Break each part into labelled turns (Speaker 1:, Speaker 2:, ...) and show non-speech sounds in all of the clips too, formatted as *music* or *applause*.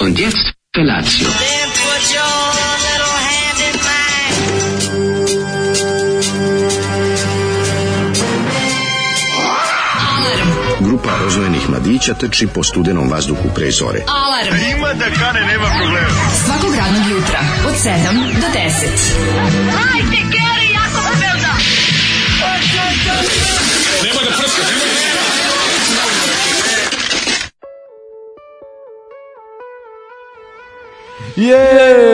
Speaker 1: Und jetzt Felatio.
Speaker 2: Then put your little hand in mine.
Speaker 3: Grupa rozvojenih mladića trči po studenom vazduhu pre zore.
Speaker 4: Alarm. Ima da kane, nema problema. Svakog radnog jutra, od 7 do 10.
Speaker 5: Je!
Speaker 6: Uh.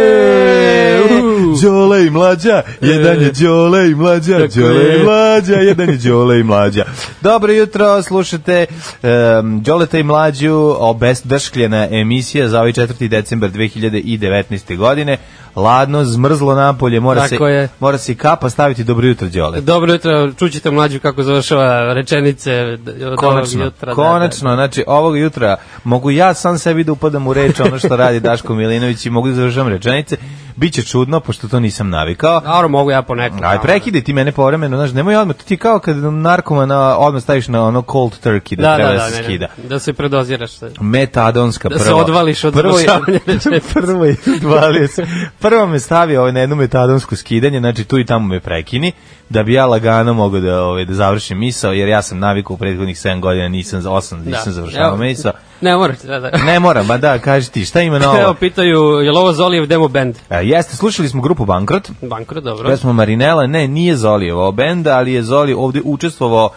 Speaker 5: Đole i mlađa, jedan je Đole i mlađa,
Speaker 6: E, Tako
Speaker 5: Đole
Speaker 6: je.
Speaker 5: i mlađa, jedan je Đole i mlađa. Dobro jutro, slušate um, Đoleta i mlađu, obesdaškljena emisija za ovaj 4. decembar 2019. godine. Ladno, zmrzlo napolje, mora se,
Speaker 6: Tako je.
Speaker 5: mora se i kapa staviti dobro jutro Đole.
Speaker 6: Dobro jutro, čućete mlađu kako završava rečenice d- od
Speaker 5: Konačno,
Speaker 6: ovog jutra.
Speaker 5: konačno, znači ovog jutra mogu ja sam sebi da upadam u reč ono što radi Daško Milinović i mogu da završavam rečenice. Biće čudno, pošto to nisam navikao.
Speaker 6: Da, da. Dobro, mogu ja ponekad.
Speaker 5: Aj,
Speaker 6: da.
Speaker 5: prekidi ti mene povremeno, znaš, nemoj odmah, to ti je kao kad narkomana odmah staviš na ono cold turkey da,
Speaker 6: Da, da,
Speaker 5: treba da,
Speaker 6: da,
Speaker 5: se
Speaker 6: ne, ne,
Speaker 5: skida.
Speaker 6: da se predoziraš se.
Speaker 5: Metadonska
Speaker 6: Da
Speaker 5: prva.
Speaker 6: se odvališ od
Speaker 5: prvo je, *laughs*
Speaker 6: izvršavanja rečenica.
Speaker 5: prvo je, odvalio se. Prvo me stavio ovaj, na jedno metadonsko skidanje, znači tu i tamo me prekini, da bi ja lagano mogao da, ovaj, da završim misao, jer ja sam navikao u prethodnih 7 godina, nisam, 8, nisam da. završavao
Speaker 6: Evo,
Speaker 5: misao.
Speaker 6: Ne morate, da, da. *laughs*
Speaker 5: Ne moram, ma da, kaži ti, šta ima
Speaker 6: Evo,
Speaker 5: novo?
Speaker 6: pitaju, je li ovo Zolijev demo band?
Speaker 5: E, Jeste, slušali smo grupu Bankrot,
Speaker 6: Bankro, dobro.
Speaker 5: Pesma Marinela, ne, nije Zolijevao benda, ali je Zoli ovde učestvovao,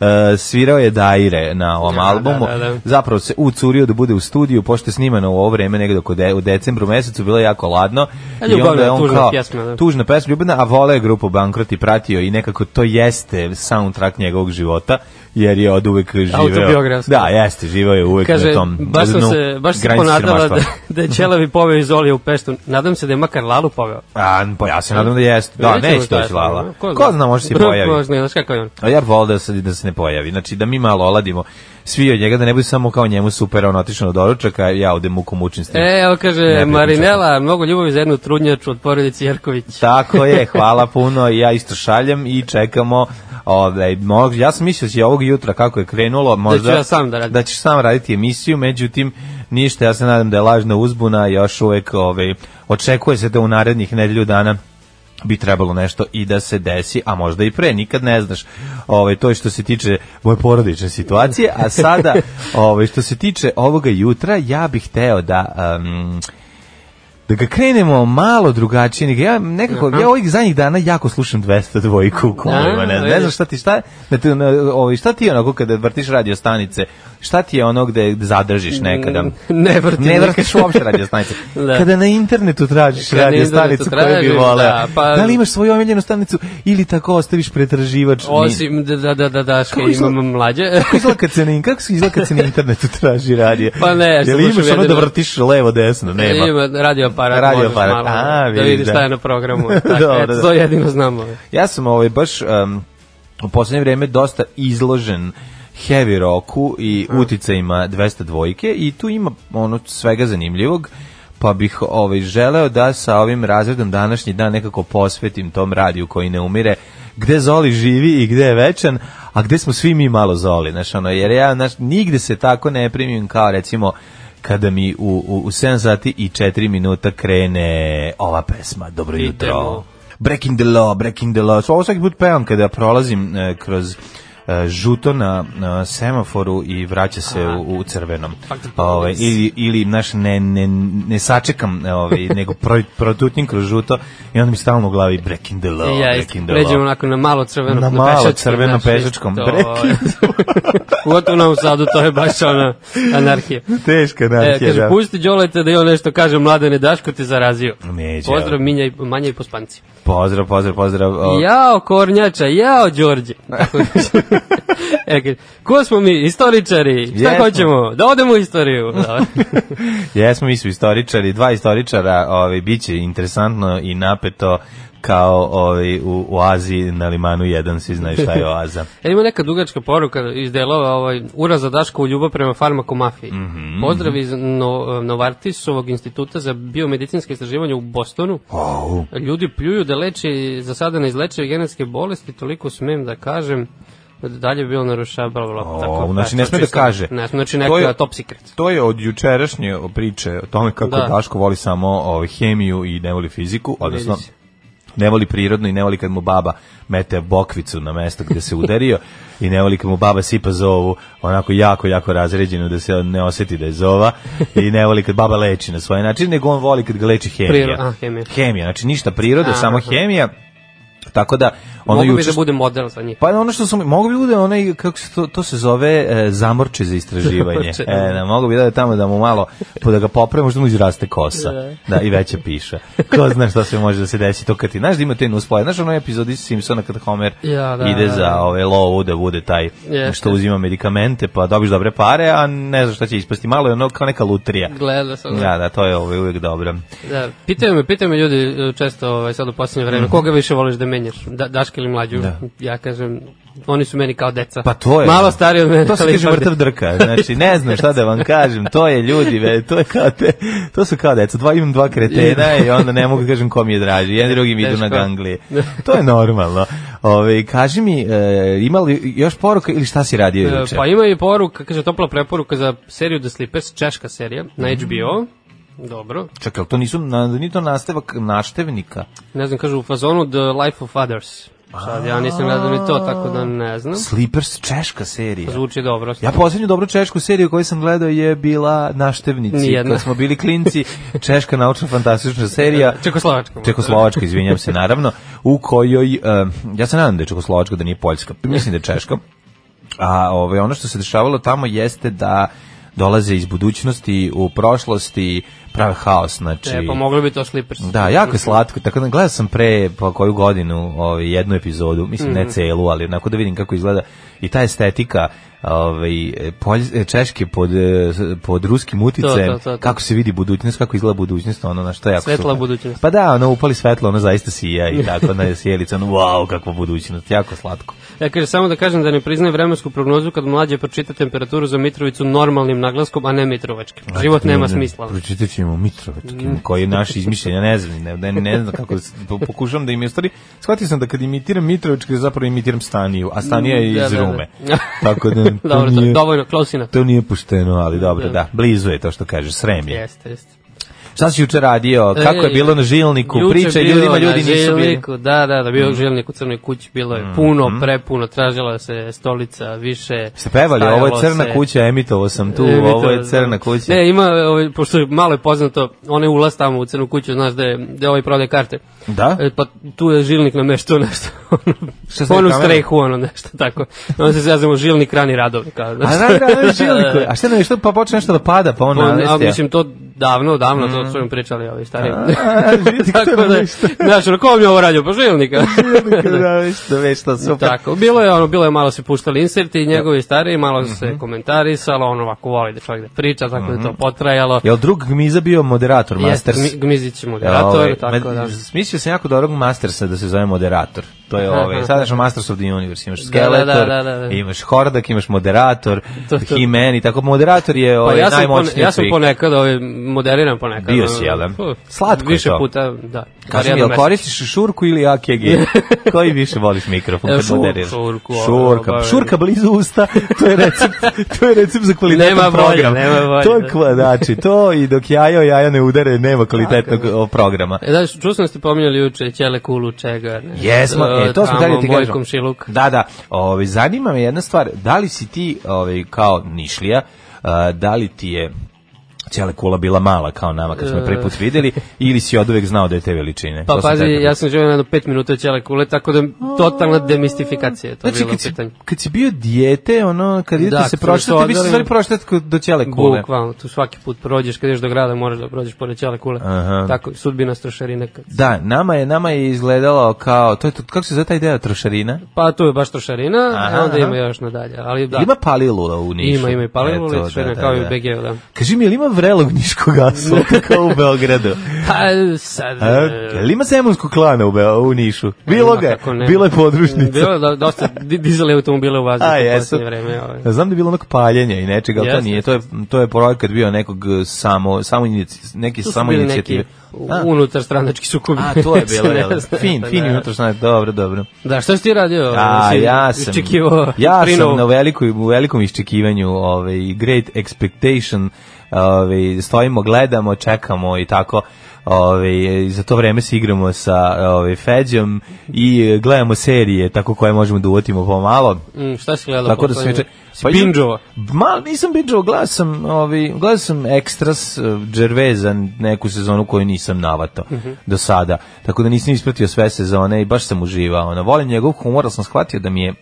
Speaker 5: e, svirao je Daire na ovom
Speaker 6: Da,
Speaker 5: albumu.
Speaker 6: da, da, da.
Speaker 5: Zapravo se ucurio da bude u studiju, pošto je snimano u ovo vreme, negde oko de, u decembru mesecu, bilo je jako ladno.
Speaker 6: A ljubavna, tužna pjesma, da.
Speaker 5: Tužna pesma, ljubavna, a vole je grupu Bankrot i pratio i nekako to jeste soundtrack njegovog života, jer je od uvek živeo.
Speaker 6: Autobiografski.
Speaker 5: Da, jeste, živeo je uvek
Speaker 6: Kaže,
Speaker 5: na tom
Speaker 6: baš sam
Speaker 5: dnu
Speaker 6: se, baš se
Speaker 5: granice
Speaker 6: ponadala
Speaker 5: siromaštva.
Speaker 6: da, da je Ćelavi poveo iz Zolija u Peštu. Nadam se da je makar Lalu poveo.
Speaker 5: A, pa ja se nadam da jeste. Da,
Speaker 6: Vidjet ćemo
Speaker 5: neće
Speaker 6: šta je
Speaker 5: doći
Speaker 6: to.
Speaker 5: Lala. Ko zna, može
Speaker 6: *laughs*
Speaker 5: se i pojavi.
Speaker 6: Možda, znaš kako je on.
Speaker 5: A ja bi volao da se, da se ne pojavi. Znači, da mi malo oladimo svi od njega, da ne bude samo kao njemu super, on otišao na doručak, a ja ovde muku mučim s tim.
Speaker 6: E, evo
Speaker 5: Ne
Speaker 6: kaže,
Speaker 5: bi
Speaker 6: Marinela, mnogo ljubavi za jednu trudnjaču od porodice Jerković.
Speaker 5: Tako je, hvala puno, ja isto šaljem i čekamo Ove, mog, ja sam mislio da će ovog jutra kako je krenulo možda,
Speaker 6: ću ja sam da radim.
Speaker 5: da ćeš sam raditi emisiju međutim ništa, ja se nadam da je lažna uzbuna još uvek ove, očekuje se da u narednih nedelju dana bi trebalo nešto i da se desi, a možda i pre, nikad ne znaš. Ovaj to je što se tiče moje porodične situacije, a
Speaker 6: *laughs*
Speaker 5: sada ovaj što se tiče ovoga jutra, ja bih hteo da um, da ga krenemo malo drugačije. nego Ja nekako ja ovih zadnjih dana jako slušam 200 dvojku u kolima, ne,
Speaker 6: A,
Speaker 5: ne
Speaker 6: vidiš.
Speaker 5: znam šta ti šta, ne, ti, ne, ovaj šta ti je onako kada vrtiš radio stanice, šta ti je ono gde zadržiš nekada?
Speaker 6: Mm. Ne vrtim
Speaker 5: ne
Speaker 6: nikad.
Speaker 5: vrtiš *laughs* uopšte radio stanice.
Speaker 6: *laughs* Da.
Speaker 5: Kada na internetu tražiš
Speaker 6: Kada na
Speaker 5: radio
Speaker 6: internetu
Speaker 5: stanicu koju bi
Speaker 6: tražiš,
Speaker 5: voleo.
Speaker 6: da, pa-
Speaker 5: da li imaš svoju omiljenu stanicu ili tako ostaviš pretraživač?
Speaker 6: Osim da da da da daške
Speaker 5: Kako izgleda-
Speaker 6: imam mlađe.
Speaker 5: Kako
Speaker 6: *laughs*
Speaker 5: izgleda kad se na, kako se izgleda kad se na internetu traži radio?
Speaker 6: Pa ne, što
Speaker 5: Je li imaš
Speaker 6: slušam
Speaker 5: ono da
Speaker 6: jedino-
Speaker 5: vrtiš levo desno? Nema.
Speaker 6: Ima radio aparat,
Speaker 5: Radio
Speaker 6: radio
Speaker 5: aparat,
Speaker 6: Malo,
Speaker 5: a,
Speaker 6: da
Speaker 5: vidiš,
Speaker 6: vidiš
Speaker 5: da.
Speaker 6: šta je na programu.
Speaker 5: *laughs*
Speaker 6: Tako,
Speaker 5: Dobro,
Speaker 6: eto,
Speaker 5: da.
Speaker 6: to jedino znamo.
Speaker 5: Ja sam ovaj baš um, u poslednje vreme dosta izložen heavy roku i uticajima 200 dvojke i tu ima ono svega zanimljivog pa bih ovaj želeo da sa ovim razredom današnji dan nekako posvetim tom radiju koji ne umire gde Zoli živi i gde je večan a gde smo svi mi malo Zoli znaš, ono, jer ja znaš, nigde se tako ne primim kao recimo kada mi u, u, u 7 sati i 4 minuta krene ova pesma Dobro jutro
Speaker 6: Idemo.
Speaker 5: Breaking the Law, Breaking the Law. Ovo svaki put pevam kada prolazim e, kroz e, žuto na, na semaforu i vraća se u, u crvenom. Ove, ili, ili naš, ne, ne, ne sačekam, e,
Speaker 6: *laughs*
Speaker 5: ove, nego pro, protutnjem kroz žuto i onda mi stalno u glavi Breaking the Law,
Speaker 6: I ja isto
Speaker 5: Breaking the
Speaker 6: pređem
Speaker 5: Law.
Speaker 6: onako na malo crveno,
Speaker 5: Na
Speaker 6: na,
Speaker 5: malo
Speaker 6: pešačkom,
Speaker 5: crveno
Speaker 6: znaš, isto,
Speaker 5: pešačkom,
Speaker 6: to-
Speaker 5: prekid.
Speaker 6: *laughs* Pogotovo na Novom Sadu, to je baš ona anarhija.
Speaker 5: Teška
Speaker 6: E,
Speaker 5: anarhija,
Speaker 6: kaže,
Speaker 5: da.
Speaker 6: pusti Đoleta da i on nešto kaže, mladene, Daško te zarazio.
Speaker 5: Neće,
Speaker 6: Pozdrav,
Speaker 5: evo.
Speaker 6: Minja i, Manja i Pospanci.
Speaker 5: Pozdrav, pozdrav, pozdrav. ovaj. O,
Speaker 6: Jao, Kornjača, jao,
Speaker 5: *laughs*
Speaker 6: Đorđe. e, kaže, ko smo mi, istoričari? Šta
Speaker 5: Jesmo.
Speaker 6: hoćemo? Da odemo u istoriju. Da.
Speaker 5: *laughs* Jesmo, mi su istoričari, dva istoričara, ovaj, bit će interesantno i napeto kao ovaj, u, u Aziji na limanu 1, svi znaju
Speaker 6: *laughs*
Speaker 5: šta je oaza.
Speaker 6: E, ima neka dugačka poruka iz delova ovaj, uraza Daška u ljubav prema farmakomafiji. Mm
Speaker 5: Mhm.
Speaker 6: -hmm. Pozdrav iz no, Novartisovog instituta za biomedicinske istraživanja u Bostonu.
Speaker 5: Oh.
Speaker 6: Ljudi pljuju da leči, za sada ne izleče genetske bolesti, toliko smem da kažem dalje bi bilo narušava, bla, bla, bla,
Speaker 5: O,
Speaker 6: tako.
Speaker 5: znači,
Speaker 6: eto,
Speaker 5: ne sme da
Speaker 6: čisto-
Speaker 5: kaže.
Speaker 6: Ne, znači,
Speaker 5: To
Speaker 6: neko
Speaker 5: je-
Speaker 6: je top secret.
Speaker 5: To je od jučerašnje priče o tome kako da.
Speaker 6: Da.
Speaker 5: Daško voli samo ovaj, hemiju i ne voli fiziku, odnosno
Speaker 6: Vidi se.
Speaker 5: ne voli prirodno i ne voli kad mu baba mete bokvicu na mesto gde se udario i ne voli kad mu baba sipa zovu onako jako, jako razređeno da se ne oseti da je zova i ne voli kad baba leči na svoj način, nego on voli kad ga leči hemija.
Speaker 6: Priro- a, hemija.
Speaker 5: Hemija, znači ništa priroda,
Speaker 6: Aha.
Speaker 5: samo hemija. Tako da, ono
Speaker 6: Mogu bi
Speaker 5: juče
Speaker 6: da bude model za njih.
Speaker 5: Pa ono što sam, mogu bi bude onaj, kako se to, to se zove, e, zamorče za istraživanje.
Speaker 6: *laughs* Zamorče.
Speaker 5: E, da, mogu bi da je tamo da mu malo, po da ga popre, možda mu izraste kosa. Da, i veća piša. Ko zna šta sve može da se desi, to kad ti, znaš da ima te nuspojave, znaš onaj epizod iz Simpsona kad Homer
Speaker 6: Ja, da,
Speaker 5: ide
Speaker 6: da,
Speaker 5: za
Speaker 6: da.
Speaker 5: ove lovu da bude taj,
Speaker 6: Jeste.
Speaker 5: što uzima medikamente, pa dobiš dobre pare, a ne znaš šta će ispasti, malo je ono kao neka lutrija.
Speaker 6: Gleda sam.
Speaker 5: Da, da, to je ovaj, uvijek dobro.
Speaker 6: Da, pitaju me, pitaju me ljudi e, često ovaj, sad u posljednje vreme, koga više voliš da menjaš, da, Daška ili mlađu?
Speaker 5: Mm. Da.
Speaker 6: Ja kažem, oni su meni kao deca.
Speaker 5: Pa to je.
Speaker 6: Malo stariji od mene.
Speaker 5: To se
Speaker 6: ali pa- e,
Speaker 5: kaže
Speaker 6: ipak
Speaker 5: mrtav
Speaker 6: deca.
Speaker 5: drka. Znači, ne znam šta da vam kažem. To je ljudi, ve, to je kao te, to su kao deca. Dva, imam dva kretena i onda ne mogu da kažem kom je draži. Jedan i drugi mi idu na
Speaker 6: Teško.
Speaker 5: ganglije. To je normalno. Ove, kaži mi, e, ima li još poruka ili šta si radio
Speaker 6: E,
Speaker 5: juče?
Speaker 6: Pa ima i poruka, kaže topla preporuka za seriju The Slippers, češka serija, na
Speaker 5: Mm.
Speaker 6: HBO. Dobro.
Speaker 5: Čekaj, ali to nisu, na, nije to nastavak naštevnika?
Speaker 6: Ne znam, kažu u fazonu The Life of Others. Sad, ja nisam gledao ni to, tako da ne znam.
Speaker 5: Sleepers, češka serija.
Speaker 6: Zvuči dobro.
Speaker 5: Ja poslednju dobru češku seriju koju sam gledao je bila Naštevnici.
Speaker 6: Nijedna.
Speaker 5: Kad smo bili
Speaker 6: *laughs*
Speaker 5: klinci, češka naučno-fantastična serija.
Speaker 6: Čekoslovačka.
Speaker 5: Čekoslovačka, izvinjam se, naravno, u kojoj, eh, ja se nadam da je Čekoslovačka, da nije Poljska, mislim da je Češka, a ovaj, ono što se dešavalo tamo jeste da dolaze iz budućnosti u prošlosti, prave haos, znači...
Speaker 6: E, pa moglo bi to Slippers.
Speaker 5: Da, jako je slatko, tako da gledao sam pre pa koju godinu ovaj, jednu epizodu, mislim
Speaker 6: Mhm.
Speaker 5: ne celu, ali onako da vidim kako izgleda i ta estetika ovaj, e, polj, e, češke pod, e, pod ruskim uticajem,
Speaker 6: to, to, to.
Speaker 5: kako se vidi budućnost, kako izgleda budućnost, ono na što je jako
Speaker 6: Svetla
Speaker 5: super.
Speaker 6: budućnost.
Speaker 5: Pa da, ono upali svetlo, ono zaista sija
Speaker 6: *laughs*
Speaker 5: i tako na sjelica, ono wow, kakva budućnost, jako slatko.
Speaker 6: Ja kaže, samo da kažem da ne priznaje vremensku prognozu kad mlađe pročita temperaturu za Mitrovicu normalnim naglaskom, a ne Mitrovačkim. Život nema smisla.
Speaker 5: Pročitat ćemo Mitrovetkim, Mm. koji je naš izmišljen, ja ne znam, ne, ne, ne znam kako, s- po- pokušavam da im je stvari, shvatio sam da kad imitiram Mitrovički, zapravo imitiram Staniju, a Stanija je iz
Speaker 6: Mm, Da, da, da. *laughs*
Speaker 5: Rume. Tako da, to,
Speaker 6: Dobro, to,
Speaker 5: nije,
Speaker 6: dovoljno, close enough.
Speaker 5: to nije pušteno, ali dobro, da, blizu je to što kažeš, srem je.
Speaker 6: Jeste, jeste.
Speaker 5: Šta si juče radio, kako je
Speaker 6: Ej,
Speaker 5: bilo na žilniku,
Speaker 6: juče
Speaker 5: pričaj
Speaker 6: bilo
Speaker 5: ljudima,
Speaker 6: na
Speaker 5: ljudi nisu bili. Mm. Mm-hmm.
Speaker 6: žilniku, Da, da, da, bio je žilnik u crnoj kući, bilo je puno, prepuno, tražila se stolica, više.
Speaker 5: Ste pevali, ovo je
Speaker 6: stajalo
Speaker 5: crna
Speaker 6: se.
Speaker 5: kuća, emitovo sam tu,
Speaker 6: E, mi to-
Speaker 5: ovo je crna kuća.
Speaker 6: Ne, ima, ovaj, pošto je malo je poznato, onaj ulaz tamo u crnu kuću, znaš da je, da je ovaj prodaje karte.
Speaker 5: Da?
Speaker 6: E, pa tu je žilnik na nešto, nešto. ono,
Speaker 5: Šta se
Speaker 6: Onu
Speaker 5: kamera?
Speaker 6: strehu, ono, nešto tako. Onda se zazemo žilnik rani radovi. Kao, znaš.
Speaker 5: A da,
Speaker 6: *laughs*
Speaker 5: da, da, žilniku, a šta nam je što, pa počne nešto da pada, pa on
Speaker 6: Pa, a,
Speaker 5: navesti.
Speaker 6: mislim, to davno, davno, to su im pričali ovi *laughs* stari.
Speaker 5: Mm. a, žilnik
Speaker 6: Tako da,
Speaker 5: navešta.
Speaker 6: znaš, ono, ko mi je ovo radio? Pa
Speaker 5: *laughs*
Speaker 6: žilnika. *laughs*
Speaker 5: da, već, da, već, to super.
Speaker 6: Tako, bilo je ono, bilo je malo se puštali inserti i njegovi stari, malo
Speaker 5: Mhm.
Speaker 6: se komentarisalo, on ovako voli da čovjek da priča, tako da je to potrajalo.
Speaker 5: Jel drug Gmiza bio moderator
Speaker 6: Jeste,
Speaker 5: Mhm. Masters?
Speaker 6: mi- Gmizić je
Speaker 5: Jel,
Speaker 6: moderator,
Speaker 5: ovaj,
Speaker 6: tako
Speaker 5: med-
Speaker 6: da.
Speaker 5: Smislio sam jako dobrog Mastersa da se zove moderator. To je
Speaker 6: Aha.
Speaker 5: ovaj, sadašnji Masters of the Universe. Imaš
Speaker 6: Da, da,
Speaker 5: Skeletor,
Speaker 6: da, da, da.
Speaker 5: imaš Hordak, imaš moderator,
Speaker 6: To, to.
Speaker 5: He-Man i tako. Moderator je
Speaker 6: Pa
Speaker 5: ovaj,
Speaker 6: ja sam, pone,
Speaker 5: najmoćniji
Speaker 6: ja sam
Speaker 5: trik.
Speaker 6: ponekad, ovaj, moderiram ponekad.
Speaker 5: Bio si, jel da?
Speaker 6: Uf,
Speaker 5: Slatko je
Speaker 6: Više
Speaker 5: to.
Speaker 6: puta, da. bar
Speaker 5: Kaži mi,
Speaker 6: jednom
Speaker 5: jel
Speaker 6: mesečno.
Speaker 5: koristiš šurku ili AKG?
Speaker 6: *laughs*
Speaker 5: Koji više voliš mikrofon
Speaker 6: E,
Speaker 5: kad
Speaker 6: šur-
Speaker 5: moderiraš?
Speaker 6: šurku, ono,
Speaker 5: Šurka.
Speaker 6: obavezno.
Speaker 5: Šurka blizu usta, to je
Speaker 6: *laughs*
Speaker 5: recept, to je recept za kvalitetan
Speaker 6: Nema bolje,
Speaker 5: program.
Speaker 6: nema bolje,
Speaker 5: to je
Speaker 6: da.
Speaker 5: kva, znači, to i dok jajo jaja ne udare, nema kvalitetnog o, programa.
Speaker 6: E, da, čuo sam da ste pominjali juče Ćele Kulu, čega, ne?
Speaker 5: Jesmo, e, to smo
Speaker 6: tamo,
Speaker 5: hteli da ti
Speaker 6: moj
Speaker 5: kažem.
Speaker 6: komšiluk.
Speaker 5: Da, da. Ovaj zanima me jedna stvar, da li si ti ovaj kao Nišlija, a, da li ti je cijela kula bila mala kao nama kad smo je prvi put videli ili si oduvek znao da je te veličine?
Speaker 6: E. Pa
Speaker 5: To sam
Speaker 6: pazi,
Speaker 5: tebe-
Speaker 6: ja sam živio na jedno pet minuta Ćele Kule, tako da totalna demistifikacija je to
Speaker 5: Znači,
Speaker 6: bilo
Speaker 5: kad si,
Speaker 6: pitanje.
Speaker 5: kad si bio dijete, ono, kad idete
Speaker 6: Da,
Speaker 5: se
Speaker 6: kad smo se
Speaker 5: prošle, vi ste
Speaker 6: odeli-
Speaker 5: stvari prošle do cijele kule.
Speaker 6: Bukvalno, tu svaki put prođeš, kad ideš do grada moraš da prođeš pored Ćele Kule.
Speaker 5: Aha.
Speaker 6: Tako, sudbina strošarine. Kad...
Speaker 5: Da, nama je nama je izgledalo kao to je to, kako se zove taj deo trošarina?
Speaker 6: Pa tu je baš trošarina,
Speaker 5: Aha,
Speaker 6: a onda
Speaker 5: aha.
Speaker 6: ima još nadalje. Ali da,
Speaker 5: Ima palilula u Nišu.
Speaker 6: ima, ima i palilule,
Speaker 5: Eto, *laughs*
Speaker 6: trošarina, kao i u BG-u, da.
Speaker 5: Kaži mi, je li ima vrelog niškog asfalta *laughs* kao u Beogradu.
Speaker 6: Pa, sad...
Speaker 5: A, jel ima semunskog klana u, Beo, u Nišu? Bilo
Speaker 6: Ima,
Speaker 5: ga, je,
Speaker 6: E, kako ne.
Speaker 5: bilo je podružnica.
Speaker 6: Mm, Bilo je do- dosta di- dizeli automobile u vazduhu
Speaker 5: A,
Speaker 6: u
Speaker 5: jesu.
Speaker 6: poslednje vreme. Ovaj.
Speaker 5: Znam da je bilo onako paljenja i nečega, ali to
Speaker 6: Jeste.
Speaker 5: nije. To je, to je projekat bio nekog samo, samo inici- neki
Speaker 6: Tu su
Speaker 5: samo
Speaker 6: bili
Speaker 5: inicijative.
Speaker 6: neki
Speaker 5: A,
Speaker 6: unutar stranački sukobi.
Speaker 5: a,
Speaker 6: *laughs*
Speaker 5: to je bilo,
Speaker 6: Ne
Speaker 5: jel? *laughs*
Speaker 6: znam,
Speaker 5: Fin,
Speaker 6: pa
Speaker 5: fin
Speaker 6: da.
Speaker 5: unutrašnji, dobro, dobro.
Speaker 6: Da, šta si ti radio?
Speaker 5: A,
Speaker 6: Jesi
Speaker 5: ja sam,
Speaker 6: Iščekivao
Speaker 5: ja
Speaker 6: Trinovu?
Speaker 5: sam na velikoj, u velikom iščekivanju, ovaj, great expectation, ovaj, stojimo, gledamo, čekamo i tako. Ove, za to vreme se igramo sa ove, Feđom i e, gledamo serije tako koje možemo da uvotimo pomalo.
Speaker 6: Mm, šta si gledala?
Speaker 5: Tako da sam juče...
Speaker 6: Pa Binđova.
Speaker 5: Ma, nisam binđovao, gledao sam, ovi, gledao sam Extras uh, Gervaisa neku sezonu koju nisam navato do sada. Tako da nisam ispratio sve sezone i baš sam uživao. Ono, volim njegov humor, ali sam shvatio da mi je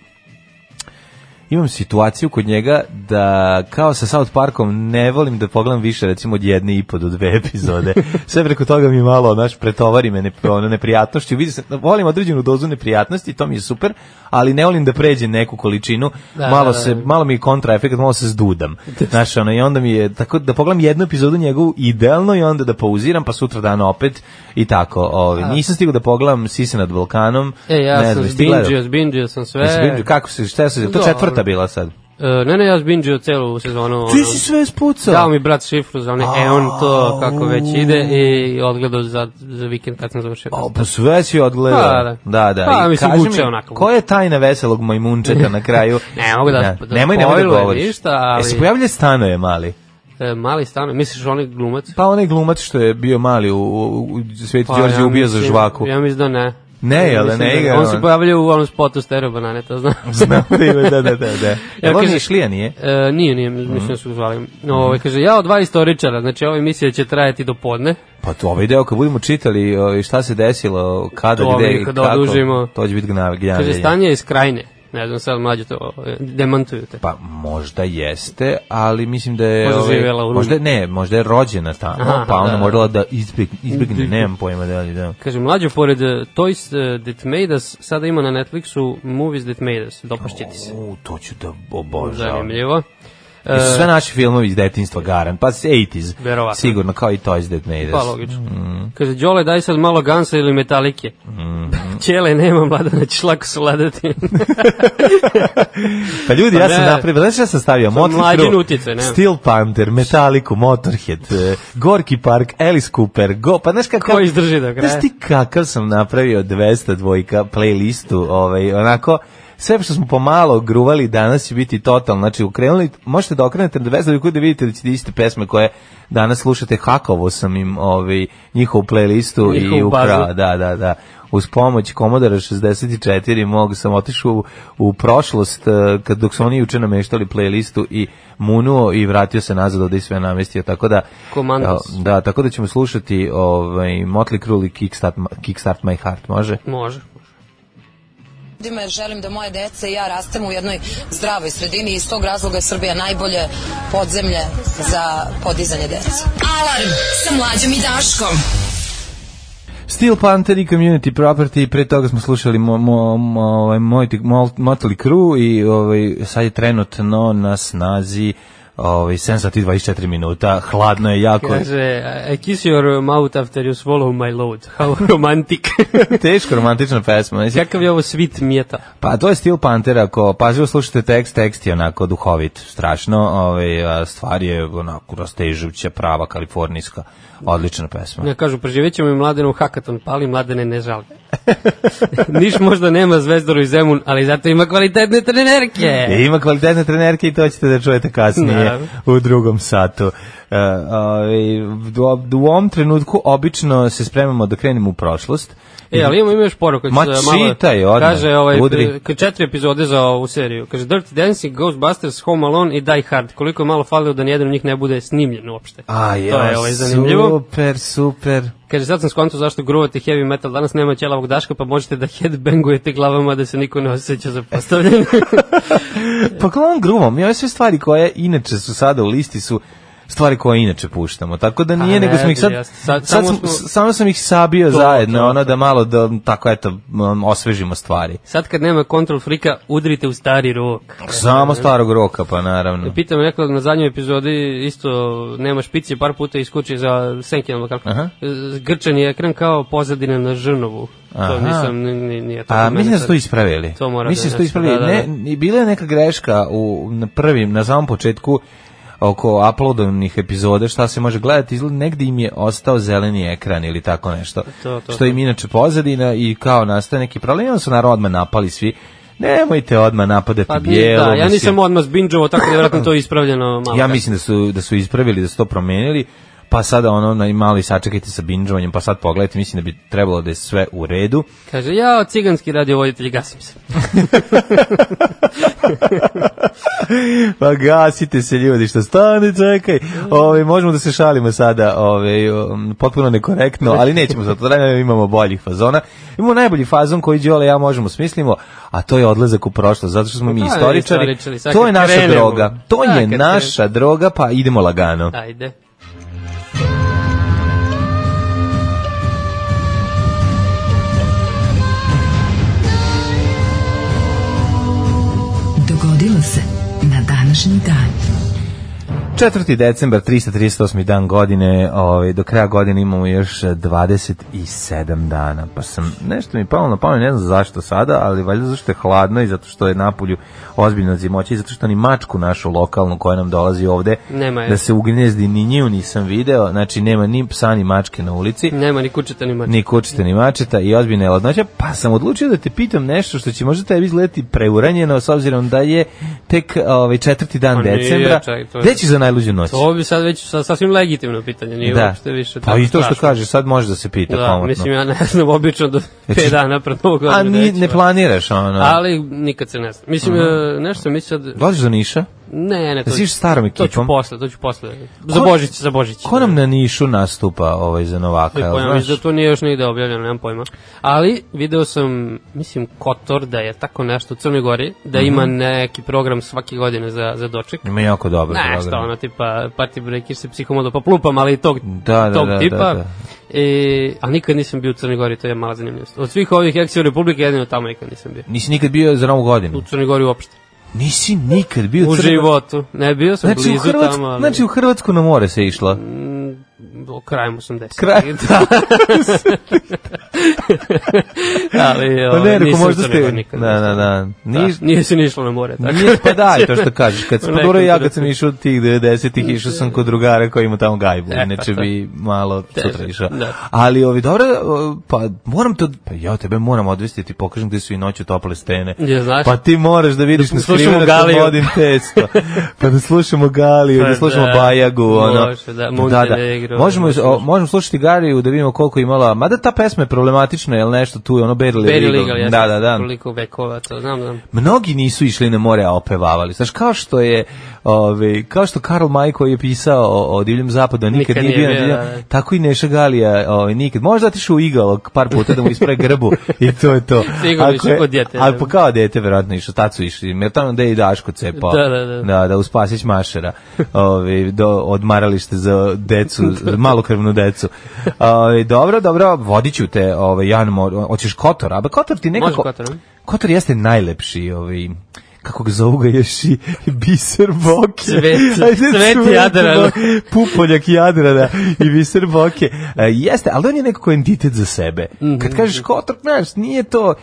Speaker 5: imam situaciju kod njega da kao sa South Parkom ne volim da pogledam više recimo od jedne i po do dve
Speaker 6: *laughs*
Speaker 5: epizode. Sve preko toga mi malo naš pretovari me ne, ono, neprijatnošću. Vidi se, volim određenu dozu neprijatnosti, to mi je super, ali ne volim da pređem neku količinu.
Speaker 6: Da,
Speaker 5: malo
Speaker 6: da, da.
Speaker 5: se malo mi je kontraefekat, malo se
Speaker 6: *laughs*
Speaker 5: zdudam. Znaš, ono, i onda mi je, tako da pogledam jednu epizodu njegovu idealno i onda da pauziram, pa sutra dan opet i tako. Ovaj. Nisam stigao da pogledam Sise nad Balkanom.
Speaker 6: E, ja
Speaker 5: ne
Speaker 6: sam
Speaker 5: znam, jesi ti gledao?
Speaker 6: zbinđio, zbinđio sam sve.
Speaker 5: Jesi binđio? Kako se, šta se, to
Speaker 6: Dobro.
Speaker 5: četvrta bila sad.
Speaker 6: E, ne, ne, ja zbinđio celu sezonu. ono.
Speaker 5: Ti si sve spucao.
Speaker 6: Dao mi brat šifru za one Eon to, kako već ide, i odgledao za, za vikend kad sam završio.
Speaker 5: O, pa sve si odgledao.
Speaker 6: Pa,
Speaker 5: da.
Speaker 6: da.
Speaker 5: Da, da.
Speaker 6: Pa,
Speaker 5: I
Speaker 6: mislim,
Speaker 5: kaži
Speaker 6: vuče
Speaker 5: mi,
Speaker 6: onako.
Speaker 5: Koja je tajna veselog majmunčeta na kraju?
Speaker 6: *laughs* Ne mogu da-
Speaker 5: Ne,
Speaker 6: da
Speaker 5: nemoj, nemoj da
Speaker 6: spojlujem
Speaker 5: govoriš. E,
Speaker 6: ništa, ali-
Speaker 5: Jesi pojavlja stanoje mali?
Speaker 6: E, mali stan, misliš onaj glumac?
Speaker 5: Pa onaj glumac što je bio mali u, u, u Sveti Đorđe
Speaker 6: Pa, ja
Speaker 5: ubio za
Speaker 6: mislim-
Speaker 5: žvaku.
Speaker 6: Ja mislim da ne.
Speaker 5: Ne, jel da
Speaker 6: Mislim
Speaker 5: ne
Speaker 6: da-
Speaker 5: igra
Speaker 6: On se
Speaker 5: on?
Speaker 6: pojavlja u onom spotu Stereo Banane, to znam.
Speaker 5: *laughs* Znam da ima, da, da, da.
Speaker 6: *laughs*
Speaker 5: da. Jel on
Speaker 6: kažem-
Speaker 5: Nišlija nije?
Speaker 6: E, nije, nije, mislim da
Speaker 5: Mhm.
Speaker 6: su ga zvali. Ovo, kaže, ja od dva istoričara, znači ova emisija će trajati do podne.
Speaker 5: Pa to ovaj deo kad budemo čitali o, i šta se desilo, kada,
Speaker 6: To
Speaker 5: gde,
Speaker 6: mi kad
Speaker 5: kako,
Speaker 6: odužimo.
Speaker 5: to će biti gnav-
Speaker 6: Kaže,
Speaker 5: gnjavljenje.
Speaker 6: stanje je iz krajine. Ne znam, sad mlađe to e, demantuju te.
Speaker 5: Pa možda jeste, ali mislim da je...
Speaker 6: Možda
Speaker 5: ovaj,
Speaker 6: živjela u Rumi.
Speaker 5: možda, ne, možda je rođena tamo,
Speaker 6: Aha,
Speaker 5: pa ona
Speaker 6: da, da.
Speaker 5: morala da izbjegne, izbjegne nemam pojma da li da.
Speaker 6: Kaže, mlađo, pored e, Toys e, That Made Us, sada ima na Netflixu Movies That Made Us, dopašće ti se.
Speaker 5: U, to ću da obožavam.
Speaker 6: Zanimljivo. E,
Speaker 5: Jesu Sve naši filmovi iz detinjstva garan, pa 80s,
Speaker 6: Verovatno.
Speaker 5: sigurno, kao i Toys That Made Us.
Speaker 6: Pa logično.
Speaker 5: Mhm.
Speaker 6: Kaže, Đole, daj sad malo Gansa ili Metalike. *laughs* Ćele, nema mladana, ćeš lako
Speaker 5: *laughs*
Speaker 6: savladati.
Speaker 5: Pa ljudi, ja
Speaker 6: Pa
Speaker 5: sam
Speaker 6: ne.
Speaker 5: napravio, znaš šta sam stavio?
Speaker 6: Sam
Speaker 5: Motley
Speaker 6: mlađin
Speaker 5: Crue,
Speaker 6: utjecaj, ne.
Speaker 5: Steel Panther, Metallica, Motorhead, eh, Gorki Park, Alice Cooper, Go, pa znaš kakav...
Speaker 6: Ko izdrži do kraja?
Speaker 5: Znaš ti kakav sam napravio 200 dvojka playlistu, ovaj, onako, sve što smo pomalo gruvali danas će biti totalno, znači ukrenuli, možete da okrenete na 200 dvojku da vidite da ćete iste pesme koje danas slušate, hakovo sam im ovaj, njihovu playlistu i
Speaker 6: Njihovu bazu.
Speaker 5: ukrao, da, da, da. Uz pomoć Komodara 64 mogu sam otišao u, u prošlost e, kad dok su oni juče nameštali playlistu i munuo i vratio se nazad ovde i sve namestio, tako da
Speaker 6: Komandos.
Speaker 5: e, Da, tako da ćemo slušati ovaj, Motley Crue i Kickstart, Ma- Kickstart My Heart, može?
Speaker 6: Može.
Speaker 1: ljudima jer želim da moje dece i ja rastemo u jednoj zdravoj sredini i iz tog razloga je Srbija najbolje podzemlje za podizanje dece.
Speaker 4: Alarm sa mlađom i Daškom.
Speaker 5: Steel Panther i Community Property, pre toga smo slušali mo, mo, mo, ovaj, Mojti- Mol- Motley Crue i ovaj, sad je trenutno na snazi ovaj, 7 sati i 24 minuta, hladno je jako.
Speaker 6: Kaže, I kiss your mouth after you swallow my load. *laughs* How romantic.
Speaker 5: *laughs* Teško romantična pesma. Mislim,
Speaker 6: Kakav je ovo svit mjeta?
Speaker 5: Pa to je stil Pantera, ako pažljivo slušate tekst, tekst je onako duhovit, strašno, ovaj, a stvar je onako rastežuća, prava, kalifornijska, odlična pesma.
Speaker 6: Ne, kažu, preživjet ćemo i mladenu hakaton, pali mladene ne žali.
Speaker 5: *laughs*
Speaker 6: Niš možda nema zvezdoru i zemun, ali zato ima kvalitetne trenerke.
Speaker 5: E, ima kvalitetne trenerke i to ćete da čujete kasnije
Speaker 6: Naravno.
Speaker 5: u drugom satu. E, ovaj, u- u ovom trenutku obično se spremamo da krenemo u prošlost.
Speaker 6: E, ali imamo ima još poruku.
Speaker 5: Ma čitaj odmah,
Speaker 6: Kaže, ovaj,
Speaker 5: udri.
Speaker 6: k- četiri epizode za ovu seriju. Kaže, Dirty Dancing, Ghostbusters, Home Alone i Die Hard. Koliko je malo falio da nijedan od njih ne bude snimljen uopšte.
Speaker 5: A, ja,
Speaker 6: to je ovaj, zanimljivo.
Speaker 5: Super, super.
Speaker 6: Kaže, sad sam skonto zašto gruvate heavy metal, danas nema ćelavog daška, pa možete da headbangujete glavama da se niko ne osjeća
Speaker 5: *laughs*
Speaker 6: zapostavljen.
Speaker 5: Pa klon gruvom, i ove sve stvari koje inače su sada u listi su stvari koje inače puštamo. Tako da nije,
Speaker 6: Pa ne,
Speaker 5: nego smo ih sad,
Speaker 6: jeste.
Speaker 5: sad, sam,
Speaker 6: Sad samo
Speaker 5: s-
Speaker 6: smo-
Speaker 5: samo sam ih sabio
Speaker 6: To,
Speaker 5: zajedno,
Speaker 6: to,
Speaker 5: ono
Speaker 6: to.
Speaker 5: da malo da, tako eto, m, osvežimo stvari.
Speaker 6: Sad kad nema kontrol frika, udrite u stari rok.
Speaker 5: Samo starog roka, pa naravno.
Speaker 6: Pitam nekog na zadnjoj epizodi, isto nema špice, par puta iskuči za senkinama kako.
Speaker 5: Aha.
Speaker 6: Grčan je ekran kao pozadina na Žrnovu. To
Speaker 5: Aha.
Speaker 6: nisam, ni, ni, nije tako.
Speaker 5: A
Speaker 6: mene
Speaker 5: mislim da su
Speaker 6: sad-
Speaker 5: to ispravili.
Speaker 6: To mora
Speaker 5: mislim da
Speaker 6: da
Speaker 5: su to
Speaker 6: je,
Speaker 5: ispravili.
Speaker 6: da, da,
Speaker 5: Ne,
Speaker 6: da.
Speaker 5: ni- bila je neka greška u na prvim, na samom početku oko uploadovnih epizoda šta se može gledati, izgleda negde im je ostao zeleni ekran ili tako nešto.
Speaker 6: To, to,
Speaker 5: što im
Speaker 6: to.
Speaker 5: inače pozadina i kao nastaje neki problem, I onda su naravno odmah napali svi. Nemojte odmah napadati
Speaker 6: Pa,
Speaker 5: bijelo.
Speaker 6: da, ja
Speaker 5: mislim.
Speaker 6: nisam odmah zbinđovo, tako da je vjerojatno to ispravljeno malo.
Speaker 5: Ja mislim da su da su ispravili, da su to promenili. Pa sada ono na- mali sačekajte sa binđovanjem, pa sad pogledajte, mislim da bi trebalo da je sve u redu.
Speaker 6: Kaže, ja ciganski radiovoditelj, gasim se.
Speaker 5: *laughs* pa gasite se ljudi, što stani, čekaj. Ove, možemo da se šalimo sada, ove, um, potpuno nekorektno, ali nećemo za to da radimo, imamo boljih fazona. Imamo najbolji fazon koji Đole i ja možemo smislimo, a to je odlazak u prošlost, zato što smo mi
Speaker 6: Da,
Speaker 5: istoričari.
Speaker 6: Pa, istoričari, sad
Speaker 5: To
Speaker 6: kad
Speaker 5: je naša
Speaker 6: krenemo.
Speaker 5: droga. To
Speaker 6: Da,
Speaker 5: je
Speaker 6: kad
Speaker 5: naša droga, pa idemo lagano.
Speaker 6: Ajde.
Speaker 4: Dogodilo se na današnji dan.
Speaker 5: 4. decembar, 338. dan godine, ovaj, do kraja godine imamo još eh, 27 dana, pa sam, nešto mi palo na pamet, ne znam zašto sada, ali valjda zašto je hladno i zato što je napolju ozbiljno zimoće i zato što ni mačku našu lokalnu koja nam dolazi ovde,
Speaker 6: Nema je.
Speaker 5: da se ugnezdi, ni nju nisam video, znači nema ni psa ni mačke na ulici,
Speaker 6: Nema ni kućeta ni mačka.
Speaker 5: ni kučita ni mačeta i ozbiljna je ladnoća, pa sam odlučio da te pitam nešto što će možda tebi izgledati preuranjeno s obzirom da je tek ovaj, četvrti dan
Speaker 6: Pa nije,
Speaker 5: decembra.
Speaker 6: čaj, to je-
Speaker 5: Gde ćeš za najluđu noć?
Speaker 6: To bi sad već sa, sasvim legitimno pitanje, nije da. uopšte više
Speaker 5: Pa i to što
Speaker 6: strašno.
Speaker 5: kažeš, sad može da se pita
Speaker 6: Da,
Speaker 5: komotno.
Speaker 6: mislim, ja ne znam, obično do
Speaker 5: Znači,
Speaker 6: 5 dana pred novog godina.
Speaker 5: A ni,
Speaker 6: neću,
Speaker 5: ne planiraš ono.
Speaker 6: Ali nikad se ne zna. Mislim, e, nešto sam mislio da...
Speaker 5: Dolaziš do Niša?
Speaker 6: Ne, ne, to,
Speaker 5: Jesi išao starom
Speaker 6: to ću
Speaker 5: ekipom?
Speaker 6: posle, to ću posle. Za Božić, za Božić.
Speaker 5: Ko nam na Nišu nastupa ovaj, za Novaka?
Speaker 6: Nemam
Speaker 5: jel
Speaker 6: pojma,
Speaker 5: znaš?
Speaker 6: mislim da to nije još nigde objavljeno, nemam pojma. Ali video sam, mislim, Kotor da je tako nešto u Crnoj Gori, da ima neki program svake godine za, za doček.
Speaker 5: Mhm. Ima jako dobro
Speaker 6: Nešto ono, tipa, party breaker se psihomodo poplupam, ali i tog,
Speaker 5: Da, da,
Speaker 6: tog
Speaker 5: da,
Speaker 6: tipa.
Speaker 5: da, da.
Speaker 6: E, a nikad nisam bio u Crnoj Gori, to je mala zanimljivost. Od svih ovih eksija Republike, jedino tamo nikad nisam bio.
Speaker 5: Nisi nikad bio za Novu
Speaker 6: U
Speaker 5: godinu?
Speaker 6: Crnoj Gori uopšte.
Speaker 5: Nisi nikad bio
Speaker 6: U
Speaker 5: Crnoj-
Speaker 6: životu. Ne, bio sam
Speaker 5: Znači u,
Speaker 6: blizu
Speaker 5: Hrvatsku,
Speaker 6: tamo, ali...
Speaker 5: znači u Hrvatsku na more se išla.
Speaker 6: O, krajem 80. *laughs*
Speaker 5: Kraj- *laughs*
Speaker 6: ali,
Speaker 5: Pa ne,
Speaker 6: ovaj,
Speaker 5: reko
Speaker 6: nisam
Speaker 5: možda
Speaker 6: u Crnoj
Speaker 5: ste...
Speaker 6: Gori nikad,
Speaker 5: Da, da, da. Niš,
Speaker 6: Da, nije se ni išlo na more. Tako.
Speaker 5: Nije
Speaker 6: *laughs*
Speaker 5: pa da, to što kažeš, kad sam
Speaker 6: Nekom
Speaker 5: dobro ja kad
Speaker 6: trenutku.
Speaker 5: sam išao od tih 90-ih, išao sam kod drugara koji ima tamo gajbu,
Speaker 6: pa
Speaker 5: inače
Speaker 6: to.
Speaker 5: bi malo
Speaker 6: Teže,
Speaker 5: sutra išao.
Speaker 6: da.
Speaker 5: Ali ovi dobro, o, pa moram to, pa ja tebe moram odvesti, ti pokažem gde su i noću tople stene.
Speaker 6: Ja, znaš.
Speaker 5: Pa ti moraš da vidiš na
Speaker 6: slušamo
Speaker 5: skrivenu
Speaker 6: Galiju.
Speaker 5: Slobodin testo. Pa da slušamo Galiju,
Speaker 6: Pa
Speaker 5: da slušamo
Speaker 6: da,
Speaker 5: Bajagu, ono.
Speaker 6: može, da, Montenegro,
Speaker 5: Možemo,
Speaker 6: da
Speaker 5: o,
Speaker 6: slušamo.
Speaker 5: možemo slušati Galiju da vidimo koliko je imala, mada ta pesma je problematična, jel nešto tu je ono Beryl
Speaker 6: Beri Legal,
Speaker 5: Da, da, da
Speaker 6: Koliko vekova, to znam, znam.
Speaker 5: mnogi nisu išli na more a opevavali. Znaš, kao što je ove, kao što Karl Maj koji je pisao o, o divljem zapadu, a nikad,
Speaker 6: Nikad
Speaker 5: nije bio,
Speaker 6: nije
Speaker 5: na
Speaker 6: bio,
Speaker 5: divljem-
Speaker 6: da, da.
Speaker 5: tako i Neša Galija ove, nikad. Možda otišao u igalog par puta da mu ispre
Speaker 6: *laughs*
Speaker 5: grbu i to je to.
Speaker 6: Sigurno
Speaker 5: Ako
Speaker 6: išao
Speaker 5: je-
Speaker 6: kod djete,
Speaker 5: Ali
Speaker 6: da.
Speaker 5: pa kao dete, verovatno išao, tad su išli. Jer tamo da je i Daško cepao.
Speaker 6: Da, da, da.
Speaker 5: Da, da, u Spasić Mašera. Ove, do, odmaralište za decu, za malokrvnu decu. Ove, dobro, dobro, vodit ću te, ove, Jan, Mor- hoćeš Kotor, a Kotor ti nekako...
Speaker 6: Može Kotor, ne?
Speaker 5: Kotor jeste najlepši, ovaj, kako ga zovu ga još i *laughs* biser boke.
Speaker 6: Cvet-
Speaker 5: Ajde,
Speaker 6: cvet Jadrana.
Speaker 5: bo- Pupoljak Jadrana i biser boke. E, jeste, ali on je nekako entitet za sebe.
Speaker 6: Mhm.
Speaker 5: Kad kažeš Kotor, znaš, nije to...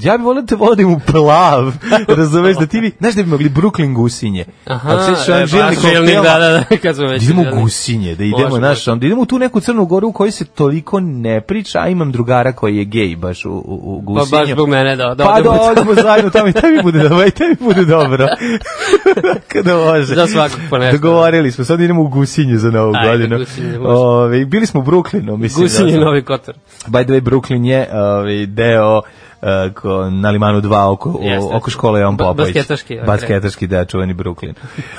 Speaker 5: Ja bih volio da te vodim u plav, *laughs* razumeš, da ti bi, znaš da bi mogli Brooklyn gusinje. Ako se sjećaš
Speaker 6: e,
Speaker 5: onog žilnih
Speaker 6: baš žilnik,
Speaker 5: hotela,
Speaker 6: da, da, da, kad smo već...
Speaker 5: da idemo
Speaker 6: žilnik.
Speaker 5: u gusinje, da idemo,
Speaker 6: Može,
Speaker 5: znaš,
Speaker 6: može.
Speaker 5: onda idemo u tu neku Crnu Goru u kojoj se toliko ne priča, a imam drugara koji je gej baš u, u, u
Speaker 6: Pa
Speaker 5: gusinju.
Speaker 6: baš zbog mene, da. da
Speaker 5: pa da
Speaker 6: odemo u-
Speaker 5: odemo zajedno tamo i tebi bude dobro, i tebi bude dobro.
Speaker 6: *laughs*
Speaker 5: Kada može.
Speaker 6: Za svakog po nešto.
Speaker 5: Dogovorili smo, sad idemo u Gusinje za novu
Speaker 6: Ajde,
Speaker 5: godinu.
Speaker 6: Gusinje, može.
Speaker 5: Ove, bili smo u Brooklynu, mislim.
Speaker 6: Gusin je
Speaker 5: da-
Speaker 6: novi Kotor.
Speaker 5: By the way, Brooklyn je ove, deo e, ko, na Limanu 2 oko, o-
Speaker 6: Jeste.
Speaker 5: oko škole Jovan
Speaker 6: Ba-
Speaker 5: Popović.
Speaker 6: basketaški, ovaj,
Speaker 5: Basketaški, da, čuveni Brooklyn.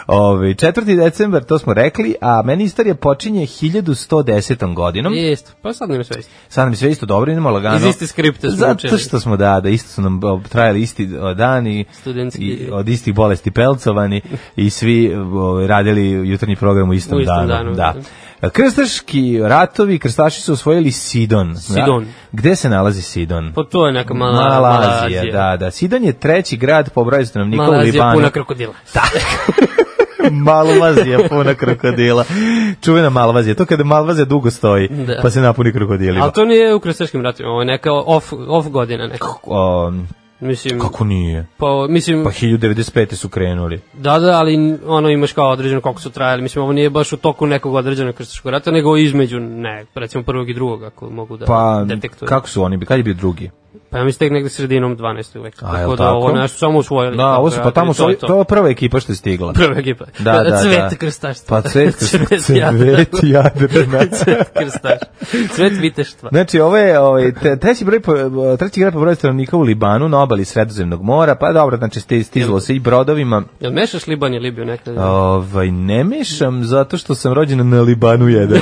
Speaker 5: Ove, 4. decembar, to smo rekli, a meni istorija počinje 1110. godinom.
Speaker 6: Jest, pa sad nema sve isto.
Speaker 5: Sad nam je sve isto dobro, idemo lagano.
Speaker 6: Iz iste skripte smo
Speaker 5: Zato
Speaker 6: učili.
Speaker 5: što smo, da, da, isto su nam o, trajali isti o, dani.
Speaker 6: Studentski.
Speaker 5: I, od istih bolesti pelcovani i svi o, radili jutarnji program u istom,
Speaker 6: U istom
Speaker 5: danu.
Speaker 6: danu,
Speaker 5: da. Krstaški ratovi, krstaši su osvojili Sidon.
Speaker 6: Sidon.
Speaker 5: Da? Gde se nalazi Sidon?
Speaker 6: Pa to je neka mala,
Speaker 5: Malazija, da, da. Sidon je treći grad po broju stanovnika u
Speaker 6: Malazija
Speaker 5: Libanu. *laughs*
Speaker 6: puna krokodila.
Speaker 5: Malvazija puna krokodila. Čuvena Malvazija. To kada Malvazija dugo stoji,
Speaker 6: Da.
Speaker 5: pa se napuni krokodilima.
Speaker 6: Ali to nije u krstaškim ratima, ovo je neka off, off godina neka.
Speaker 5: O,
Speaker 6: Mislim,
Speaker 5: kako nije?
Speaker 6: pa, mislim,
Speaker 5: Pa 1095. su krenuli.
Speaker 6: da, da, ali ono imaš kao određeno koliko su trajali. Mislim, ovo nije baš u toku nekog određenog krstaškog rata, nego između, ne, recimo prvog i drugog, ako mogu da
Speaker 5: Pa,
Speaker 6: detektujem.
Speaker 5: kako su oni, bi- kad je bio drugi?
Speaker 6: Pa ja mislim tek negde sredinom 12. veka.
Speaker 5: A, jel
Speaker 6: tako da
Speaker 5: tako?
Speaker 6: ovo nešto samo usvojili.
Speaker 5: Da, ovo su, pa tamo su,
Speaker 6: To je
Speaker 5: to je prva ekipa što je
Speaker 6: *laughs*
Speaker 5: stigla.
Speaker 6: Prva ekipa.
Speaker 5: Da, da, da.
Speaker 6: Cvet krstaštva.
Speaker 5: Pa cvet krstaštva.
Speaker 6: *laughs* Cvet jadrana.
Speaker 5: Cvet
Speaker 6: *laughs*
Speaker 5: jadrana.
Speaker 6: Cvet krstaš. Cvet viteštva.
Speaker 5: Znači, ovo je ovaj, te, treći, broj, po- treći grad po broju stanovnika u Libanu, na obali Sredozemnog mora, pa dobro, znači ste stizlo se i brodovima.
Speaker 6: Jel mešaš Liban i Libiju nekada?
Speaker 5: Ovaj, ne mešam zato što sam rođen na Libanu 1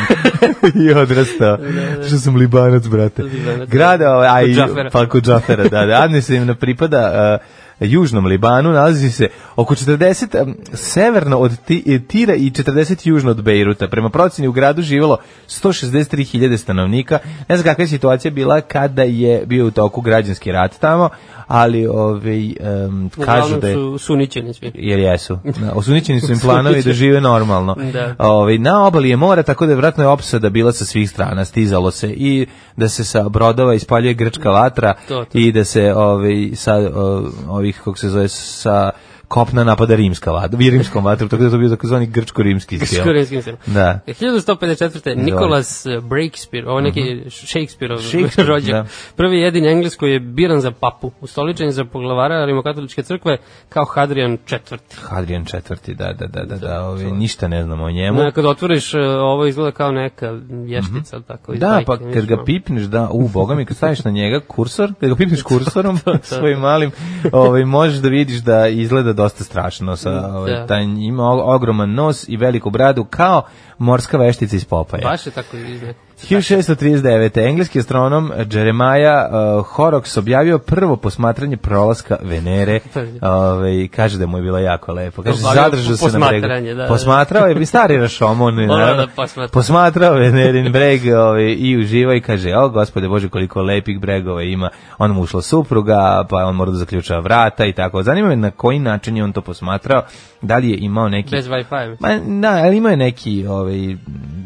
Speaker 5: *laughs* i odrastao. Što sam Libanac, brate.
Speaker 6: Libanac.
Speaker 5: Grada, ovaj, a
Speaker 6: Kod
Speaker 5: i-
Speaker 6: Džafera.
Speaker 5: pa kod Džafera, da, da. Administrativno pripada uh, južnom Libanu, nalazi se oko 40 um, severno od Ti- eh, Tira i 40 južno od Bejruta. Prema proceni u gradu živelo 163.000 stanovnika. Ne znam kakva je situacija bila kada je bio u toku građanski rat tamo, ali ovaj, um, kažu
Speaker 6: Uglavnom
Speaker 5: da je
Speaker 6: su
Speaker 5: *laughs*
Speaker 6: sunićeni svi.
Speaker 5: jer jesu. Da, Osumnjičeni su im planovi da žive normalno.
Speaker 6: Da.
Speaker 5: Ovaj, na obali je mora, tako da je vratno je opsada bila sa svih strana, stizalo se i da se sa brodova ispaljuje grčka vatra
Speaker 6: To, to.
Speaker 5: i da se ovaj, sa o, ovih, kako se zove, sa kopna napada rimska vatra, i rimskom vatrom, tako da je to bio takozvani
Speaker 6: *laughs*
Speaker 5: grčko-rimski stil.
Speaker 6: Škorenskim stilom.
Speaker 5: Da.
Speaker 6: 1154. Nikolas eh, Breakspear, ovo neki Shakespeareov
Speaker 5: Mhm. Shakespeare,
Speaker 6: *laughs* rođak,
Speaker 5: da.
Speaker 6: prvi jedini Engles koji je biran za papu, ustoličen je za poglavara Rimokatoličke crkve kao Hadrian IV.
Speaker 5: Hadrian IV, da, da, da, da, da ovaj, ništa ne znamo o njemu.
Speaker 6: Na, kad otvoriš, eh, ovo izgleda kao neka vještica, mm -hmm. tako. iz
Speaker 5: Mhm. Da,
Speaker 6: bajke,
Speaker 5: pa kad
Speaker 6: mislim, ono.
Speaker 5: ga pipneš, da, u, boga mi, kad staviš na njega kursor, kad ga
Speaker 6: *laughs*
Speaker 5: pipneš kursorom svojim malim, ovaj, možeš da vidiš da izgleda dosta strašno. Sa, ovaj,
Speaker 6: Da.
Speaker 5: taj, ima o- ogroman nos i veliku bradu, kao morska veštica iz Popaja.
Speaker 6: Baš je tako iz nekog.
Speaker 5: 1639. Engleski astronom Jeremiah uh, Horrocks objavio prvo posmatranje prolaska
Speaker 6: *laughs*
Speaker 5: Venere. Ovaj kaže da mu je bilo jako lepo. Kaže
Speaker 6: Objavio
Speaker 5: zadržao se na bregu.
Speaker 6: posmatranje, da, da.
Speaker 5: Posmatrao je bi stari
Speaker 6: *laughs*
Speaker 5: rašomon,
Speaker 6: Ono
Speaker 5: naravno.
Speaker 6: da posmatra.
Speaker 5: posmatrao Venerin breg ovaj, i uživa i kaže: "O, gospode Bože, koliko lepih bregova ima." On mu ušla supruga, pa on mora da zaključa vrata i tako. Zanima me na koji način je on to posmatrao. Da li je imao neki
Speaker 6: Bez Wi-Fi.
Speaker 5: Ma, da, ali imao je neki ovaj,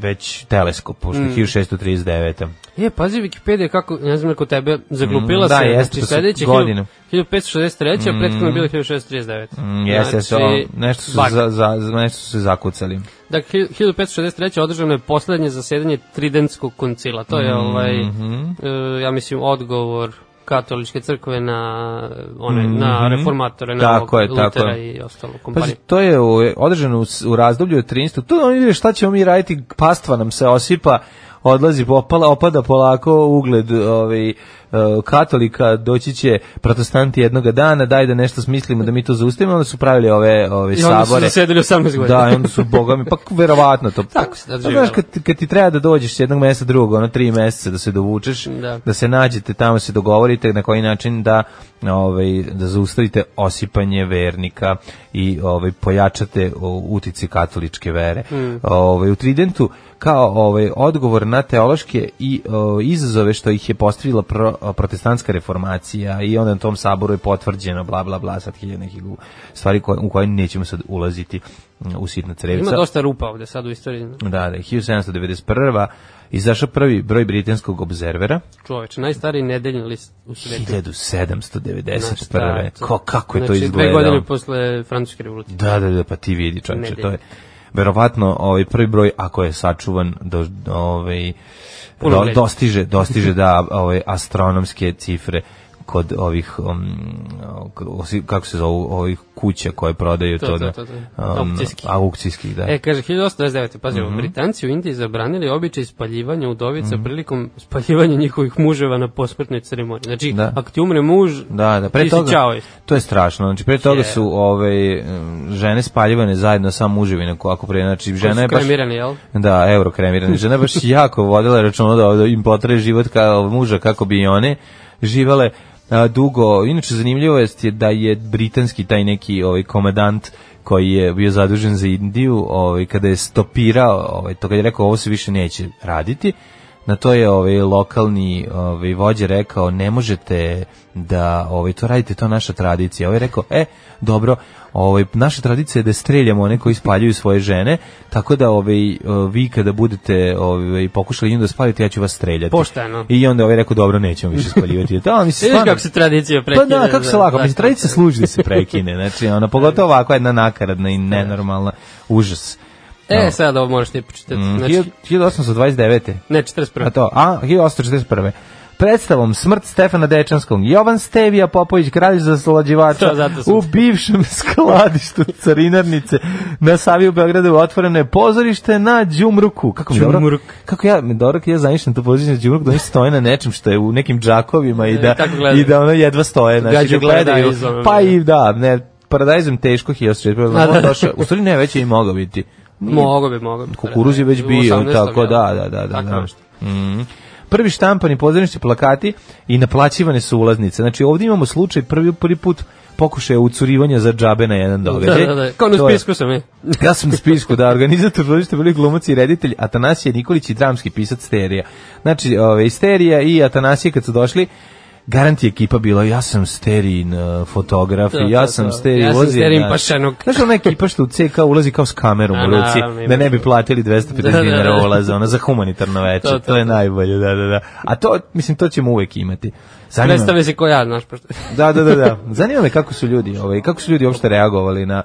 Speaker 5: već teleskop, pošto je 1639.
Speaker 6: Je, E, pazi Wikipedia kako, ne znam kako tebe, zaglupila
Speaker 5: Mm, da,
Speaker 6: se,
Speaker 5: jeste, to
Speaker 6: znači
Speaker 5: su
Speaker 6: sledeće
Speaker 5: godine.
Speaker 6: 1563, a prethodno je bilo 1639.
Speaker 5: Mm, Jeste, jeste,
Speaker 6: Znači,
Speaker 5: o, nešto su,
Speaker 6: bug.
Speaker 5: za, za, za- nešto su se zakucali.
Speaker 6: Dakle, 1563. održano je poslednje zasedanje Tridentskog koncila. To je ovaj,
Speaker 5: Mhm.
Speaker 6: e, ja mislim, odgovor katoličke crkve na one na reformatore na
Speaker 5: Mhm. Tako
Speaker 6: ovog
Speaker 5: je, tako
Speaker 6: Lutera
Speaker 5: je.
Speaker 6: i ostalo
Speaker 5: Pazi,
Speaker 6: kompanije.
Speaker 5: to je u- održano u, s- u razdoblju od 13. Tu oni vide šta ćemo mi raditi, pastva nam se osipa, odlazi, opala, opada polako ugled ovaj, e, katolika, doći će protestanti jednoga dana, daj da nešto smislimo, da mi to zaustavimo, onda su pravili ove, ove
Speaker 6: I onda su
Speaker 5: sabore.
Speaker 6: zasedali 18 godina.
Speaker 5: Da, i onda su bogami, pa verovatno to.
Speaker 6: Tako se tad
Speaker 5: Pa,
Speaker 6: živelo.
Speaker 5: Znaš, kad, ti- kad ti treba da dođeš s jednog mesta drugog, ono tri meseca da se dovučeš,
Speaker 6: Da.
Speaker 5: da, se nađete tamo, se dogovorite na koji način da ovaj, da zaustavite osipanje vernika i ovaj, pojačate o, utici katoličke vere.
Speaker 6: Hmm.
Speaker 5: Ovaj, u Tridentu kao ovaj odgovor na teološke i o, izazove što ih je postavila pro, o, protestantska reformacija i onda na tom saboru je potvrđeno bla bla bla sad hiljada nekih u- stvari koje, u koje nećemo sad ulaziti m, u sitna crevica.
Speaker 6: Ima dosta rupa ovde sad u istoriji.
Speaker 5: Da, da, 1791. izašao prvi broj britanskog observera,
Speaker 6: Čoveč, najstariji nedeljni list u svetu. Znaš šta
Speaker 5: 1791. Ko, kako je
Speaker 6: znači,
Speaker 5: to
Speaker 6: Dve godine
Speaker 5: izgledalo?
Speaker 6: posle francuske revolucije.
Speaker 5: Da, da, da, pa ti vidi, čovječe,
Speaker 6: Nedelja.
Speaker 5: to je verovatno ovaj prvi broj ako je sačuvan do ovaj do,
Speaker 6: Punoletni. *laughs*
Speaker 5: dostiže dostiže da ovaj astronomske cifre kod ovih um, kod osi- kako se zovu ovih kuća koje prodaju to,
Speaker 6: To, to,
Speaker 5: da
Speaker 6: to, to.
Speaker 5: um,
Speaker 6: Aukcijskih.
Speaker 5: aukcijskih, da
Speaker 6: E, kaže, 1829. Pazimo,
Speaker 5: Mhm.
Speaker 6: Britanci u Indiji zabranili običaj spaljivanja udovica prilikom spaljivanja njihovih muževa na posmrtnoj ceremoniji. Znači,
Speaker 5: Da.
Speaker 6: ako ti umre muž,
Speaker 5: Da, da, pre
Speaker 6: ti si
Speaker 5: toga.
Speaker 6: čao.
Speaker 5: To je strašno. Znači pre toga
Speaker 6: Je.
Speaker 5: su ove mm, žene spaljivane zajedno sa muževima ako pre znači žena je baš
Speaker 6: kremirani, jel?
Speaker 5: Da, euro kremirane. Žena je baš jako vodila računa da, da im potraje život kao muža kako bi i one živale a, dugo. Inače zanimljivo jest je da je britanski taj neki ovaj komandant koji je bio zadužen za Indiju, ovaj kada je stopirao, ovaj to kad je rekao ovo se više neće raditi, na to je ovaj lokalni ovaj vođa rekao ne možete da ovaj to radite to je naša tradicija. Ovaj je rekao e dobro, ovaj naša tradicija je da streljamo one koji spaljuju svoje žene, tako da ovaj vi kada budete ovaj pokušali njih da spalite ja ću vas streljati.
Speaker 6: Pošteno.
Speaker 5: I onda ovaj rekao dobro nećemo više spaljivati. Da, ali se
Speaker 6: *laughs* Vidiš kako se tradicija
Speaker 5: Pa
Speaker 6: prekida.
Speaker 5: da, kako se
Speaker 6: za-
Speaker 5: lako,
Speaker 6: za-
Speaker 5: mislim, tradicija služi da se prekine, znači, ona, pogotovo ovako jedna nakaradna i nenormalna, užas.
Speaker 6: E, sad ovo moraš ti počitati.
Speaker 5: Mm,
Speaker 6: Znači,
Speaker 5: 1829.
Speaker 6: ne,
Speaker 5: A
Speaker 6: 41.
Speaker 5: to, a 1841. Predstavom Smrt Stefana Dečanskog, Jovan Stevija Popović, kralj za
Speaker 6: To,
Speaker 5: slađivača,
Speaker 6: zato sam-
Speaker 5: u bivšem *laughs* skladištu carinarnice na Savi u Beogradu otvoreno je pozorište na Đumruku. Kako mi je dobro?
Speaker 6: Đumruk.
Speaker 5: Kako ja, dobro, kad ja zamišljam to pozorište na Đumruku, da oni stoje na nečem što je u nekim džakovima i da,
Speaker 6: I tako E, gledaju.
Speaker 5: i da ono jedva stoje, znači da
Speaker 6: Gađaju
Speaker 5: gledaju.
Speaker 6: paradajzom,
Speaker 5: Pa
Speaker 6: da.
Speaker 5: i da, ne, paradajzom teško 1841.
Speaker 6: A, da.
Speaker 5: On došao- U stvari ne, već je i mogao biti. Nije-
Speaker 6: Mogo bi, mogo bi.
Speaker 5: Kukuruz je već
Speaker 6: U
Speaker 5: bio,
Speaker 6: 18.,
Speaker 5: tako
Speaker 6: jel?
Speaker 5: da, da, da, da.
Speaker 6: Tako
Speaker 5: da.
Speaker 6: nešto.
Speaker 5: Mhm. Prvi štampani pozornični plakati i naplaćivane su ulaznice. Znači ovdje imamo slučaj prvi, prvi put pokušaja ucurivanja za džabe na jedan događaj.
Speaker 6: Da, da, da. Kao na
Speaker 5: To je-
Speaker 6: spisku sam, je.
Speaker 5: *laughs* ja sam na spisku, da, organizator pozorišta bili glumac i reditelj Atanasije Nikolić i dramski pisac Sterija. Znači, ove, Sterija i Atanasije kad su došli, Garant je ekipa bila, ja sam sterin eh, fotograf,
Speaker 6: Da,
Speaker 5: i ja
Speaker 6: da,
Speaker 5: sam
Speaker 6: da.
Speaker 5: sterin
Speaker 6: Ja sam
Speaker 5: ulazi,
Speaker 6: sterin
Speaker 5: znaš.
Speaker 6: pašenuk.
Speaker 5: Znaš ona ekipa što u CK ulazi kao s kamerom
Speaker 6: A,
Speaker 5: u ruci,
Speaker 6: naravno, ima
Speaker 5: da ne bi
Speaker 6: to.
Speaker 5: platili 250
Speaker 6: Da, da,
Speaker 5: dinara
Speaker 6: da.
Speaker 5: ulaza, ona za humanitarno veče, to,
Speaker 6: To, to,
Speaker 5: je
Speaker 6: to.
Speaker 5: najbolje, da, da, da. A to, mislim, to ćemo uvek imati. Zanima me-
Speaker 6: Predstavlja se ko ja, znaš, pošto... *laughs*
Speaker 5: da, da, da, da. Zanima me kako su ljudi, ovaj, kako su ljudi uopšte reagovali na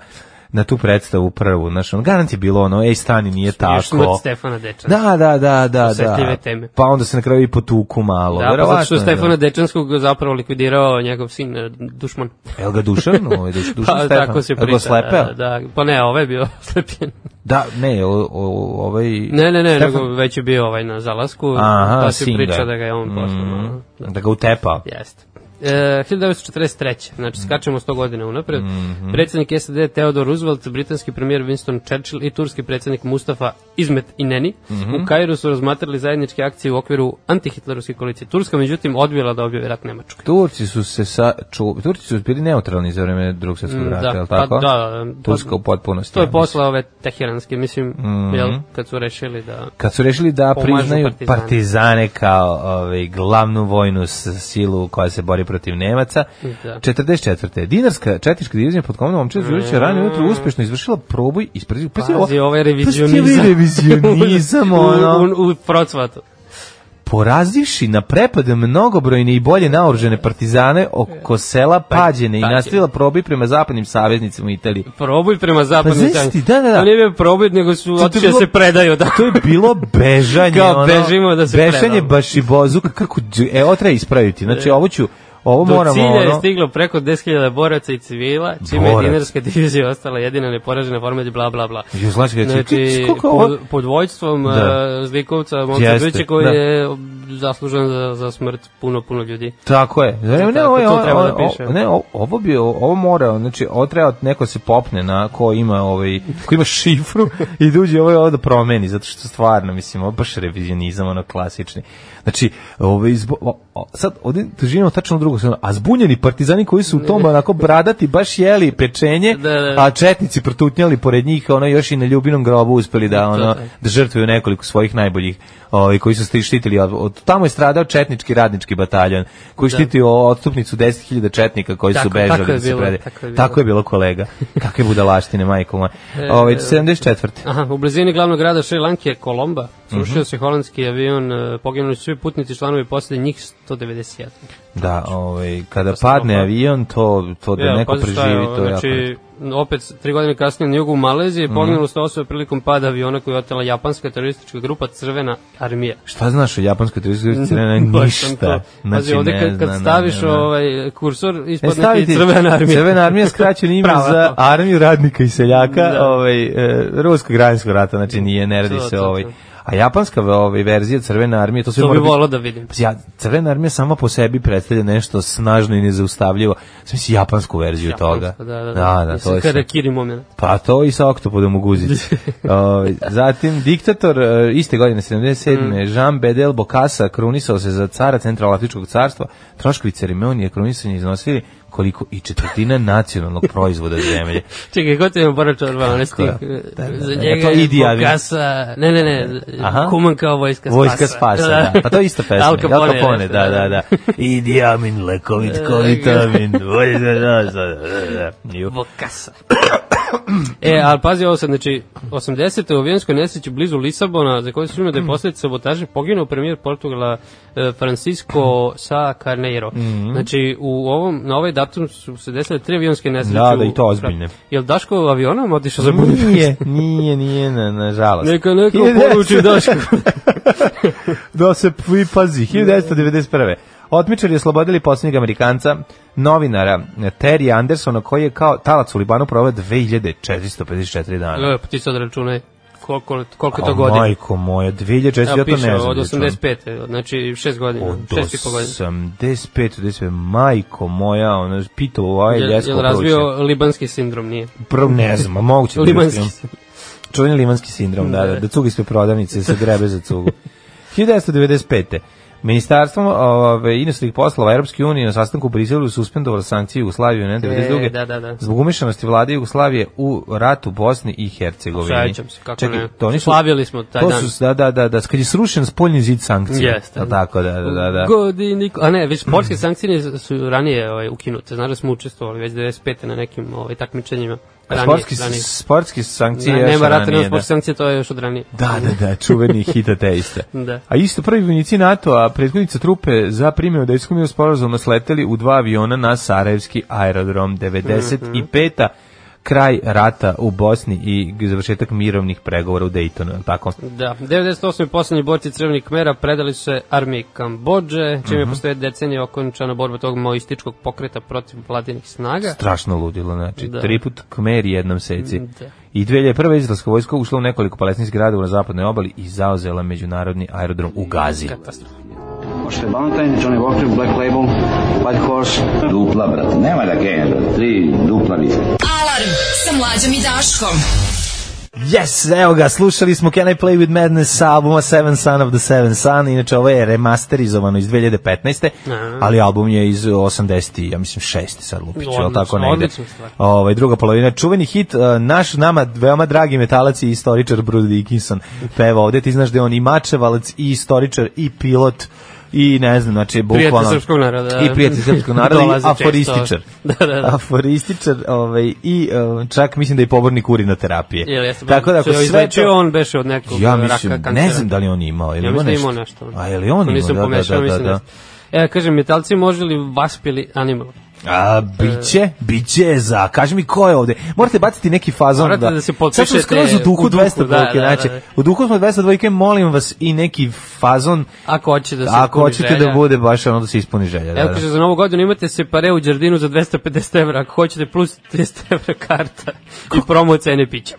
Speaker 5: na tu predstavu prvu, znaš, on garant je bilo ono, ej, stani, nije
Speaker 6: Još Smrt
Speaker 5: tako.
Speaker 6: Stefana Dečana.
Speaker 5: Da, da, da, da, da.
Speaker 6: Osetljive teme.
Speaker 5: Pa onda se na kraju i potuku malo.
Speaker 6: Da, pa zato što
Speaker 5: verovatno,
Speaker 6: je
Speaker 5: da.
Speaker 6: Stefana Dečanskog zapravo likvidirao njegov sin, e, dušman.
Speaker 5: Jel ga Dušan? Ovaj, Duš- Dušan
Speaker 6: *laughs* Pa,
Speaker 5: Stefan.
Speaker 6: tako se
Speaker 5: Jel ga
Speaker 6: priča.
Speaker 5: oslepeo?
Speaker 6: Da, da, pa ne, ovaj je bio *laughs* slepljen.
Speaker 5: Da, ne, o, o, ovaj...
Speaker 6: Ne, ne, ne,
Speaker 5: Stefan-
Speaker 6: nego već je bio ovaj na zalasku,
Speaker 5: Aha,
Speaker 6: pa se
Speaker 5: sin
Speaker 6: priča da ga je on poslao.
Speaker 5: Mm,
Speaker 6: Mm.
Speaker 5: da. ga utepa.
Speaker 6: Jeste. E, 1943.
Speaker 5: Mm.
Speaker 6: Znači, skačemo 100 godina unapred.
Speaker 5: Mhm.
Speaker 6: Predsjednik SAD Theodore Roosevelt, britanski premijer Winston Churchill i turski predsjednik Mustafa Izmet Ineni
Speaker 5: Mhm.
Speaker 6: u Kairu su razmatrali zajedničke akcije u okviru antihitlerovske koalicije. Turska, međutim, odbila da objavi rat Nemačkoj.
Speaker 5: Turci su se sa... Ču, Turci su bili neutralni za vreme drugog svjetskog
Speaker 6: Mm,
Speaker 5: rata,
Speaker 6: da.
Speaker 5: jel tako?
Speaker 6: Pa da, da.
Speaker 5: Turska u potpunosti.
Speaker 6: To
Speaker 5: ja
Speaker 6: je
Speaker 5: mislim. Mhm.
Speaker 6: posla ove teheranske, mislim, jel, kad su rešili da...
Speaker 5: kad su rešili da
Speaker 6: Pomažu
Speaker 5: priznaju partizane,
Speaker 6: partizane.
Speaker 5: kao ovaj, glavnu vojnu s- silu koja se bori protiv Nemaca.
Speaker 6: Da. Mm.
Speaker 5: 44. Dinarska četnička divizija pod komandom Omča Đurića rano ujutro uspešno izvršila proboj ispred... Pazi,
Speaker 6: Pazi,
Speaker 5: ovo-
Speaker 6: ovaj
Speaker 5: Pazi,
Speaker 6: revizionizam.
Speaker 5: ovaj *laughs* revizionizam,
Speaker 6: *laughs* u,
Speaker 5: ono.
Speaker 6: u, u procvatu.
Speaker 5: Porazivši na prepad mnogobrojne i bolje naoružene partizane oko sela
Speaker 6: Pa,
Speaker 5: Pađene i
Speaker 6: Pađene.
Speaker 5: nastavila proboj prema zapadnim saveznicima u Italiji.
Speaker 6: Probuj prema zapadnim
Speaker 5: Pa znaš ti,
Speaker 6: sankcijama.
Speaker 5: da, da, da.
Speaker 6: To nije bio probuj, nego su
Speaker 5: je
Speaker 6: otišli da
Speaker 5: bilo-
Speaker 6: se predaju. Da.
Speaker 5: To je bilo bežanje.
Speaker 6: Kao
Speaker 5: ono,
Speaker 6: bežimo da se
Speaker 5: Bežanje
Speaker 6: predamo.
Speaker 5: baš i bozuka. Kako, dž- e, ovo treba ispraviti. Znači, ovo ću, ovo
Speaker 6: Do
Speaker 5: moramo,
Speaker 6: cilja je
Speaker 5: ono,
Speaker 6: stiglo preko 10.000 boraca i civila, čime
Speaker 5: Borac.
Speaker 6: je dinarska divizija ostala jedina neporažena formelja, bla, bla, bla.
Speaker 5: Jugoslavijska je
Speaker 6: Znači,
Speaker 5: čekaj, koliko ovo-
Speaker 6: pod, pod vojstvom
Speaker 5: Da.
Speaker 6: da. Zlikovca
Speaker 5: Jeste,
Speaker 6: Moncadovića koji
Speaker 5: da.
Speaker 6: je zaslužen za, za smrt puno, puno ljudi.
Speaker 5: Tako je. Ne, ne,
Speaker 6: Tako,
Speaker 5: ovo, je-
Speaker 6: to
Speaker 5: ovo-
Speaker 6: treba da
Speaker 5: ovo-
Speaker 6: piše.
Speaker 5: ne, o- ovo bi, ovo mora, znači, ovo treba neko se popne na ko ima, ovaj, ko ima šifru i duđe ovo je ovo da promeni, zato što stvarno, mislim, ovo je baš revizionizam, ono, klasični. Znači, ovaj, zbo, o- o- sad, ovdje živimo tačno u drugom stranu, a zbunjeni partizani koji su u tom, onako, bradati, baš jeli pečenje,
Speaker 6: Da, da, da.
Speaker 5: a četnici protutnjali pored njih, ono, još i na ljubinom grobu uspeli da, ono,
Speaker 6: to je.
Speaker 5: da žrtvuju nekoliko svojih najboljih ovaj, koji su sti- štitili. Od, od, tamo je stradao četnički radnički bataljon koji štiti o- odstupnicu 10.000 četnika koji su
Speaker 6: Tako-
Speaker 5: bežali.
Speaker 6: tako je
Speaker 5: da se
Speaker 6: bilo,
Speaker 5: predaju.
Speaker 6: tako je bilo. E,
Speaker 5: Tako je bilo kolega. Kakve budalaštine, majko moja. Ovaj, 74.
Speaker 6: Aha, u blizini glavnog grada Šri Lanke, Kolomba,
Speaker 5: Mhm.
Speaker 6: srušio se holandski avion, e, poginuli su svi putnici članovi poslije njih 191.
Speaker 5: Da, ovaj, kada
Speaker 6: Katastrofa.
Speaker 5: padne avion, to, to da
Speaker 6: pa- Ja,
Speaker 5: neko
Speaker 6: pazi šta
Speaker 5: preživi,
Speaker 6: ovo,
Speaker 5: to je jako. Mhm.
Speaker 6: znači, opet, tri godine kasnije na jugu Malezije, poginulo sto osoba prilikom pada aviona koju je otela japanska teroristička grupa Crvena armija.
Speaker 5: Šta znaš o japanskoj turističkoj crene?
Speaker 6: *laughs* Baš
Speaker 5: E,
Speaker 6: sam
Speaker 5: Ništa. znači
Speaker 6: to. Pazi, ovde kad, kad staviš ovaj kursor,
Speaker 5: E,
Speaker 6: ispadne ti
Speaker 5: stavite
Speaker 6: Crvena armija.
Speaker 5: Crvena
Speaker 6: *laughs*
Speaker 5: armija skraćeno ime
Speaker 6: Prava.
Speaker 5: za armiju radnika i seljaka
Speaker 6: Da.
Speaker 5: ovaj, e, Ruskog građanskog rata, znači nije, ne radi
Speaker 6: To,
Speaker 5: se
Speaker 6: to,
Speaker 5: ovaj.
Speaker 6: to.
Speaker 5: A japanska ovaj, verzija Crvene armije, to sve
Speaker 6: To
Speaker 5: mora
Speaker 6: bi
Speaker 5: biti-
Speaker 6: volao da vidim.
Speaker 5: Pazi, Ja, Crvena armija sama po sebi predstavlja nešto snažno i nezaustavljivo. Sam si japansku verziju toga.
Speaker 6: Da, da, da.
Speaker 5: da, da to je sve.
Speaker 6: Karakiri moment.
Speaker 5: Pa to i sa oktopodom u
Speaker 6: *laughs*
Speaker 5: guzici. Ovaj, zatim, diktator e, iste godine, 77.
Speaker 6: Mm.
Speaker 5: Jean Bedel Bokassa krunisao se za cara Centralafričkog carstva. Troškovi ceremonije krunisanja iznosili koliko i četvrtina nacionalnog proizvoda
Speaker 6: *laughs*
Speaker 5: zemlje.
Speaker 6: Čekaj, ko ti je Bora Čorba, onaj stih?
Speaker 5: Tako je. Da, da,
Speaker 6: Za
Speaker 5: da.
Speaker 6: njega
Speaker 5: To
Speaker 6: je
Speaker 5: Idi Amin.
Speaker 6: Bokasa... Ne, ne, ne,
Speaker 5: Aha.
Speaker 6: Kuman kao vojska spasa.
Speaker 5: Vojska spasa, da. Pa to je ista pesma.
Speaker 6: *laughs* Al Capone,
Speaker 5: Capone,
Speaker 6: jeste, E,
Speaker 5: da, da,
Speaker 6: *laughs*
Speaker 5: da. I diamin, lekovit, kovitamin. Vojska, da, da,
Speaker 6: *laughs*
Speaker 5: da, da. Ju.
Speaker 6: Bokasa. e, ali pazi ovo sad, znači, 80. u avijanskoj nesreći blizu Lisabona, za koju su imali da je posljedica sabotaže, poginuo premijer Portugala e, Francisco Sa Carneiro.
Speaker 5: Mhm.
Speaker 6: Znači, u ovom, na ovaj datum su se desile tri avijanske nesreće.
Speaker 5: Da, da, i to
Speaker 6: u-
Speaker 5: ozbiljne.
Speaker 6: Jel Daško avionom otišao za Budimpeštu?
Speaker 5: Nije, nije, nije, na, nažalost.
Speaker 6: Neka neko
Speaker 5: Hiljadu-
Speaker 6: poruči
Speaker 5: *laughs*
Speaker 6: Daško.
Speaker 5: da se vi pazi, 1991. Otmičari oslobodili posljednjeg Amerikanca, novinara eh, Terry Andersona, koji je kao talac u Libanu provao 2454 dana.
Speaker 6: Evo, pa ti sad računaj koliko, koliko je
Speaker 5: A,
Speaker 6: to godina.
Speaker 5: Majko moja, 2400, ja
Speaker 6: Evo
Speaker 5: to ne
Speaker 6: piše
Speaker 5: znam.
Speaker 6: od
Speaker 5: da čujem.
Speaker 6: 85. Znači 6 godina,
Speaker 5: Od
Speaker 6: 6 i po godina.
Speaker 5: 85, 95, majko moja, ono, pitovo, ovaj
Speaker 6: Jel,
Speaker 5: ljesko
Speaker 6: jel razvio libanski sindrom, nije?
Speaker 5: Prvo, ne znam, a moguće. da
Speaker 6: Libanski
Speaker 5: uspijem. Čuveni limanski sindrom, da, da, da cuga ispred prodavnice, se grebe za cugu. *laughs* 1995. Ministarstvo ove, inostranih poslova Europske unije na sastanku u Briselu suspendovalo sankcije Jugoslavije na 92.
Speaker 6: E, da, da, da.
Speaker 5: Zbog umešanosti vlade Jugoslavije u ratu Bosni i Hercegovini.
Speaker 6: Sjećam se, kako ne.
Speaker 5: to oni su-
Speaker 6: Slavili smo taj
Speaker 5: to
Speaker 6: dan.
Speaker 5: Su, da, da, da, da, kad je srušen spoljni zid sankcija.
Speaker 6: Jeste.
Speaker 5: Jel Tako, da, da, da. da.
Speaker 6: Godini, a ne, već poljske sankcije su ranije ovaj, ukinute. Znaš da smo učestvovali već 95. na nekim ovaj, takmičenjima. Ranije,
Speaker 5: sportski,
Speaker 6: ranije.
Speaker 5: sportski sankcije
Speaker 6: Ne,
Speaker 5: još
Speaker 6: nema rata,
Speaker 5: ranije,
Speaker 6: nema
Speaker 5: da.
Speaker 6: sportske sankcije, to je još od ranije.
Speaker 5: Da, da, da,
Speaker 6: *laughs*
Speaker 5: čuveni hit ateista.
Speaker 6: Da.
Speaker 5: A isto prvi vojnici NATO, a prethodnica trupe za primjenu dejskom miru sporazuma sleteli u dva aviona na Sarajevski aerodrom 95. kraj rata u Bosni i završetak mirovnih pregovora u Dejtonu, je li tako?
Speaker 6: Da, 98. poslednji borci Crvenih kmera predali su se armiji Kambođe,
Speaker 5: Mhm.
Speaker 6: čime je postoje decenije okončana borba tog maoističkog pokreta protiv vladinih snaga.
Speaker 5: Strašno ludilo, znači,
Speaker 6: Da. Mm,
Speaker 5: triput kmeri jednom seci.
Speaker 6: Da.
Speaker 5: I 2001. izraelska vojska ušla u nekoliko palestinskih gradova na zapadnoj obali i zauzela međunarodni aerodrom u Gazi.
Speaker 6: Katastrofa.
Speaker 7: Oscar Valentine, Johnny Walker, Black Label, White Horse.
Speaker 8: Dupla, brate, nema da genja, brate, tri dupla viska.
Speaker 4: Alarm sa mlađom i Daškom.
Speaker 5: Yes, evo ga, slušali smo Can I Play With Madness sa albuma Seven Son of the Seven Son, inače ovo je remasterizovano iz 2015.
Speaker 6: Aha.
Speaker 5: ali album je iz 80. ja mislim 6. sad lupiću, je li
Speaker 6: Odlično,
Speaker 5: tako negde?
Speaker 6: odlična stvar.
Speaker 5: Ovaj, druga polovina, čuveni hit, eh, naš nama veoma dragi metalac i istoričar Bruce Dickinson peva ovde, ti znaš da je on i mačevalac i istoričar i pilot i ne znam, znači bukvalno...
Speaker 6: srpskog naroda.
Speaker 5: I prijatelj srpskog naroda i
Speaker 6: Dolaze često.
Speaker 5: aforističar.
Speaker 6: *laughs* Da, da, da.
Speaker 5: Aforističar ovaj, i eh, čak mislim da je pobornik urina terapije.
Speaker 6: Jel, jeste,
Speaker 5: Tako da ako sve
Speaker 6: izlečio,
Speaker 5: to...
Speaker 6: on beše od nekog
Speaker 5: Ja
Speaker 6: raka
Speaker 5: mislim,
Speaker 6: kancera.
Speaker 5: ne znam da li on imao, je li
Speaker 6: Ja
Speaker 5: imao
Speaker 6: mislim da
Speaker 5: nešto?
Speaker 6: imao nešto.
Speaker 5: A je li on
Speaker 6: To
Speaker 5: imao,
Speaker 6: Nisam
Speaker 5: da,
Speaker 6: pomešao,
Speaker 5: da, da,
Speaker 6: mislim
Speaker 5: da.
Speaker 6: da. E, kažem, metalci može li vaspili animal?
Speaker 5: A, biće, biće za, kaži mi ko je ovde. Morate baciti neki fazon
Speaker 6: Morate da se potpišete
Speaker 5: Sad smo skroz u duhu
Speaker 6: u duhu,
Speaker 5: 200
Speaker 6: da,
Speaker 5: dvojke,
Speaker 6: da, da,
Speaker 5: znači,
Speaker 6: da.
Speaker 5: u duhu smo 200 dvojke, molim vas i neki fazon,
Speaker 6: Ako hoće da se
Speaker 5: ako
Speaker 6: ispuni
Speaker 5: hoćete
Speaker 6: želja.
Speaker 5: da bude baš ono da se ispuni želja. Da,
Speaker 6: Evo
Speaker 5: da.
Speaker 6: kaže, za novu godinu imate se pare u Đardinu za 250 evra, ako hoćete plus 30 evra karta i promo cene pića.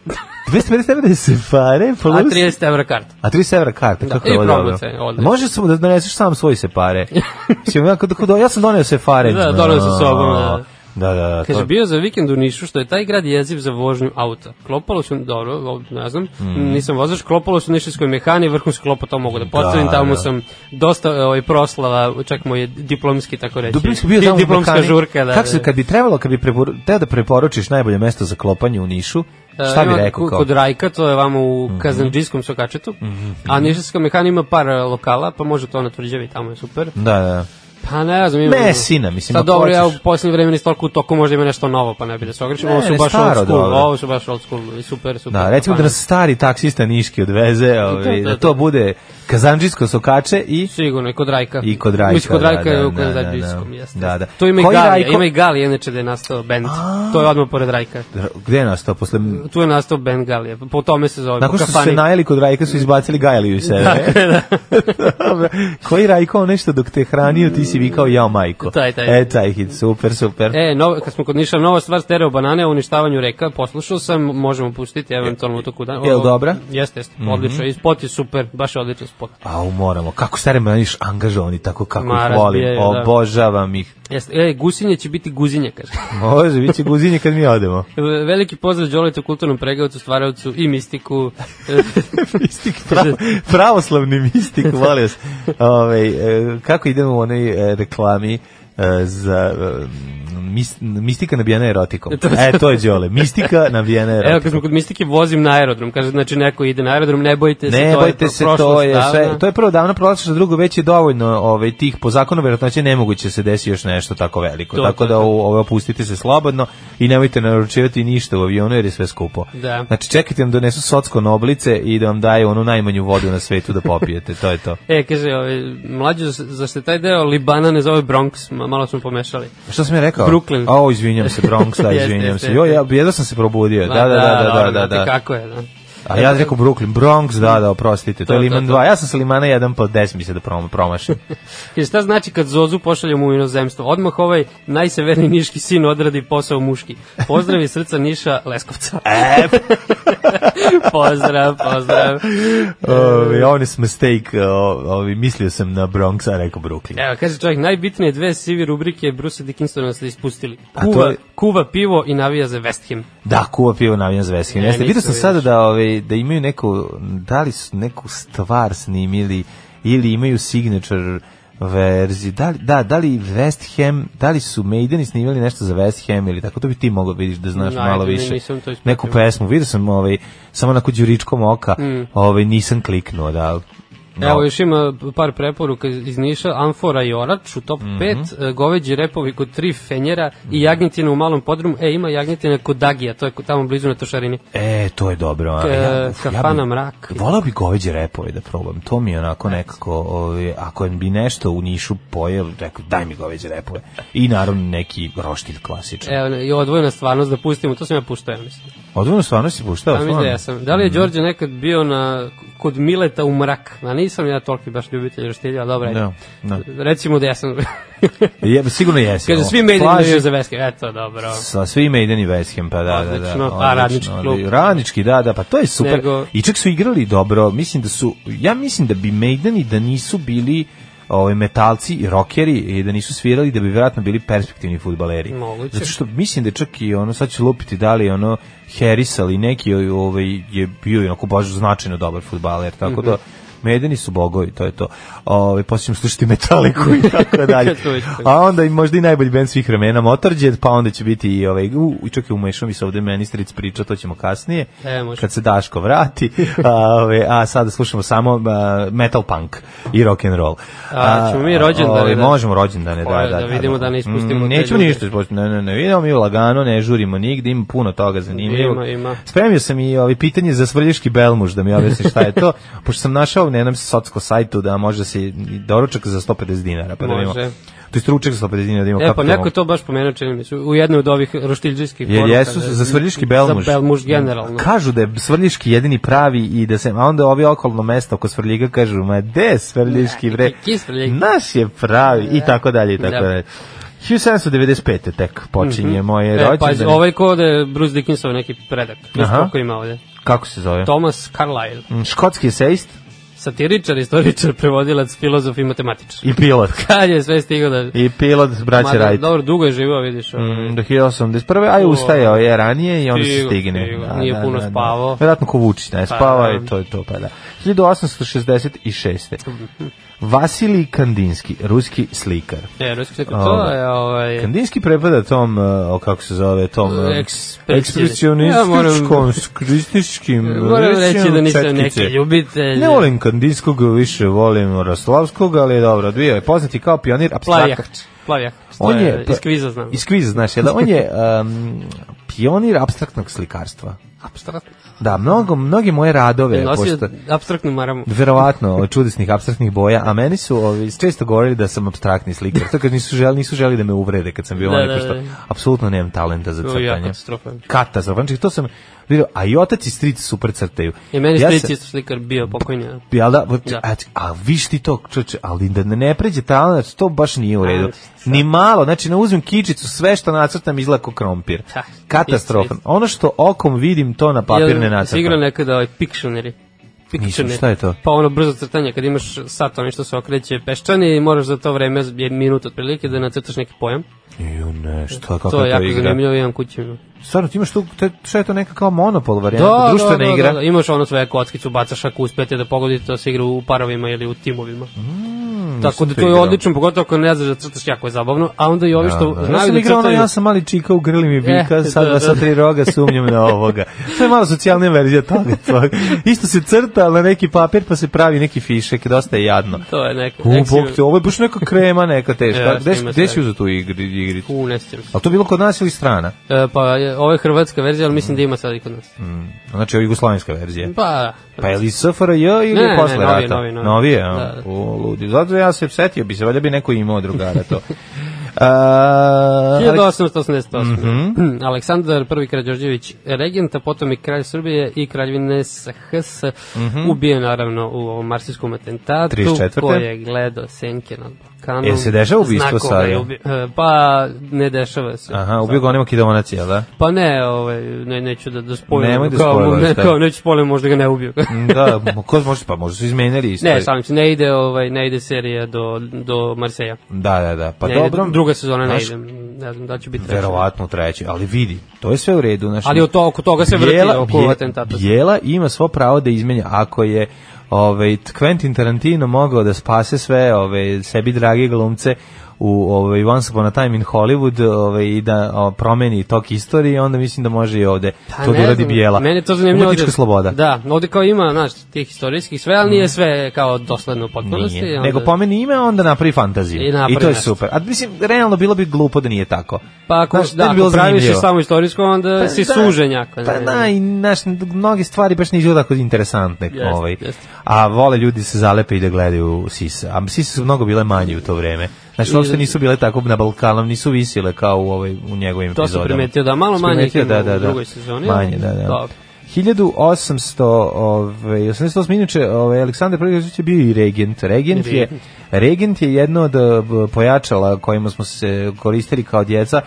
Speaker 5: 250 evra da se pare,
Speaker 6: A
Speaker 5: plus...
Speaker 6: 30 evra karta.
Speaker 5: A 30 evra karta,
Speaker 6: Da,
Speaker 5: kako
Speaker 6: i
Speaker 5: je ovo dobro.
Speaker 6: promocija, odlično.
Speaker 5: Može samo da doneseš sam svoj separe.
Speaker 6: *laughs*
Speaker 5: Mislim, ja, kod, kod, ja sam doneo sefare.
Speaker 6: Da, doneo sa sobom, da.
Speaker 5: Da, da, da.
Speaker 6: Kaže,
Speaker 5: to-
Speaker 6: bio za vikend u Nišu, što je taj grad jeziv za vožnju auta. Klopalo su, dobro, ovo ne znam,
Speaker 5: Mm.
Speaker 6: nisam vozač, klopalo su u nišinskoj mehani, vrhunsko klopo, to mogu da postavim,
Speaker 5: Da,
Speaker 6: tamo
Speaker 5: da.
Speaker 6: sam dosta ovaj, proslava, čak moj je diplomski, tako reći.
Speaker 5: Dubinski bio
Speaker 6: Di-
Speaker 5: tamo
Speaker 6: Diplomska
Speaker 5: Balkani.
Speaker 6: žurka, da.
Speaker 5: Kako se,
Speaker 6: da.
Speaker 5: kad bi trebalo, kad bi preporu, teo da preporučiš najbolje mesto za klopanje u Nišu, šta bi
Speaker 6: Ima
Speaker 5: rekao
Speaker 6: ku-
Speaker 5: kao?
Speaker 6: Kod Rajka, to je vamo u Kazanđijskom sokačetu, a Nišinska mehana ima par e, lokala, pa može to na tvrđavi, tamo je super.
Speaker 5: Da, da.
Speaker 6: Pa ne znam, ima...
Speaker 5: Mesina, mislim,
Speaker 6: Sad
Speaker 5: ako
Speaker 6: dobro, ja u
Speaker 5: hoćeš.
Speaker 6: posljednje vreme nisam toliko u toku, možda ima nešto novo, pa ne bi da se ogrešim.
Speaker 5: Ne,
Speaker 6: Ovo su
Speaker 5: ne,
Speaker 6: baš
Speaker 5: staro
Speaker 6: old school,
Speaker 5: dobro.
Speaker 6: ovo
Speaker 5: Да,
Speaker 6: su baš old school, super, super.
Speaker 5: Da, recimo da nas stari taksista Niški odveze, ovaj,
Speaker 6: to,
Speaker 5: da
Speaker 6: to.
Speaker 5: to bude Kazandžijsko sokače i...
Speaker 6: Sigurno, i kod Rajka.
Speaker 5: I kod Rajka,
Speaker 6: Mislim, kod
Speaker 5: da,
Speaker 6: Rajka
Speaker 5: da,
Speaker 6: je u
Speaker 5: da,
Speaker 6: Kanadadžijskom,
Speaker 5: da, da.
Speaker 6: jeste.
Speaker 5: Da, da.
Speaker 6: To ima i
Speaker 5: Koji
Speaker 6: Galija,
Speaker 5: Rajko?
Speaker 6: ima i Galija, inače da je nastao bend. To je odmah pored Rajka.
Speaker 5: Gde je nastao? Posle...
Speaker 6: Tu je nastao bend Galije, po tome se zove,
Speaker 5: Nakon
Speaker 6: po
Speaker 5: što su se
Speaker 6: kafani. *laughs*
Speaker 5: najeli kod Rajka su izbacili Gajliju iz sebe.
Speaker 6: Така да.
Speaker 5: Dobro. Koji Rajko nešto dok te hranio ti si vikao jao majko.
Speaker 6: Taj, taj.
Speaker 5: E, taj hit, super, super.
Speaker 6: E, no, kad smo kod Niša, nova stvar stereo banane o uništavanju reka, poslušao sam, možemo pustiti, eventualno u toku dana.
Speaker 5: Jel dobra? Mhm.
Speaker 6: Jeste, jeste, odlično. I spot je super, baš je odličan spot.
Speaker 5: Au, moramo. Kako stare maniš angažovani, tako kako
Speaker 6: Ma,
Speaker 5: ih volim.
Speaker 6: razbijaju, da.
Speaker 5: Obožavam ih.
Speaker 6: Jeste, e, gusinje će biti guzinje,
Speaker 5: *laughs*
Speaker 6: kaže.
Speaker 5: Može, bit će guzinje kad mi
Speaker 6: *laughs*
Speaker 5: odemo.
Speaker 6: Veliki pozdrav Đoleta kulturnom pregavcu, stvaravcu i mistiku. E,
Speaker 5: *laughs* Mistik, pravo, pravoslavni mistik, molim vas. Ove, e, kako idemo u onoj e, reklami e, za e, mis, mistika nabijena erotikom.
Speaker 6: *laughs*
Speaker 5: E, to je Đole. Mistika nabijena
Speaker 6: Evo, kad
Speaker 5: erotikom.
Speaker 6: smo kod mistike, vozim na aerodrom. Kaže, znači, neko ide na aerodrom, ne bojite se,
Speaker 5: Ne,
Speaker 6: to
Speaker 5: bojte
Speaker 6: je
Speaker 5: se,
Speaker 6: prošlo
Speaker 5: to je sve.
Speaker 6: stavno.
Speaker 5: To je prvo davno prolačno, drugo već je dovoljno ovaj, tih po zakonu, verovatno će nemoguće se desi još nešto tako veliko.
Speaker 6: To,
Speaker 5: tako
Speaker 6: to,
Speaker 5: da
Speaker 6: to.
Speaker 5: u- ovaj, opustite se slobodno i nemojte naručivati ništa u avionu jer je sve skupo.
Speaker 6: Da.
Speaker 5: Znači čekajte vam donesu socko noblice i da vam daju onu najmanju vodu na svetu da popijete. to *laughs* je to.
Speaker 6: E, kaže, ovaj, mlađo, zašto je taj deo Libana ne zove Bronx? Ma, malo smo pomešali.
Speaker 5: Šta sam ja rekao?
Speaker 6: Brooklyn.
Speaker 5: O, izvinjam se, Bronx, *laughs* da,
Speaker 6: Jeste,
Speaker 5: izvinjam
Speaker 6: jeste,
Speaker 5: se. Jo, ja,
Speaker 6: jeste.
Speaker 5: jedva sam se probudio. Da, da,
Speaker 6: dobro,
Speaker 5: da, da, da,
Speaker 6: znate
Speaker 5: da.
Speaker 6: kako je, da.
Speaker 5: A ja rekao Brooklyn, Bronx, da, da, oprostite. To je
Speaker 6: To, to,
Speaker 5: Liman
Speaker 6: to.
Speaker 5: 2. Ja sam sa Limana 1 pa 10 mi se da prom- *laughs* promašim.
Speaker 6: Jer šta znači kad Zozu pošaljemo u inozemstvo? Odmah ovaj najseverniji niški sin odradi posao muški. Pozdrav iz srca Niša Leskovca.
Speaker 5: E,
Speaker 6: *laughs* pozdrav, pozdrav.
Speaker 5: Ovi, on is mistake, o- ovi, mislio sam na Bronx, a rekao Brooklyn.
Speaker 6: Evo, kaže čovjek, najbitnije dve sivi rubrike Bruce Dickinsona ste ispustili.
Speaker 5: A to
Speaker 6: Kuva,
Speaker 5: je-
Speaker 6: kuva pivo i navija za West Ham.
Speaker 5: Da, kuva pivo navijan za Veskin.
Speaker 6: Ne,
Speaker 5: Jeste, vidio
Speaker 6: nisam
Speaker 5: sam sada da, ovi, da imaju neku, da li su neku stvar snimili ili imaju signature verzi, da li, da, da li West Ham, da li su Maideni snimili nešto za West Ham ili tako, to bi ti mogao vidiš da znaš
Speaker 6: Ajde,
Speaker 5: malo
Speaker 6: ne,
Speaker 5: više.
Speaker 6: nisam to ispratio.
Speaker 5: Neku pesmu, vidio sam ovaj, samo onako đuričkom oka, ovaj, nisam kliknuo, da. No.
Speaker 6: Mm. Evo, još ima par preporuka iz Niša, Amfora i Orač u top 5,
Speaker 5: Mhm.
Speaker 6: mm -hmm. goveđi repovi kod tri fenjera i jagnjetina u malom podrumu. E, ima jagnjetina kod Dagija, to je kod- tamo blizu na Tošarini.
Speaker 5: E, to je dobro. A,
Speaker 6: E,
Speaker 5: uf,
Speaker 6: kafana
Speaker 5: bi-
Speaker 6: mrak.
Speaker 5: Volao bi goveđe repove da probam. To mi je onako nekako, ovaj, ako bi nešto u Nišu pojel, rekao, daj mi goveđe repove. I naravno neki roštilj klasičan. E,
Speaker 6: Evo, i odvojena stvarnost da pustimo, to sam ja puštao, ja mislim.
Speaker 5: Odvojno stvarno si puštao?
Speaker 6: Da, mislim
Speaker 5: stvarno? Mhm.
Speaker 6: da ja sam. Da li je Đorđe nekad bio na, kod Mileta u mrak? Ma nisam ja toliki baš ljubitelj roštilja, ali dobro. ajde.
Speaker 5: Da, da.
Speaker 6: Recimo da
Speaker 5: *laughs*
Speaker 6: ja sam.
Speaker 5: Je, sigurno jesi.
Speaker 6: Kaže,
Speaker 5: ovo.
Speaker 6: svi mediji
Speaker 5: Plaži-
Speaker 6: navijaju za Veske. Eto, dobro.
Speaker 5: Sa svi Maiden i West Ham, pa da, da, da.
Speaker 6: Odlično, pa radnički klub.
Speaker 5: odlično. Radnički, da, da, pa to je super.
Speaker 6: Nego-
Speaker 5: I čak su igrali dobro, mislim da su, ja mislim da bi Maideni da nisu bili ovaj metalci i rokeri i da nisu svirali da bi vjerojatno bili perspektivni fudbaleri.
Speaker 6: Moguće.
Speaker 5: Zato što mislim da čak i ono sad ću lupiti da li je ono Harris ali neki ovaj je bio onako baš značajno dobar fudbaler tako
Speaker 6: Mhm.
Speaker 5: da Medeni su bogovi, to je to. Ovaj posle ćemo slušati Metaliku
Speaker 6: *laughs*
Speaker 5: i tako dalje.
Speaker 6: To je to.
Speaker 5: A Pa onda i možda i najbolji bend svih vremena Motorhead, pa onda će biti i ovaj u, u čak i umešao mi se ovde ministric priča, to ćemo kasnije.
Speaker 6: E, može.
Speaker 5: kad se Daško
Speaker 6: *laughs*
Speaker 5: vrati. a, ovaj, a sada slušamo samo a, metal punk i rock and roll.
Speaker 6: A, ćemo mi rođendane
Speaker 5: ovaj,
Speaker 6: da-
Speaker 5: možemo rođendane, da,
Speaker 6: Ovaj,
Speaker 5: da,
Speaker 6: da vidimo da ne ispustimo
Speaker 5: Mm,
Speaker 6: te
Speaker 5: Nećemo
Speaker 6: ljude.
Speaker 5: ništa ispustiti. Ne, ne, ne, idemo mi lagano, ne žurimo nigde, ima puno toga zanimljivog.
Speaker 6: Ima, ima.
Speaker 5: Spremio sam i ovaj pitanje za svrljiški belmuž da mi objasni šta je
Speaker 6: *laughs*
Speaker 5: to, pošto sam našao na jednom socko sajtu da može se i doručak za 150 dinara, pa da vidimo.
Speaker 6: Može.
Speaker 5: To je ručak za 150 dinara, da vidimo
Speaker 6: E,
Speaker 5: kako
Speaker 6: pa
Speaker 5: to
Speaker 6: neko
Speaker 5: mogu.
Speaker 6: je to baš pomenuo, čini mi se, u jednoj od ovih roštiljđijskih
Speaker 5: Jer jesu
Speaker 6: da-
Speaker 5: za svrljiški belmuž.
Speaker 6: Za belmuž generalno.
Speaker 5: Kažu da je svrljiški jedini pravi i da se, a onda ovi okolno mesto oko svrljiga kažu, ma de svrljiški bre,
Speaker 6: ki Svrljig."
Speaker 5: naš je pravi i tako dalje i tako
Speaker 6: Da.
Speaker 5: dalje. 1795. tek počinje moje
Speaker 6: E, pazi,
Speaker 5: rođendan.
Speaker 6: ovaj kod je Bruce Dickinsov neki predak. Znaš
Speaker 5: Aha.
Speaker 6: koliko ima ovde?
Speaker 5: Kako se zove?
Speaker 6: Thomas Carlyle.
Speaker 5: Mm, Škotski esejist
Speaker 6: Satiričar, istoričar, prevodilac, filozof i matematičar. *laughs*
Speaker 5: i pilot.
Speaker 6: Kad je sve stigao da...
Speaker 5: I pilot braće
Speaker 6: Mada,
Speaker 5: Wright.
Speaker 6: dobro, dugo je živao, vidiš. ovaj.
Speaker 5: Mm, do 1881. A je ustajao je ranije i onda se
Speaker 6: Stigo,
Speaker 5: stigne.
Speaker 6: stigo. Nije puno spavao.
Speaker 5: Verovatno ko Vučić ne spava
Speaker 6: da.
Speaker 5: i to je to, pa da. 1866. Vasilij Kandinski, ruski slikar.
Speaker 6: E, ruski sektor, to
Speaker 5: Ovaj.
Speaker 6: je ovaj...
Speaker 5: Kandinski prepada tom, eh, o, kako se zove, tom eh,
Speaker 6: Ekspresionistički. Ja
Speaker 5: ekspresionističkom,
Speaker 6: moram-
Speaker 5: skrističkim,
Speaker 6: *laughs* Moram reći da nisam neki
Speaker 5: četkice.
Speaker 6: ljubitelj.
Speaker 5: Ne volim Kandinskog, više volim Roslavskog, ali dobro, bio je poznati kao pionir
Speaker 6: Plavjahč.
Speaker 5: abstraktnog
Speaker 6: Plavjahč.
Speaker 5: On je pa,
Speaker 6: Iz kviza znam.
Speaker 5: Iz kviza znaš, jel da? On je um, pionir apstraktnog slikarstva.
Speaker 6: Abstraktno.
Speaker 5: Da, mnogo, mnoge moje radove,
Speaker 6: Nosio
Speaker 5: pošto,
Speaker 6: abstraktnu maramu.
Speaker 5: verovatno, od čudesnih abstraktnih boja, a meni su ovi, često govorili da sam abstraktni slikar, to kad nisu želi, nisu želi da me uvrede kad sam bio
Speaker 6: Da,
Speaker 5: mali,
Speaker 6: da,
Speaker 5: pošto
Speaker 6: da.
Speaker 5: apsolutno nemam talenta za
Speaker 6: To je jako
Speaker 5: crtanje.
Speaker 6: katastrofa.
Speaker 5: Katastrofa. Znači, to sam vidio, a i otac i stric super crtaju.
Speaker 6: I meni
Speaker 5: Ja
Speaker 6: stric
Speaker 5: sam-
Speaker 6: isto slikar bio pokojnja.
Speaker 5: Jel da? Vrt-
Speaker 6: Da.
Speaker 5: A, a viš ti to, čoče, ali da ne pređe talent, znači to baš nije u redu.
Speaker 6: Ajde, sad.
Speaker 5: Ni malo, znači ne uzmem kičicu, sve što nacrtam izgleda kao krompir.
Speaker 6: Da,
Speaker 5: Katastrofan.
Speaker 6: isto,
Speaker 5: Ono što okom vidim, to na papir ne
Speaker 6: Si igrao
Speaker 5: nacrtam.
Speaker 6: nekada ovaj Pictionary. Pictionary.
Speaker 5: šta je to?
Speaker 6: Pa ono brzo crtanje, kad imaš sat onaj što se okreće peščani i moraš za to vreme, je minut otprilike, da nacrtaš neki pojam.
Speaker 5: Ju ne, šta, kako
Speaker 6: to je jako
Speaker 5: igra?
Speaker 6: zanimljivo, imam kuću.
Speaker 5: Stvarno, ti imaš tu, te, šta je to neka kao monopol varijanta, društvena igra?
Speaker 6: da, imaš ono svoje kockicu, bacaš ako uspete da pogodite, to se igra u parovima ili u timovima. Tako
Speaker 5: nisam
Speaker 6: da
Speaker 5: to
Speaker 6: to je
Speaker 5: igrao.
Speaker 6: odlično, pogotovo ako ne znaš da crtaš, jako je zabavno, a onda i ovi što
Speaker 5: Da, da. Ja
Speaker 6: znaju
Speaker 5: sam
Speaker 6: da
Speaker 5: igrao ono,
Speaker 6: crtaju,
Speaker 5: ja sam mali čika u grli mi vika,
Speaker 6: Eh,
Speaker 5: sad
Speaker 6: *laughs* da,
Speaker 5: da, sa
Speaker 6: da.
Speaker 5: tri roga sumnjam na ovoga. To je malo socijalna verzija toga. tvog. Isto se crta na neki papir pa se pravi neki fišek, dosta je jadno.
Speaker 6: to je neka.
Speaker 5: U,
Speaker 6: neka si-
Speaker 5: bog ti, ovo je baš neka krema, neka teška.
Speaker 6: *laughs* Ja,
Speaker 5: gde,
Speaker 6: snima
Speaker 5: gde
Speaker 6: sve.
Speaker 5: si uzeo tu igri, igricu?
Speaker 6: U, ne sjećam se.
Speaker 5: A to bilo kod nas ili strana?
Speaker 6: E, pa, je, ovo je hrvatska verzija, ali mislim da ima sad i kod nas.
Speaker 5: Znači, ovo je jugoslovenska verzija.
Speaker 6: Pa,
Speaker 5: Pa je li SFRJ ili
Speaker 6: Ne,
Speaker 5: je
Speaker 6: ne,
Speaker 5: posle
Speaker 6: novi,
Speaker 5: rata?
Speaker 6: novi, novi.
Speaker 5: Novije, a?
Speaker 6: Da, da.
Speaker 5: U, ludi. Zato ja se setio bi se, valjda bi neko imao drugara
Speaker 6: *laughs*
Speaker 5: to. A, ali-
Speaker 6: 1888.
Speaker 5: Mhm.
Speaker 6: *clears throat* Aleksandar I. Krađorđević regenta, potom i kralj Srbije i kraljevine SHS,
Speaker 5: Mhm.
Speaker 6: ubije naravno u ovom marsijskom atentatu,
Speaker 5: 34..
Speaker 6: koji je gledao senke nad Balkanom.
Speaker 5: Jel se dešava ubistvo
Speaker 6: Znakoga je
Speaker 5: sada?
Speaker 6: ubi- e, Pa, ne dešava se.
Speaker 5: Aha, ubio ga onaj makedonac, jel da?
Speaker 6: Pa ne, ovaj, ne, neću da, da spojim.
Speaker 5: Nemoj da
Speaker 6: Kao,
Speaker 5: spojlaš,
Speaker 6: ne,
Speaker 5: da.
Speaker 6: kao, neću spojim, možda ga ne ubio. *laughs*
Speaker 5: da, mo- ko može, pa možda su izmenili isto.
Speaker 6: ne, sam se, ne ide, ovaj, ne ide serija do, do Marseja.
Speaker 5: Da, da, da. Pa
Speaker 6: ne,
Speaker 5: dobro.
Speaker 6: ide, druga sezona ne
Speaker 5: znaš,
Speaker 6: ide. Ne znam da će biti treća.
Speaker 5: Verovatno u trećoj, ali vidi, to je sve u redu. Znaš,
Speaker 6: Znači, Ali od to, oko toga se vrti,
Speaker 5: Bijela-
Speaker 6: oko
Speaker 5: Bje-
Speaker 6: atentata.
Speaker 5: Bijela ima svo pravo da izmenja ako je ovaj Quentin Tarantino mogao da spase sve ovaj sebi dragi glumce u ovaj Once Upon a Time in Hollywood ovaj i da o, promeni tok istorije onda mislim da može i ovde
Speaker 6: Pa
Speaker 5: to da
Speaker 6: ne
Speaker 5: uradi
Speaker 6: znam,
Speaker 5: Bijela.
Speaker 6: Meni je to zanimljivo.
Speaker 5: Umetnička
Speaker 6: ovde-
Speaker 5: sloboda. Mm.
Speaker 6: Da, ovde kao ima, znaš, tih istorijskih sve, ali nije sve kao dosledno u potpunosti.
Speaker 5: Nije.
Speaker 6: onda-
Speaker 5: Nego pomeni ime, onda napravi fantaziju.
Speaker 6: I
Speaker 5: I,
Speaker 6: napravi
Speaker 5: to je
Speaker 6: nešto.
Speaker 5: super. A mislim, realno bilo bi glupo da nije tako.
Speaker 6: Pa ako,
Speaker 5: Znaš,
Speaker 6: da,
Speaker 5: bi bilo
Speaker 6: ako praviš je
Speaker 5: zanimljivo.
Speaker 6: samo istorijsko, onda si sužen jako.
Speaker 5: Pa
Speaker 6: ne,
Speaker 5: da, i naš, mnoge stvari baš ne izgleda tako interesantne.
Speaker 6: Jeste,
Speaker 5: ovaj.
Speaker 6: jeste.
Speaker 5: A vole ljudi se zalepe i da gledaju sise. A sise su mnogo bile manje u to vreme. Znači, uopšte nisu bile tako na Balkanom, nisu visile kao u, ovaj, u njegovim
Speaker 6: To sam
Speaker 5: epizodama.
Speaker 6: primetio, da, malo
Speaker 5: Si
Speaker 6: manje ih
Speaker 5: primetio,
Speaker 6: ima u drugoj sezoni, ali
Speaker 5: Manje, da, da.
Speaker 6: dobro.
Speaker 5: 1800, ovaj 1888 inače ovaj Aleksandar I Grčević je bio i regent. Regent je regent je jedno od eh, pojačala kojima smo se koristili kao djeca.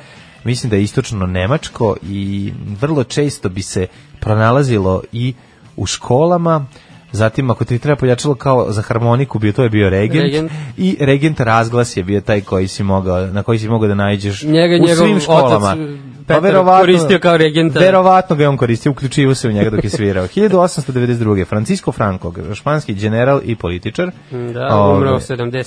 Speaker 5: Mislim da je istočno nemačko i vrlo često bi se pronalazilo i u školama. Zatim ako ti treba pojačalo kao za harmoniku, bio to je bio regent,
Speaker 6: Regent.
Speaker 5: i regent razglas je bio taj koji si mogao na koji si mogao da naiđeš
Speaker 6: Njega
Speaker 5: u
Speaker 6: njegov
Speaker 5: svim
Speaker 6: otac,
Speaker 5: školama. Pa
Speaker 6: Petar, koristio kao regenta.
Speaker 5: Verovatno ga je on koristio, uključivo se u njega dok je
Speaker 6: *laughs*
Speaker 5: svirao. 1892. Francisco Franco, španski general i političar.
Speaker 6: Da,
Speaker 5: Ove,
Speaker 6: umreo 75.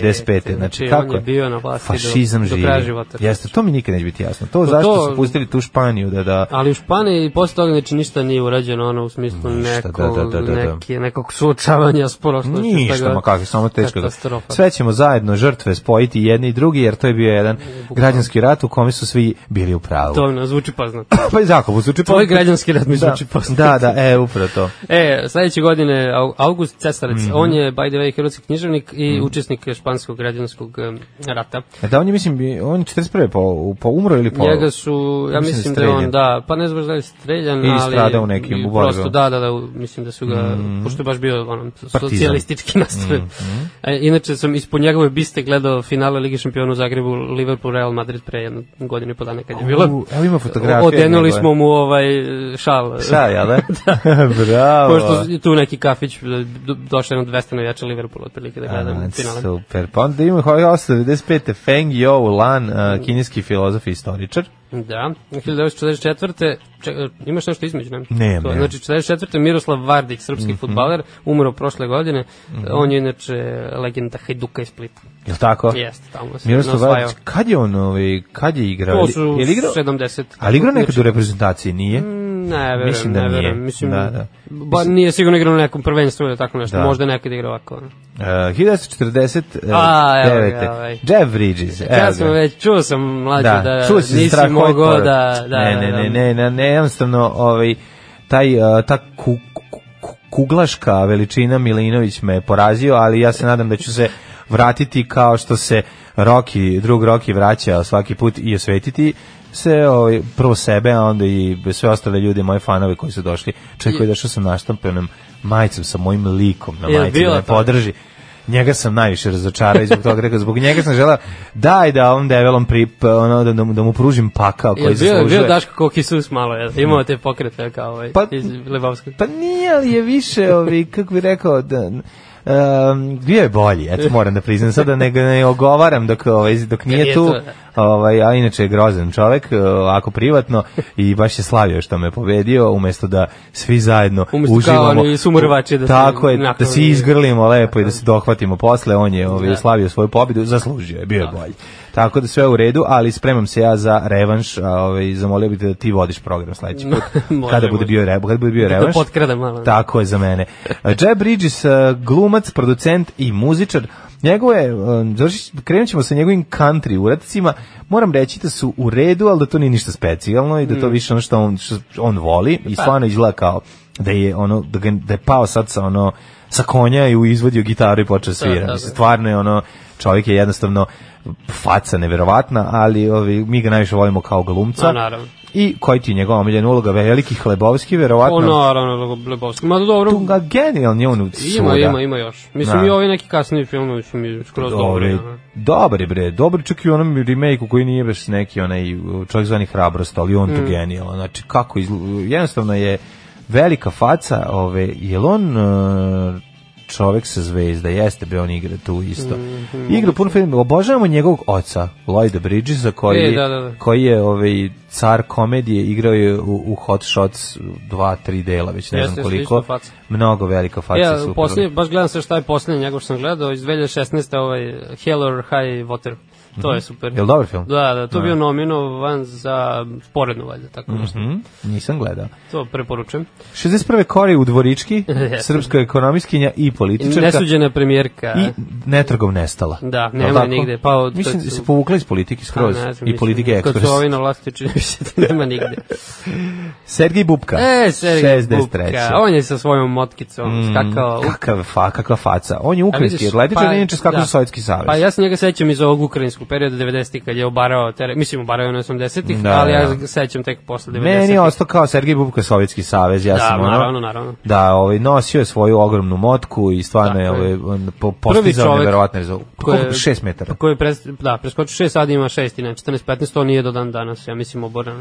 Speaker 5: 75. Znači,
Speaker 6: Znači, on
Speaker 5: kako
Speaker 6: je bio na vlasti do-
Speaker 5: Fašizam
Speaker 6: do
Speaker 5: živi.
Speaker 6: kraja života.
Speaker 5: Jeste, to mi nikad neće biti jasno. To,
Speaker 6: Pa
Speaker 5: zašto
Speaker 6: to-
Speaker 5: su pustili tu Španiju da da
Speaker 6: Ali u Španiji i posle toga znači ništa nije urađeno ono u smislu
Speaker 5: Ništa,
Speaker 6: nekog,
Speaker 5: da, da, da, da, da.
Speaker 6: Neke, nekog suočavanja s prošlošću. šta
Speaker 5: Ništa,
Speaker 6: god.
Speaker 5: ma kakvi, samo teško. Da.
Speaker 6: Katastrofa.
Speaker 5: Sve ćemo zajedno žrtve spojiti jedni i drugi, jer to je bio jedan građanski rat u kome su svi bili u pravu.
Speaker 6: To nam zvuči poznato.
Speaker 5: Pa i Zakovu zvuči
Speaker 6: Tvoj građanski rat mi zvuči
Speaker 5: da,
Speaker 6: poznato.
Speaker 5: da, da, e, upravo to.
Speaker 6: E, sledeće godine Au- August Cesarec,
Speaker 5: Mhm.
Speaker 6: on je by the way hrvatski književnik i učesnik španskog građanskog em, rata.
Speaker 5: E, Da, on je, mislim, bi- on je 41. po, po umro ili po...
Speaker 6: Njega su,
Speaker 5: Mislim da
Speaker 6: ja
Speaker 5: je
Speaker 6: mislim da je on,
Speaker 5: streljan.
Speaker 6: da, pa ne znam baš da je streljan,
Speaker 5: Ili
Speaker 6: ali...
Speaker 5: stradao u nekim,
Speaker 6: i
Speaker 5: u Mhm. borbi.
Speaker 6: Prosto, da, da, da, u- mislim da su ga, pošto je baš bio ono, socijalistički *laughs* nastrojen.
Speaker 5: Mhm.
Speaker 6: E, inače sam ispod njegove biste gledao finale Ligi šampiona u Zagrebu, Liverpool, Real Madrid pre jednu godinu i po dana kad je bilo.
Speaker 5: U, evo ima fotografije
Speaker 6: Odenuli
Speaker 5: njegove.
Speaker 6: smo mu ovaj šal.
Speaker 5: Šta, jel
Speaker 6: *laughs*
Speaker 5: da? Bravo.
Speaker 6: Pošto je tu neki kafić do- došao jedno 200 navijača Liverpoola otprilike da gledam
Speaker 5: A,
Speaker 6: finale.
Speaker 5: super. Pa onda ima ovaj 895. Feng Yao Lan, uh, kineski filozof i istoričar.
Speaker 6: Da, 1944. Če, e, imaš nešto između, ne?
Speaker 5: Nemam,
Speaker 6: to,
Speaker 5: nemam.
Speaker 6: Znači, 44. Miroslav Vardić,
Speaker 5: Mhm.
Speaker 6: srpski fudbaler, umro prošle godine. On je inače legenda Hajduka iz Splita.
Speaker 5: Jel tako?
Speaker 6: Jeste, tamo se
Speaker 5: Miroslav
Speaker 6: nasvajao.
Speaker 5: Vardić, kad je on, ovaj, kad je igrao?
Speaker 6: To
Speaker 5: Jel-
Speaker 6: su Mm.
Speaker 5: jel igrao?
Speaker 6: 70.
Speaker 5: Ali igrao nekad u
Speaker 6: Znači,
Speaker 5: reprezentaciji, nije?
Speaker 6: Ne, verujem,
Speaker 5: Mislim da
Speaker 6: ne
Speaker 5: nije.
Speaker 6: verujem. Mislim,
Speaker 5: Da, da.
Speaker 6: Ba, nije sigurno igrao na nekom prvenstvu ili tako nešto.
Speaker 5: Da.
Speaker 6: Možda nekad igrao ovako. ono.
Speaker 5: Uh, 1949.
Speaker 6: A, evo ga, ovaj.
Speaker 5: Jeff Bridges. evo
Speaker 6: Ja
Speaker 5: ga.
Speaker 6: sam već, čuo sam mlađe da,
Speaker 5: E, čuo si
Speaker 6: nisi
Speaker 5: strahopor.
Speaker 6: mogao da... da
Speaker 5: ne, ne,
Speaker 6: da, da.
Speaker 5: ne, ne, ne, ne, jednostavno, ovaj, taj, uh, ta ku, ku- ku- kuglaška veličina Milinović me je porazio, ali ja se nadam da ću se vratiti kao što se Roki, drug Roki vraća svaki put i osvetiti se ovaj, prvo sebe, a onda i sve ostale ljude, moje fanove koji su došli. Čekaj, došao sam naštampenom majicom sa mojim likom na
Speaker 6: Je li
Speaker 5: majici da
Speaker 6: bilo
Speaker 5: me
Speaker 6: to?
Speaker 5: podrži. Njega sam najviše razočarao i zbog toga rekao, zbog njega sam želeo daj da ovom develom prip, ono, da, da, mu, da mu pružim pakao koji
Speaker 6: Je bio,
Speaker 5: zaslužuje. Mhm.
Speaker 6: bio Daško kao kisus malo, jel? imao te pokrete kao ovaj,
Speaker 5: Pa-
Speaker 6: iz Lebavskog.
Speaker 5: Pa nije, ali je više, ovi, kako bi rekao, da, um, bio je bolji, eto moram da priznam sada, nego ne ogovaram dok, ovaj, dok nije
Speaker 6: Nije
Speaker 5: tu,
Speaker 6: tu.
Speaker 5: ovaj, a inače je grozan čovek, eh, ovako privatno, i baš je slavio što me pobedio, umesto da svi zajedno
Speaker 6: Umesto kao
Speaker 5: uživamo.
Speaker 6: oni sumrvači da se
Speaker 5: Tako je, da
Speaker 6: nakon-
Speaker 5: svi izgrlimo lepo i da se dohvatimo posle, on je ovaj, slavio svoju pobedu, zaslužio je, bio je bolji. Tako da sve u redu, ali spremam se ja za revanš, a, ovaj, zamolio bih te da ti vodiš program sledeći put,
Speaker 6: *laughs* Može,
Speaker 5: kada bude
Speaker 6: može.
Speaker 5: bio, re- kada bude bio
Speaker 6: Da
Speaker 5: revanš.
Speaker 6: potkrada malo.
Speaker 5: Tako je za mene. Jeb Bridges, eh, glumac, producent i muzičar, njegove, eh, završit- krenut ćemo sa njegovim country uradcima, moram reći da su u redu, ali da to nije ništa specijalno i da
Speaker 6: Mm.
Speaker 5: to više ono što on, što on voli i
Speaker 6: Pa.
Speaker 5: stvarno izgleda kao da je, ono, da, ga, da je pao sad sa ono, sa konja i u izvodio gitaru i počeo svira.
Speaker 6: da, da.
Speaker 5: Mislim, Stvarno je ono, čovjek je jednostavno faca neverovatna, ali ovi, mi ga najviše volimo kao glumca.
Speaker 6: A, Pa, naravno.
Speaker 5: I koji ti je njegova omiljena uloga? Veliki Hlebovski, verovatno.
Speaker 6: O, Pa, naravno, Lebovski. Ma dobro,
Speaker 5: Pa, Tunga genijalni on u
Speaker 6: ima, ima, ima još. Mislim,
Speaker 5: Da.
Speaker 6: i ovi neki kasniji filmovi su mi skroz dobri. ono. aha.
Speaker 5: Dobar je bre, dobar čak i u onom remake-u koji nije baš neki onaj uh, čovjek zvani hrabrost, ali on
Speaker 6: Mm.
Speaker 5: tu genijalan. Znači kako izgl- jednostavno je velika faca, ove, jel on uh, čovjek sa zvezda, jeste bre, on igra tu isto.
Speaker 6: Mhm,
Speaker 5: Igra puno film, obožavamo njegovog oca, Lloyda Bridgesa, koji,
Speaker 6: E, da, da, da.
Speaker 5: koji je ovaj, car komedije, igrao je u, u Hot Shots dva, tri dela, već ne
Speaker 6: Jeste,
Speaker 5: znam
Speaker 6: jeste,
Speaker 5: koliko.
Speaker 6: isto faca.
Speaker 5: Mnogo velika faca.
Speaker 6: Ja,
Speaker 5: Pa, super.
Speaker 6: poslije, baš gledam sve šta je posljednje njegov što sam gledao, iz 2016. ovaj Hell or High Water. To je super.
Speaker 5: Mhm. Jel dobar film?
Speaker 6: Da, da, to je bio nominovan za sporednu valjda, tako nešto.
Speaker 5: Mhm, nisam gledao.
Speaker 6: To preporučujem.
Speaker 5: 61. Kori u
Speaker 6: *laughs*
Speaker 5: Dvorički, srpska ekonomiskinja i političarka.
Speaker 6: Nesuđena premijerka.
Speaker 5: I netragom nestala.
Speaker 6: Da,
Speaker 5: Jel
Speaker 6: nema je
Speaker 5: tako?
Speaker 6: nigde, pa od-
Speaker 5: Mislim
Speaker 6: to
Speaker 5: da
Speaker 6: su-
Speaker 5: se povukla iz politike skroz.
Speaker 6: A, ne znam,
Speaker 5: I
Speaker 6: mislim,
Speaker 5: politike
Speaker 6: Kad
Speaker 5: ekspres.
Speaker 6: su ovi na vlasti *laughs* čini mi se da nema nigde.
Speaker 5: Sergij Bubka.
Speaker 6: E, Sergej
Speaker 5: 63.
Speaker 6: Bubka, on je sa svojom motkicom skakao.
Speaker 5: Mm, Kakav fa, kakva faca. On je
Speaker 6: A
Speaker 5: ukrajinski
Speaker 6: vidiš,
Speaker 5: atletičar,
Speaker 6: pa-
Speaker 5: inače skakao
Speaker 6: da.
Speaker 5: za Sovjetski savez.
Speaker 6: Pa ja se njega sećam iz ovog ukrajinskog perioda 90-ih kad je obarao, tere, mislim obarao je na 80-ih,
Speaker 5: Da,
Speaker 6: ali ja
Speaker 5: da.
Speaker 6: ga sećam tek posle 90-ih.
Speaker 5: Meni je ostao kao Sergij Bubka Sovjetski savez, ja
Speaker 6: Da,
Speaker 5: sam ono-
Speaker 6: naravno, naravno.
Speaker 5: Da, ovaj nosio je svoju ogromnu motku i stvarno je
Speaker 6: Tako je.
Speaker 5: ovaj on po, postizao
Speaker 6: čovek
Speaker 5: neverovatne rezultate.
Speaker 6: koji je-
Speaker 5: 6 metara.
Speaker 6: Koji je pres, da, preskoči 6, sad ima 6 i ne, 14, 15, to nije do dan danas, ja mislim oboran,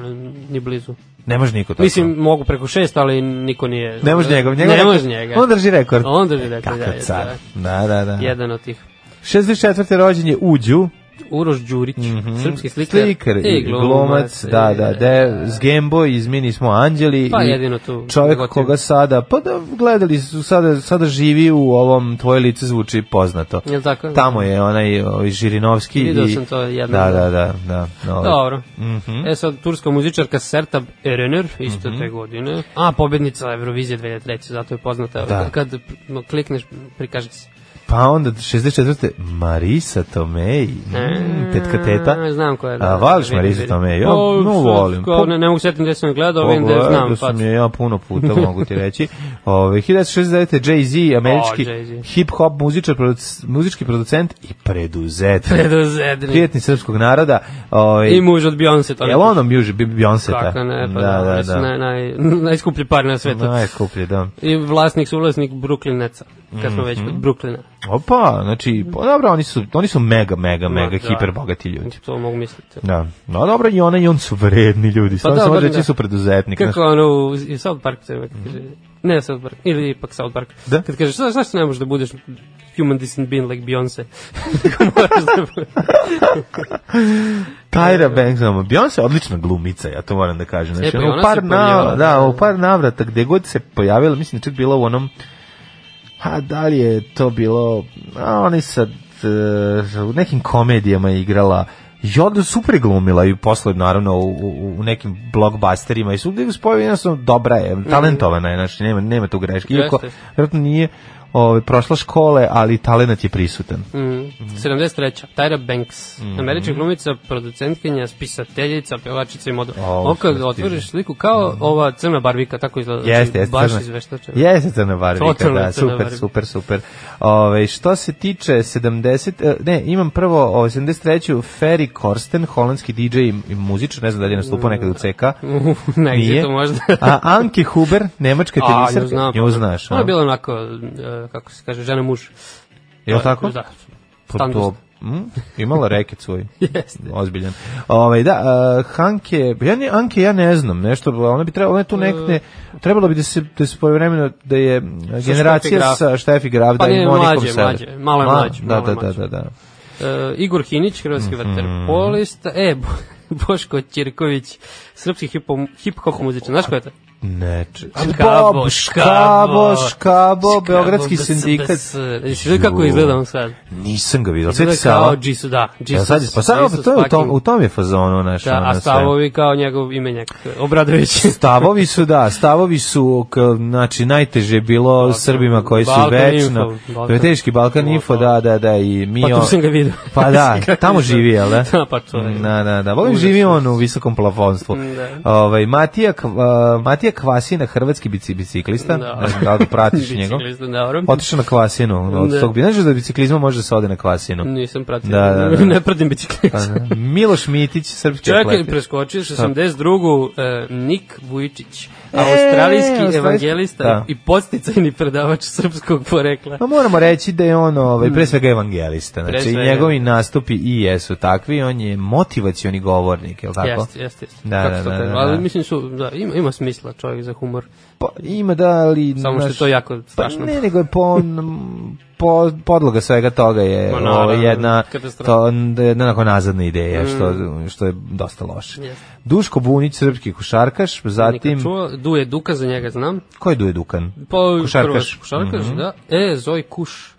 Speaker 6: ni blizu.
Speaker 5: Ne može niko tako.
Speaker 6: Mislim, mogu preko 6, ali niko nije.
Speaker 5: Ne može njega. njega
Speaker 6: ne može njega.
Speaker 5: On drži rekord. E,
Speaker 6: On drži rekord, da,
Speaker 5: Kakav
Speaker 6: je,
Speaker 5: car. Da, da, da.
Speaker 6: Jedan od tih.
Speaker 5: 64. rođen je Uđu,
Speaker 6: Uroš Đurić, srpski slikar,
Speaker 5: Mhm.
Speaker 6: E,
Speaker 5: slikar i glumac, da, da, de, s Gameboy iz Mini smo anđeli.
Speaker 6: Pa
Speaker 5: i
Speaker 6: jedino tu.
Speaker 5: Čovjek
Speaker 6: Gotiv.
Speaker 5: koga sada, pa da gledali su, sada, sada živi u ovom, tvoje lice zvuči poznato.
Speaker 6: Jel tako?
Speaker 5: Tamo je onaj ovaj, Žirinovski.
Speaker 6: Video
Speaker 5: i-
Speaker 6: sam to jednom.
Speaker 5: Da, da, da. da, da ovaj.
Speaker 6: Dobro. E sad, turska muzičarka Sertab Erener,
Speaker 5: Mhm.
Speaker 6: isto te godine. A, pobednica Eurovizije 2003. Zato je poznata.
Speaker 5: Da.
Speaker 6: Kad no, klikneš, prikaže se.
Speaker 5: Pa onda 64. Marisa Tomei,
Speaker 6: E,
Speaker 5: mm, tetka teta.
Speaker 6: A, Znam ko je.
Speaker 5: A, voliš Marisu Tomei? Ja,
Speaker 6: O,
Speaker 5: no,
Speaker 6: sad,
Speaker 5: volim.
Speaker 6: kao, ne, ne mogu setim gde sam je gledao, vidim da je znam.
Speaker 5: Pogledao
Speaker 6: facu.
Speaker 5: sam je ja puno puta, mogu ti reći. Ove, 1969. Jay-Z, američki
Speaker 6: O, Jay-Z.
Speaker 5: hip-hop muzičar, produc, muzički producent i
Speaker 6: pa *laughs*
Speaker 5: preduzetnik.
Speaker 6: Predozetni.
Speaker 5: Prijetni srpskog naroda. Ove,
Speaker 6: I muž od Beyoncé. to ne-
Speaker 5: Jel ono mjuži Beyoncé? ta?
Speaker 6: Kako ne, pa
Speaker 5: da, da, da.
Speaker 6: Naj, naj, *laughs* najskuplji par na svetu.
Speaker 5: Najkuplje, da.
Speaker 6: I vlasnik su vlasnik Brooklyneca, kad smo već kod
Speaker 5: Mhm.
Speaker 6: Brooklyna.
Speaker 5: Opa, znači, pa dobro, oni su, oni su mega, mega, mega
Speaker 6: da.
Speaker 5: hiperbogati ljudi.
Speaker 6: To mogu misliti.
Speaker 5: Da. No dobro, i ona i on su vredni ljudi. Samo
Speaker 6: Pa dobro,
Speaker 5: sam reći
Speaker 6: da.
Speaker 5: su preduzetnik.
Speaker 6: Kako
Speaker 5: znaš.
Speaker 6: ono u i South Park se uvek kaže, ne South Park, ili ipak South Park.
Speaker 5: Da?
Speaker 6: Kad kažeš, "Znaš- zašto ne možeš da budeš human decent being like Beyoncé? *laughs* Kako moraš da budeš?
Speaker 5: Tyra Banks, ono, Beyoncé je odlična glumica, ja to moram da kažem. Znači,
Speaker 6: E, pa i
Speaker 5: ono,
Speaker 6: ona
Speaker 5: u par
Speaker 6: se pojavila.
Speaker 5: na, da, u par navrata, gde god se pojavila, mislim da je čak bila u onom, a da li je to bilo, a oni sad e, u nekim komedijama je igrala, i onda super je glumila i posle naravno u, u, u nekim blockbusterima i svugde je spojila jednostavno dobra je, talentovana je, znači nema, nema tu greške, iako
Speaker 6: Jeste.
Speaker 5: vjerojatno nije ovaj, prošla škole, ali talenat je prisutan.
Speaker 6: Mm. 73. Tyra Banks,
Speaker 5: Mhm.
Speaker 6: američka glumica, producentkinja, spisateljica, pjevačica i model.
Speaker 5: O,
Speaker 6: Ovo kad
Speaker 5: sve
Speaker 6: otvoriš sliku kao ova crna barbika, tako izgleda.
Speaker 5: Mhm. Jeste,
Speaker 6: znači,
Speaker 5: jeste.
Speaker 6: Baš
Speaker 5: crna-
Speaker 6: izveštača. *laughs*
Speaker 5: Jeste crna barbika,
Speaker 6: Totalno
Speaker 5: da,
Speaker 6: crna
Speaker 5: super,
Speaker 6: barbika.
Speaker 5: super, super. Ove, što se tiče 70, e, ne, imam prvo ove, 73. Ferry Korsten, holandski DJ i i muzičar, ne znam da li je nastupao nekad u CK.
Speaker 6: Na
Speaker 5: Nije.
Speaker 6: exitu možda. *laughs*
Speaker 5: A Anke Huber, nemačka
Speaker 6: nju
Speaker 5: tenisarka,
Speaker 6: znam, pa-
Speaker 5: nju znaš,
Speaker 6: Ona
Speaker 5: a?
Speaker 6: je bila onako, e, kako se kaže, žena muž.
Speaker 5: Je li tako?
Speaker 6: Da.
Speaker 5: Pa
Speaker 6: Standard.
Speaker 5: to, mm, imala reket svoj. Jeste. Ozbiljan. Ovaj da, uh, Hanke, ja ne, Anke ja ne znam, nešto, pa ona bi trebala, ona je
Speaker 6: E.
Speaker 5: tu nekde, trebalo bi da se da se povremeno da je uh, generacija
Speaker 6: Štefi Graf.
Speaker 5: sa Štefi Graf
Speaker 6: Pa
Speaker 5: da i
Speaker 6: ne,
Speaker 5: Monikom
Speaker 6: mlađe,
Speaker 5: Sever.
Speaker 6: mlađe, malo je
Speaker 5: Ma,
Speaker 6: mlađe,
Speaker 5: Da,
Speaker 6: malo
Speaker 5: da,
Speaker 6: je
Speaker 5: da,
Speaker 6: mlađe.
Speaker 5: da, da.
Speaker 6: E, Igor Hinić, hrvatski
Speaker 5: Mhm.
Speaker 6: vaterpolista, e, Bo- *laughs* Boško Ćirković, srpski hipo- hip-hop muzičar, znaš ko je to?
Speaker 5: Neče.
Speaker 6: Škabo,
Speaker 5: Pa Bob,
Speaker 6: Škabo,
Speaker 5: škabo, škabo, beogradski
Speaker 6: BS,
Speaker 5: sindikat.
Speaker 6: BS. Jesi vidio kako
Speaker 5: Ju.
Speaker 6: izgleda on sad?
Speaker 5: Nisam ga vidio, sve ti
Speaker 6: Izgleda
Speaker 5: Sava.
Speaker 6: kao Jesus, da.
Speaker 5: Ja
Speaker 6: Jesus,
Speaker 5: sad, pa sad,
Speaker 6: Jesus
Speaker 5: to je u tom,
Speaker 6: fucking-
Speaker 5: u tom je fazonu naš.
Speaker 6: Da,
Speaker 5: ono,
Speaker 6: a
Speaker 5: sve.
Speaker 6: stavovi kao njegov imenjak,
Speaker 5: *laughs*
Speaker 6: Obradović.
Speaker 5: Stavovi su, da, stavovi su, k- znači, najteže je bilo Srbima koji su
Speaker 6: Balkan
Speaker 5: večno,
Speaker 6: Info, Balkan.
Speaker 5: to je teški Balkan Info, da, da, da, i mi...
Speaker 6: Pa tu
Speaker 5: on-
Speaker 6: sam ga vidio.
Speaker 5: Pa
Speaker 6: *laughs*
Speaker 5: da, tamo živi, jel da?
Speaker 6: Da, pa to je.
Speaker 5: Da, da, da. Volim živi on u visokom plafonstvu.
Speaker 6: Da.
Speaker 5: Ovaj Matija Kv- uh, Matija Kvasina, hrvatski bici- biciklista.
Speaker 6: Da.
Speaker 5: Ne znam da li ga
Speaker 6: *laughs*
Speaker 5: pratiš njegov.
Speaker 6: Biciklista, dobro.
Speaker 5: Otišao na Kvasinu. Od
Speaker 6: Da.
Speaker 5: tog bi znaš da biciklizma može da se ode na Kvasinu.
Speaker 6: Nisam pratio.
Speaker 5: Da, da, da.
Speaker 6: *laughs* ne pratim biciklista.
Speaker 5: Pa,
Speaker 6: *laughs*
Speaker 5: da. Miloš Mitić, srpski
Speaker 6: Čekaj,
Speaker 5: atlet.
Speaker 6: preskočio 82. E, Nik Vujičić, australijski
Speaker 5: E, australijski-
Speaker 6: evangelista
Speaker 5: Da.
Speaker 6: i podsticajni predavač srpskog porekla.
Speaker 5: Pa moramo reći da je on ovaj, pre svega evangelista.
Speaker 6: Hmm. Pre
Speaker 5: Znači,
Speaker 6: svega.
Speaker 5: njegovi nastupi i jesu takvi. On je motivacioni govornik, je li tako?
Speaker 6: Jeste, jeste, jeste.
Speaker 5: Da,
Speaker 6: Kako
Speaker 5: da,
Speaker 6: se to
Speaker 5: da,
Speaker 6: kaže?
Speaker 5: da,
Speaker 6: Ali
Speaker 5: da.
Speaker 6: mislim su, da, ima, ima smisla čovjek za humor.
Speaker 5: Pa, ima da, ali...
Speaker 6: Samo što je
Speaker 5: znaš,
Speaker 6: to jako strašno.
Speaker 5: Pa ne, nego je po, n- po, podloga svega toga je
Speaker 6: Ma, naravno,
Speaker 5: ovo, jedna,
Speaker 6: katastrofa. Hmm.
Speaker 5: to, n- jedna onako nazadna ideja, što, što je dosta loše.
Speaker 6: Jeste.
Speaker 5: Duško Bunić, srpski košarkaš, zatim...
Speaker 6: Pa Nikad čuo, Duje Duka za njega znam.
Speaker 5: Ko je Duje Dukan?
Speaker 6: Pa,
Speaker 5: Košarkaš. Mhm.
Speaker 6: prvo, Košarkaš, da. E, Zoj Kuš.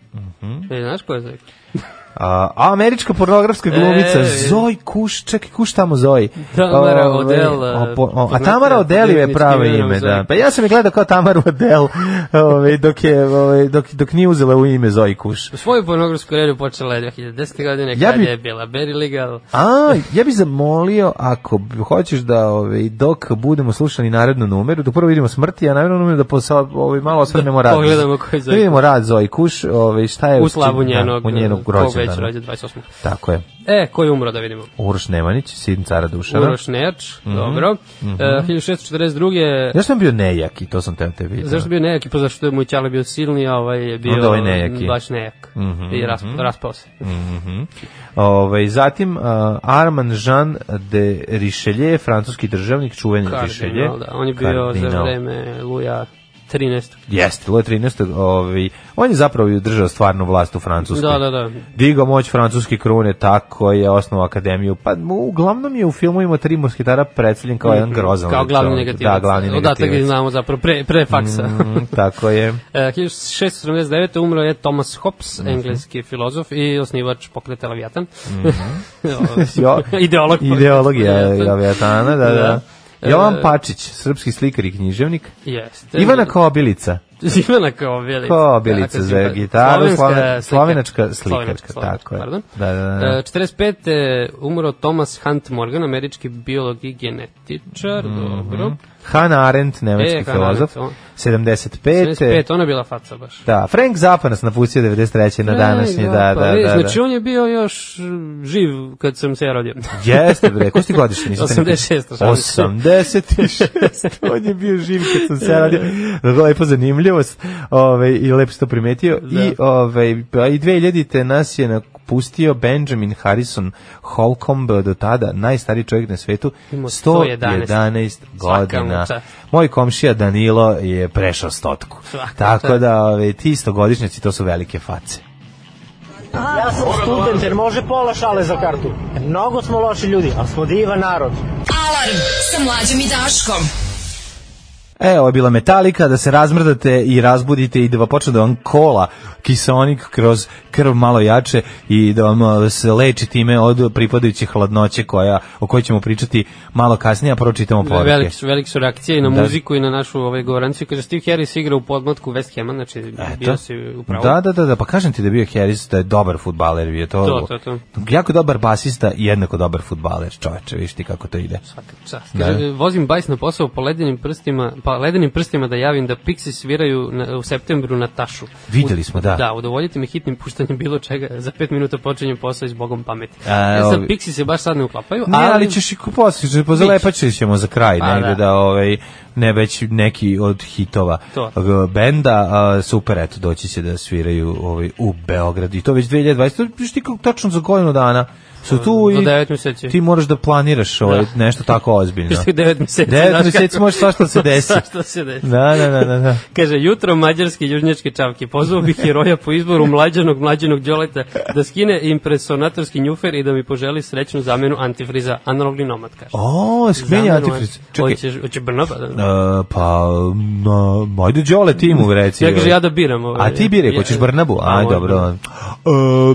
Speaker 6: E, znaš ko je Zoj Kuš?
Speaker 5: A, a američka pornografska glumica
Speaker 6: E, e.
Speaker 5: Zoj Kuš, čekaj, Kuš tamo Zoj.
Speaker 6: Tamara
Speaker 5: Ovaj,
Speaker 6: Odell, eh,
Speaker 5: a po- o, a
Speaker 6: poznata
Speaker 5: Tamara Odell je
Speaker 6: prirodničkim
Speaker 5: pravo
Speaker 6: imenom
Speaker 5: ime,
Speaker 6: Zoj.
Speaker 5: da. Pa ja sam je gledao kao Tamara Odell, ovaj, dok, je, ovaj, dok, dok nije uzela u ime Zoj Kuš.
Speaker 6: Svoju pornografsku karijeru počela je 2010. godine,
Speaker 5: Ja
Speaker 6: ja
Speaker 5: bi-
Speaker 6: je bila Berry Legal.
Speaker 5: A, ja bih zamolio, ako b- hoćeš da ovaj, dok budemo slušali narednu numeru, dok prvo vidimo smrti, a narednu numeru da posao, ovaj, malo osvrnemo rad.
Speaker 6: pogledamo ko je Zoj
Speaker 5: Da vidimo rad Zoj Kuš, ovaj, šta je
Speaker 6: U slavu
Speaker 5: da,
Speaker 6: njenog, eh,
Speaker 5: u njenog
Speaker 6: ko već
Speaker 5: rođendana.
Speaker 6: rođe 28.
Speaker 5: Tako je.
Speaker 6: E, ko je umro da vidimo?
Speaker 5: Uroš Nemanić, sin cara Dušana.
Speaker 6: Uroš Nerč,
Speaker 5: Mhm.
Speaker 6: dobro. E, 1642.
Speaker 5: Zašto sam bio nejak i to sam te te vidio.
Speaker 6: Zašto je bio nejaki? Pa zašto je moj ćale bio silni, a ovaj je bio
Speaker 5: Onda ovaj nejaki. Mhm,
Speaker 6: baš nejak. I rasp, raspao se.
Speaker 5: Ovaj, zatim uh, Armand Jean de Richelieu, francuski državnik, čuveni Richelieu.
Speaker 6: Kardinal, da. On je bio za
Speaker 5: Kardinal.
Speaker 6: vreme Luja 13.
Speaker 5: Jeste, Luj 13. Ovaj, on je zapravo držao stvarnu vlast u Francuskoj.
Speaker 6: Da, da, da.
Speaker 5: Digao moć francuske krune, tako je osnovao akademiju. Pa mu- uglavnom je u filmu ima tri musketara predstavljen kao jedan grozan.
Speaker 6: Mm, Kao
Speaker 5: lik,
Speaker 6: glavni
Speaker 5: čovjek.
Speaker 6: negativac.
Speaker 5: Da, glavni negativac.
Speaker 6: Odatak gdje znamo zapravo, pre, pre faksa. *laughs*
Speaker 5: Mm, tako je.
Speaker 6: E, 1679. umro je Thomas Hobbes,
Speaker 5: Mhm.
Speaker 6: engleski filozof i osnivač pokreta Leviatan. *laughs*
Speaker 5: Jo,
Speaker 6: Ideolog pokreta
Speaker 5: Ideologija
Speaker 6: Leviatan.
Speaker 5: Leviatana, da, da.
Speaker 6: Da.
Speaker 5: Jovan
Speaker 6: E,
Speaker 5: Pačić, srpski slikar i književnik.
Speaker 6: Jeste.
Speaker 5: Ivana Kobilica.
Speaker 6: Ivana Kobilica.
Speaker 5: Kobilica
Speaker 6: Tako,
Speaker 5: za
Speaker 6: simpatična.
Speaker 5: gitaru,
Speaker 6: Slovenska
Speaker 5: slovenačka, slovenačka
Speaker 6: Slovenačka,
Speaker 5: slikarka,
Speaker 6: slovenačka,
Speaker 5: tako je.
Speaker 6: pardon.
Speaker 5: Da, da, da.
Speaker 6: E, 45. umro Thomas Hunt Morgan, američki biolog i genetičar,
Speaker 5: Mhm.
Speaker 6: dobro.
Speaker 5: Hannah Arendt, nemački
Speaker 6: E, Hannah
Speaker 5: filozof,
Speaker 6: Arendt,
Speaker 5: 75.
Speaker 6: 75, ona je bila faca baš.
Speaker 5: Da, Frank Zappa nas napustio 93. na današnji,
Speaker 6: Ej,
Speaker 5: da, da,
Speaker 6: pa vidi,
Speaker 5: da.
Speaker 6: Znači,
Speaker 5: da.
Speaker 6: on je bio još mm, živ kad sam se ja rodio.
Speaker 5: Jeste bre, ko si ti godišnji? Nisam te nikad-
Speaker 6: 86,
Speaker 5: 86. On je bio živ kad sam se ja radio. Dakle, lepo zanimljivost. Ove, I lepo si to primetio. I, ove, pa i 2000-te nas je napustio Benjamin Harrison Holcomb do tada, najstariji čovjek na svetu.
Speaker 6: Ima
Speaker 5: 111,
Speaker 6: 111
Speaker 5: godina.
Speaker 6: mu čast.
Speaker 5: Moj komšija Danilo je prešao stotku.
Speaker 6: Svaka mu
Speaker 5: Tako
Speaker 6: čast.
Speaker 5: da, ove, ti stogodišnjaci, to su velike face.
Speaker 9: Ja sam student, jer može pola šale za kartu. Mnogo smo loši ljudi, ali smo divan narod.
Speaker 4: Alarm sa mlađom i Daškom.
Speaker 5: E, ovo je bila Metallica, da se razmrdate i razbudite i da vam počne da vam kola kiseonik kroz krv malo jače i da vam a, se leči time od pripadajuće hladnoće koja, o kojoj ćemo pričati malo kasnije, a pročitamo
Speaker 6: *laughs*
Speaker 5: poruke.
Speaker 6: Velike, su- velike su reakcije i na
Speaker 5: Da.
Speaker 6: muziku i na našu ovaj, govoranciju. Kaže, Steve Harris igra u podmatku West Hema, znači bio si upravo.
Speaker 5: Da, da, da, da, pa kažem ti da je bio Harris da je dobar futbaler, je to,
Speaker 6: To, to, to.
Speaker 5: jako dobar basista i jednako dobar futbaler, čoveče, viš ti kako to ide.
Speaker 6: Svaka čast. Kaže, vozim bajs na posao po ledenim prstima, pa ledenim prstima da javim da Pixi sviraju na, u septembru na tašu.
Speaker 5: Videli smo, da.
Speaker 6: Da, udovoljite mi hitnim puštanjem bilo čega, za pet minuta počinjem posao i s Bogom pameti.
Speaker 5: A,
Speaker 6: ja sam,
Speaker 5: ovi-
Speaker 6: Pixi se baš sad ne uklapaju,
Speaker 5: Ne, ali ćeš i kupositi, pozalepačit ćemo za kraj,
Speaker 6: Pa,
Speaker 5: negde da,
Speaker 6: da.
Speaker 5: ovaj, ne već neki od hitova
Speaker 6: To.
Speaker 5: g- benda, a, super, eto, doći će da sviraju ovaj, u Beograd i to već 2020, to je viš ti kako tačno za godinu dana su tu
Speaker 6: Za
Speaker 5: i
Speaker 6: devet meseci. *laughs*
Speaker 5: ti moraš da planiraš ovaj,
Speaker 6: Da.
Speaker 5: nešto tako
Speaker 6: *laughs*
Speaker 5: ozbiljno.
Speaker 6: Što je devet meseci.
Speaker 5: Devet
Speaker 6: znaš
Speaker 5: meseci
Speaker 6: kako-
Speaker 5: može svašta
Speaker 6: *laughs*
Speaker 5: se desi.
Speaker 6: Svašta se desi.
Speaker 5: Da, da, da, da, da.
Speaker 6: Kaže, jutro mađarske i južnjačke čavke. Pozvao bih heroja po izboru mlađanog mlađanog Đoleta da skine impresonatorski njufer i da mi poželi srećnu zamenu antifriza. Analogni nomad, kaže.
Speaker 5: O, smenja
Speaker 6: Zamenu
Speaker 5: antifriz.
Speaker 6: an-
Speaker 5: Čekaj,
Speaker 6: Hoćeš, hoće Brnaba? Da.
Speaker 5: e, pa, no, ajde Đole timu
Speaker 6: *laughs*
Speaker 5: reci.
Speaker 6: Ja kaže, ja da biram. Ovaj.
Speaker 5: A ti biraj, hoćeš Brnabu? Aj,
Speaker 6: Ovo je
Speaker 5: dobro. E,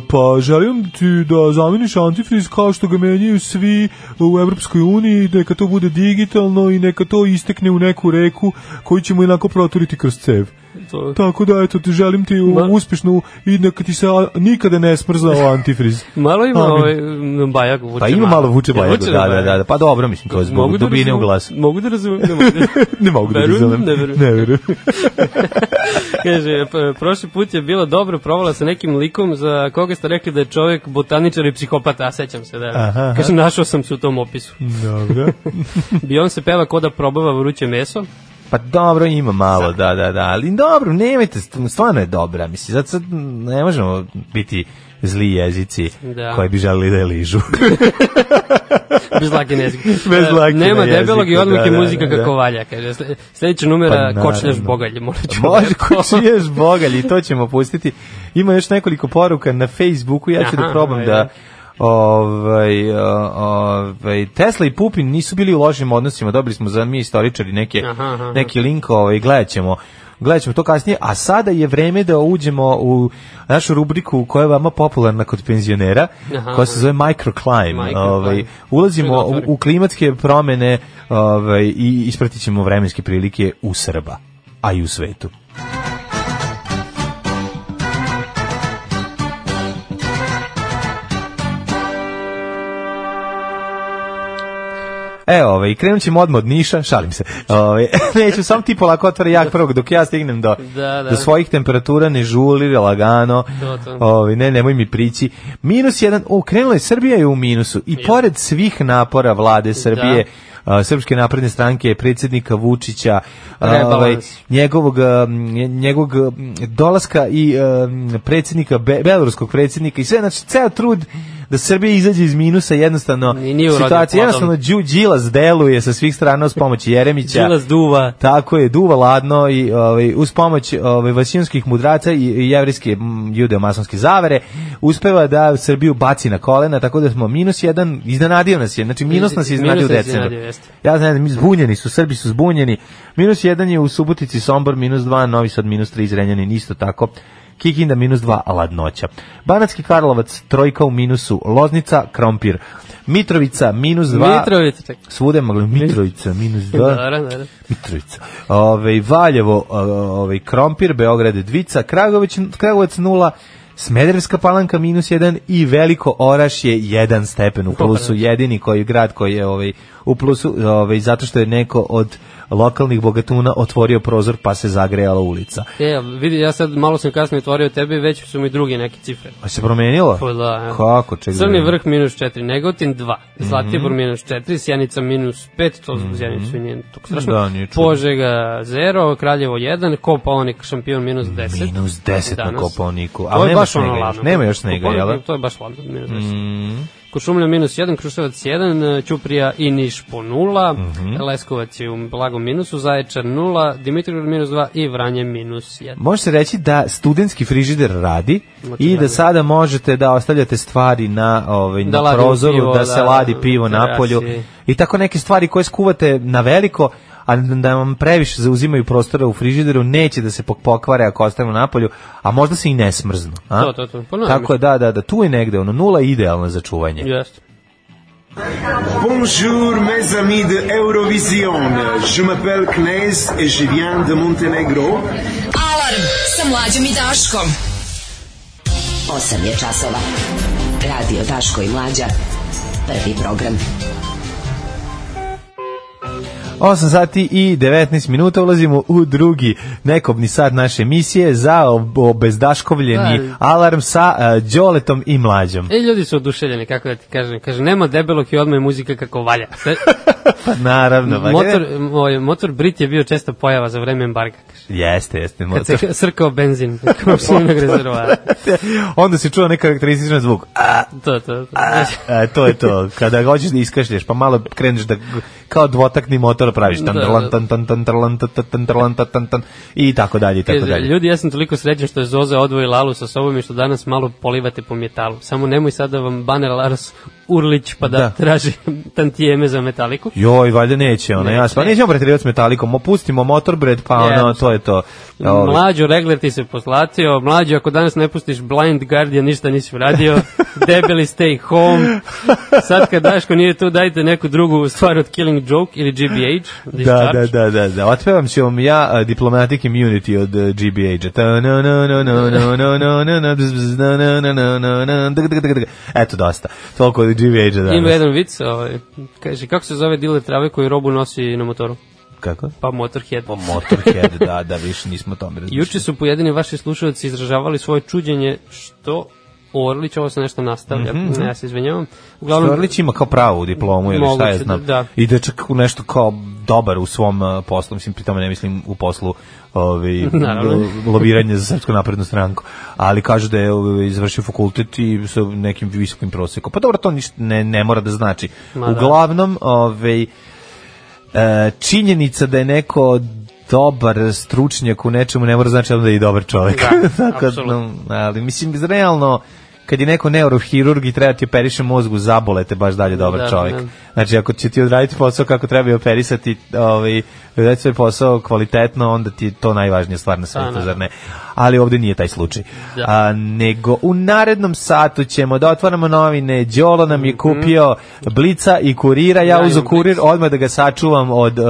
Speaker 5: pa želim ti da zameniš antifriz kao što ga menjaju svi u Evropskoj uniji, neka to bude digitalno i neka to istekne u neku reku koju ćemo inako proturiti kroz cev.
Speaker 6: To-
Speaker 5: Tako da, eto, ti želim ti u-
Speaker 6: Ma-
Speaker 5: uspešnu i neka ti se a, nikada ne smrzao antifriz.
Speaker 6: Malo ima
Speaker 5: Amin.
Speaker 6: ovaj, m, bajag vuče.
Speaker 5: Pa ima malo vuče
Speaker 6: Jel
Speaker 5: bajagu,
Speaker 6: vuče
Speaker 5: da, da,
Speaker 6: bajag?
Speaker 5: da, da, pa dobro, mislim, to je
Speaker 6: Mogu da
Speaker 5: zbog dubine u
Speaker 6: razumem-
Speaker 5: glasu.
Speaker 6: Mogu da razumem. ne mogu da- *laughs*
Speaker 5: Ne mogu da
Speaker 6: Verujem,
Speaker 5: razumem.
Speaker 6: ne verujem.
Speaker 5: Ne verujem. *laughs*
Speaker 6: Kaže, p- prošli put je bilo dobro provala sa nekim likom za koga ste rekli da je čovjek botaničar i psihopata, a sećam se da.
Speaker 5: Aha.
Speaker 6: Kaže, našao sam se u tom opisu.
Speaker 5: Dobro.
Speaker 6: Beyoncé peva ko da probava vruće meso.
Speaker 5: Pa dobro, ima malo, da, da, da, ali dobro, nemojte, st- stvarno je dobra, mislim, zato sad ne možemo biti zli jezici
Speaker 6: Da.
Speaker 5: koji bi želili da je ližu. *laughs*
Speaker 6: Bez lake nezge.
Speaker 5: Bez lake na
Speaker 6: Nema
Speaker 5: jeziku,
Speaker 6: debelog i odmah
Speaker 5: da,
Speaker 6: je
Speaker 5: da,
Speaker 6: muzika
Speaker 5: da, da.
Speaker 6: kako valja. Kaže, Sle- sledeća numera
Speaker 5: Pa,
Speaker 6: kočljaš
Speaker 5: naravno.
Speaker 6: bogalje. Morat ću
Speaker 5: Može
Speaker 6: lepo. *laughs*
Speaker 5: kočiješ bogalj i to ćemo pustiti. Ima još nekoliko poruka na Facebooku, ja ću da
Speaker 6: Aha,
Speaker 5: probam
Speaker 6: ajde.
Speaker 5: da ovaj, o, ovaj, Tesla i Pupin nisu bili u lošim odnosima, dobili smo za mi istoričari neke,
Speaker 6: Aha, aha.
Speaker 5: neki link, ovaj, gledat ćemo gledat ćemo to kasnije, a sada je vreme da uđemo u našu rubriku koja je vama popularna kod penzionera,
Speaker 6: Aha,
Speaker 5: koja se
Speaker 6: aha.
Speaker 5: zove Microclimb.
Speaker 6: Microclimb.
Speaker 5: Ovaj, ulazimo
Speaker 6: Čuj,
Speaker 5: u,
Speaker 6: otvori.
Speaker 5: u klimatske promene ovaj, i ispratit ćemo vremenske prilike u Srba, a i u svetu. E, ovaj, krenut ćemo odmah od Niša, šalim se. Ovaj, *laughs* neću, sam ti polako otvore jak prvog, dok ja stignem do,
Speaker 6: Da, da.
Speaker 5: do svojih temperatura, ne žuli, lagano.
Speaker 6: To, to.
Speaker 5: Ovaj, ne, nemoj mi prići. Minus jedan, o, krenula je, Srbija je u minusu. I pored svih napora vlade Srbije, a, Srpske napredne stranke, predsjednika Vučića,
Speaker 6: Rebalans.
Speaker 5: ovaj, njegovog, a, nje- njegovog m, dolaska i em, predsjednika, be, beloruskog predsjednika i sve, znači, ceo trud da Srbija izađe iz minusa jednostavno
Speaker 6: Ni- nije urodio
Speaker 5: situacija.
Speaker 6: plodom.
Speaker 5: Jednostavno, Đu, Đilas deluje sa svih strana uz pomoć Jeremića.
Speaker 6: Đilas duva.
Speaker 5: Tako je, duva ladno i ovaj, uz pomoć ovaj, vasinskih mudraca i, i jevrijske mm, judeo-masonske zavere uspeva da Srbiju baci na kolena, tako da smo minus jedan, iznenadio nas je, znači minus nas je
Speaker 6: Minus
Speaker 5: iznenadio u
Speaker 6: nas je
Speaker 5: decembru.
Speaker 6: iznenadio, jeste.
Speaker 5: Ja znam, mi zbunjeni su, Srbi su zbunjeni. Minus jedan je u Subotici, Sombor, minus dva, Novi Sad, minus tri, Zrenjanin, isto tako. Kikinda minus 2, ladnoća. Banatski Karlovac, trojka u minusu, Loznica, Krompir. Mitrovica, minus 2.
Speaker 6: Mitrovica, čekaj.
Speaker 5: Svuda je moglo Mitrovica, minus 2.
Speaker 6: *laughs* Dobro, dobro.
Speaker 5: Mitrovica. Ove, Valjevo, o- ovaj Krompir, Beograd, Dvica, Kragović, Kragovac 0, Smederevska palanka minus 1 i Veliko Oraš je 1 stepen u plusu, jedini koji grad koji je ovaj, u plusu, ovaj, zato što je neko od lokalnih bogatuna otvorio prozor pa se zagrejala ulica.
Speaker 6: E, vidi, ja sad malo sam kasnije otvorio tebe, već su mi druge neke cifre.
Speaker 5: Pa se promenilo?
Speaker 6: Pa da, evo.
Speaker 5: Kako? Ček,
Speaker 6: Crni
Speaker 5: da- Mhm.
Speaker 6: vrh minus 4, Negotin 2, Zlatibor minus 4, Sjenica minus 5, to mm -hmm. Sjenicu nije tako strašno.
Speaker 5: Da, nije čudno.
Speaker 6: Požega 0, Kraljevo 1, Kopaonik šampion minus 10.
Speaker 5: Minus 10 na
Speaker 6: Danas.
Speaker 5: Kopaoniku, Pa, ali
Speaker 6: To je
Speaker 5: nema
Speaker 6: baš
Speaker 5: snega
Speaker 6: ono
Speaker 5: još.
Speaker 6: ladno. Mm.
Speaker 5: Nema još snega,
Speaker 6: Kopaonik,
Speaker 5: jel da? Mm.
Speaker 6: To je baš ladno, minus 10. Kuršumlja minus 1, Kruševac 1, Ćuprija i Niš po 0,
Speaker 5: Mhm.
Speaker 6: Leskovac je u blagom minusu, Zaječar 0, Dimitrovgrad minus 2 i Vranje minus 1.
Speaker 5: Može se reći da studentski frižider radi i da
Speaker 6: Očigledno.
Speaker 5: sada možete da ostavljate stvari na, ovaj,
Speaker 6: Da
Speaker 5: na
Speaker 6: ladi
Speaker 5: prozoru,
Speaker 6: pivo,
Speaker 5: da se
Speaker 6: da,
Speaker 5: ladi pivo
Speaker 6: na
Speaker 5: na polju
Speaker 6: terasi.
Speaker 5: i tako neke stvari koje skuvate na veliko, a da vam previše zauzimaju prostora u frižideru, neće da se pok- pokvare ako ostavimo napolju, a možda se i ne smrznu. A?
Speaker 6: To, to, to. Pa ne,
Speaker 5: Tako je, da, da, da, tu je negde, ono, nula je idealna za čuvanje.
Speaker 6: Jeste.
Speaker 10: Bonjour mes amis de Eurovision, je m'appelle Knez et je viens de Montenegro.
Speaker 4: Alarm sa mlađom i Daškom.
Speaker 2: 8 je časova. Radio Daško i Mlađa. Prvi program.
Speaker 5: 8 sati i 19 minuta ulazimo u drugi nekobni sat naše emisije za ob- obezdaškovljeni
Speaker 6: Aj.
Speaker 5: alarm sa e, Đoletom i mlađom.
Speaker 6: E, ljudi su oduševljeni, kako da ti kažem. Kaže, nema debelog i odmah je muzika kako valja.
Speaker 5: *laughs*
Speaker 6: Sve,
Speaker 5: Pa naravno, ba,
Speaker 6: motor, moj, motor Brit je bio često pojava za vreme embarga. Kaže.
Speaker 5: Jeste, jeste,
Speaker 6: Kad
Speaker 5: motor.
Speaker 6: se srkao
Speaker 5: *laughs*
Speaker 6: benzin, kako se ne rezervoa.
Speaker 5: Onda se čuo nekarakterističan zvuk. A,
Speaker 6: To, to, to.
Speaker 5: e, to je to. Kada ga hoćeš da iskašlješ, pa malo kreneš da g- kao dvotakni motor praviš. Tan,
Speaker 6: Da, da.
Speaker 5: trlan, tan, tan, tan, trlan, tan, tan, tan, trlan, tan, tan, tan, I tako dalje, i tako
Speaker 6: Kaže,
Speaker 5: dalje.
Speaker 6: Ljudi, ja sam toliko srećan što je Zoza odvoji Lalu sa sobom i što danas malo polivate po metalu. Samo nemoj sad da vam baner Lars Urlić pa da,
Speaker 5: Da.
Speaker 6: traži *laughs* tantijeme za metaliku.
Speaker 5: Joj, valjda neće ona,
Speaker 6: Ne,
Speaker 5: ja, pa
Speaker 6: ne.
Speaker 5: nećemo preterivati s metalikom, opustimo motorbred, pa
Speaker 6: Ne,
Speaker 5: ono, to je to. Ovi.
Speaker 6: Mlađo, regler ti se poslatio. Mlađo, ako danas ne pustiš Blind Guardian, ništa
Speaker 5: *laughs*
Speaker 6: nisi uradio. Debeli stay home. Sad kad Daško nije tu, dajte neku drugu stvar od Killing Joke ili GBH.
Speaker 5: Da,
Speaker 6: Discharge.
Speaker 5: da, da, da, da. Otpevam ću vam ja uh, Diplomatic Immunity od uh, GBH-a. Ta na na na na na na na na na bzz, bzz, na na na na na na dg, dg, dg, dg. Eto dosta. Toliko od GBH-a
Speaker 6: Ima
Speaker 5: danas.
Speaker 6: jedan vic, ovaj, kaže, kako se zove diler trave koji robu nosi na motoru?
Speaker 5: Kako?
Speaker 6: Pa Motorhead.
Speaker 5: Pa Motorhead, da, da, više nismo o tome razmišljali.
Speaker 6: Juče su pojedini vaši slušalci izražavali svoje čuđenje što Orlić, ovo se nešto nastavlja, ne, ja se izvinjavam. Uglavnom,
Speaker 5: Mhm. Orlić ima kao pravu diplomu ili šta
Speaker 6: Moguće
Speaker 5: je
Speaker 6: da-
Speaker 5: znam.
Speaker 6: da.
Speaker 5: I da je čak u nešto kao dobar u svom uh, poslu, mislim pri tome ne mislim u poslu
Speaker 6: *laughs*
Speaker 5: ovaj
Speaker 6: Naravno.
Speaker 5: lo- lobiranja za srpsku naprednu stranku, ali kažu da je ovaj, izvršio fakultet i sa nekim visokim prosekom. Pa dobro, to ništa ne, ne mora da znači.
Speaker 6: Ma da.
Speaker 5: Uglavnom, ovaj e, činjenica da je neko dobar stručnjak u nečemu ne mora znači da je i dobar čovjek.
Speaker 6: Da,
Speaker 5: *laughs* Tako,
Speaker 6: apsolutno.
Speaker 5: no, ali mislim, realno, kad je neko neurohirurg i treba ti operiše mozgu, zabolete baš dalje dobar
Speaker 6: Da,
Speaker 5: čovjek.
Speaker 6: da.
Speaker 5: Znači, ako će ti odraditi posao kako treba i operisati, ovaj, odraditi svoj posao kvalitetno, onda ti je to najvažnija stvar na
Speaker 6: Da,
Speaker 5: svetu,
Speaker 6: da.
Speaker 5: zar ne? Ali ovde nije taj slučaj.
Speaker 6: Da.
Speaker 5: A, nego, u narednom satu ćemo da otvaramo novine, Đolo nam je kupio Blica i Kurira, ja,
Speaker 6: Mhm. Ja
Speaker 5: uzo
Speaker 6: imam Blic.
Speaker 5: Kurir, odmah da ga sačuvam od uh,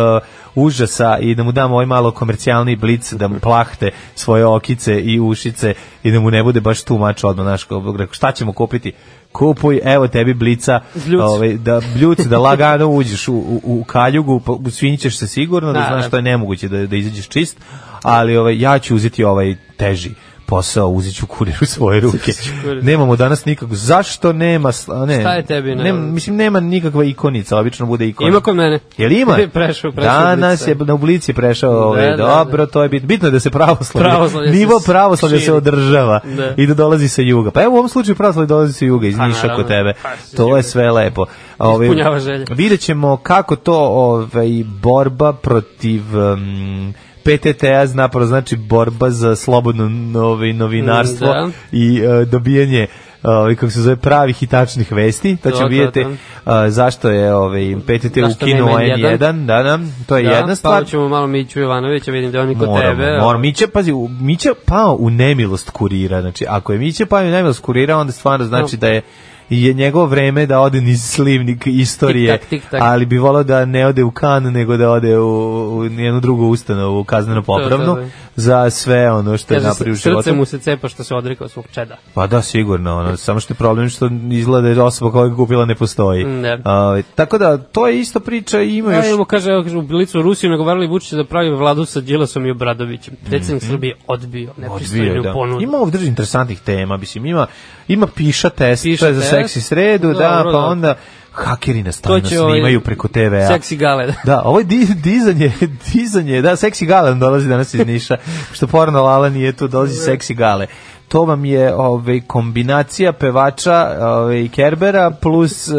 Speaker 5: užasa i da mu dam ovaj malo komercijalni blic da mu plahte svoje okice i ušice i da mu ne bude baš tu mač odmah naš šta ćemo kupiti kupuj, evo tebi blica
Speaker 6: Bljuc.
Speaker 5: ovaj, da bljuc, da lagano uđeš u, u, u kaljugu, pa usvinjićeš se sigurno da,
Speaker 6: Da,
Speaker 5: znaš
Speaker 6: da.
Speaker 5: to je nemoguće da, da izađeš čist, ali ovaj, ja ću uzeti ovaj teži posao, uzet ću kurir u svoje ruke.
Speaker 6: kurir.
Speaker 5: Nemamo danas nikakvog, zašto nema, sla- ne,
Speaker 6: Šta je tebi, ne?
Speaker 5: nema- mislim, nema nikakva ikonica, obično bude ikonica.
Speaker 6: ima kod mene.
Speaker 5: Jel ima?
Speaker 6: *laughs* prešao, prešao.
Speaker 5: Danas
Speaker 6: ulicu.
Speaker 5: je na oblici prešao, ovaj,
Speaker 6: da,
Speaker 5: dobro, to je bitno. Bitno je da se pravoslavlje,
Speaker 6: Pravoslavlje se
Speaker 5: nivo
Speaker 6: s-
Speaker 5: pravoslavlja
Speaker 6: širi.
Speaker 5: se održava
Speaker 6: Da.
Speaker 5: i da dolazi sa juga. Pa evo u ovom slučaju pravoslavlje dolazi sa juga, iz
Speaker 6: Pa,
Speaker 5: Niša
Speaker 6: naravno.
Speaker 5: kod tebe.
Speaker 6: Pa, s
Speaker 5: To
Speaker 6: juga.
Speaker 5: je sve lepo. Ovaj,
Speaker 6: Ispunjava želje.
Speaker 5: Vidjet ćemo kako to ovaj, borba protiv... um, PTTA zapravo znači borba za slobodno novi, novinarstvo
Speaker 6: Mm, da.
Speaker 5: i e, dobijanje ovaj kako se zove pravih i tačnih vesti. To
Speaker 6: To,
Speaker 5: ćemo
Speaker 6: to,
Speaker 5: vidjeti
Speaker 6: to.
Speaker 5: e, zašto je ovaj PTT te
Speaker 6: Zašto
Speaker 5: ukinuo
Speaker 6: nema N1?
Speaker 5: N1, da, da, to je
Speaker 6: Da,
Speaker 5: jedna
Speaker 6: Pa
Speaker 5: stvar.
Speaker 6: ćemo malo Miću Jovanovića, vidim da je oni kod
Speaker 5: Moramo,
Speaker 6: tebe.
Speaker 5: moramo. Miće, pazi, u- Miće pao u nemilost kurira, znači, ako je Miće pao u nemilost kurira, onda stvarno znači da je je njegovo vreme da ode niz slivnik istorije,
Speaker 6: Tik tak, tik tak.
Speaker 5: ali bi volao da ne ode u kan, nego da ode u, u jednu drugu ustanovu, kazneno popravnu,
Speaker 6: to, da.
Speaker 5: za sve ono što je
Speaker 6: Kaže,
Speaker 5: napravio u
Speaker 6: srce
Speaker 5: životu.
Speaker 6: mu se cepa što se odrekao svog čeda.
Speaker 5: Pa da, sigurno, ono, samo što je problem što izgleda da osoba koja ga kupila ne postoji.
Speaker 6: Ne.
Speaker 5: Ovaj, tako da, to je isto priča, ima
Speaker 6: Da,
Speaker 5: još...
Speaker 6: evo kaže, evo kaže, u Blicu Rusiju nagovarali Vučića da pravi vladu sa Đilasom i Obradovićem. Predsednik Srbije odbio nepristojnu
Speaker 5: Mhm. Odbio, da.
Speaker 6: ponudu.
Speaker 5: Ima ovdje još interesantnih tema, mislim, ima, ima piša test,
Speaker 6: Piša
Speaker 5: to je za
Speaker 6: test.
Speaker 5: seksi sredu, da,
Speaker 6: Dobro,
Speaker 5: pa
Speaker 6: da.
Speaker 5: onda hakeri nas
Speaker 6: To
Speaker 5: stalno
Speaker 6: će, ovaj,
Speaker 5: snimaju preko TV-a.
Speaker 6: Seksi gale, da.
Speaker 5: Da, ovo je di- dizanje, *laughs* dizanje, da, seksi gale nam dolazi danas iz Niša, što porno lala nije tu, dolazi seksi gale. To vam je ovaj, kombinacija pevača ovaj, Kerbera plus eh,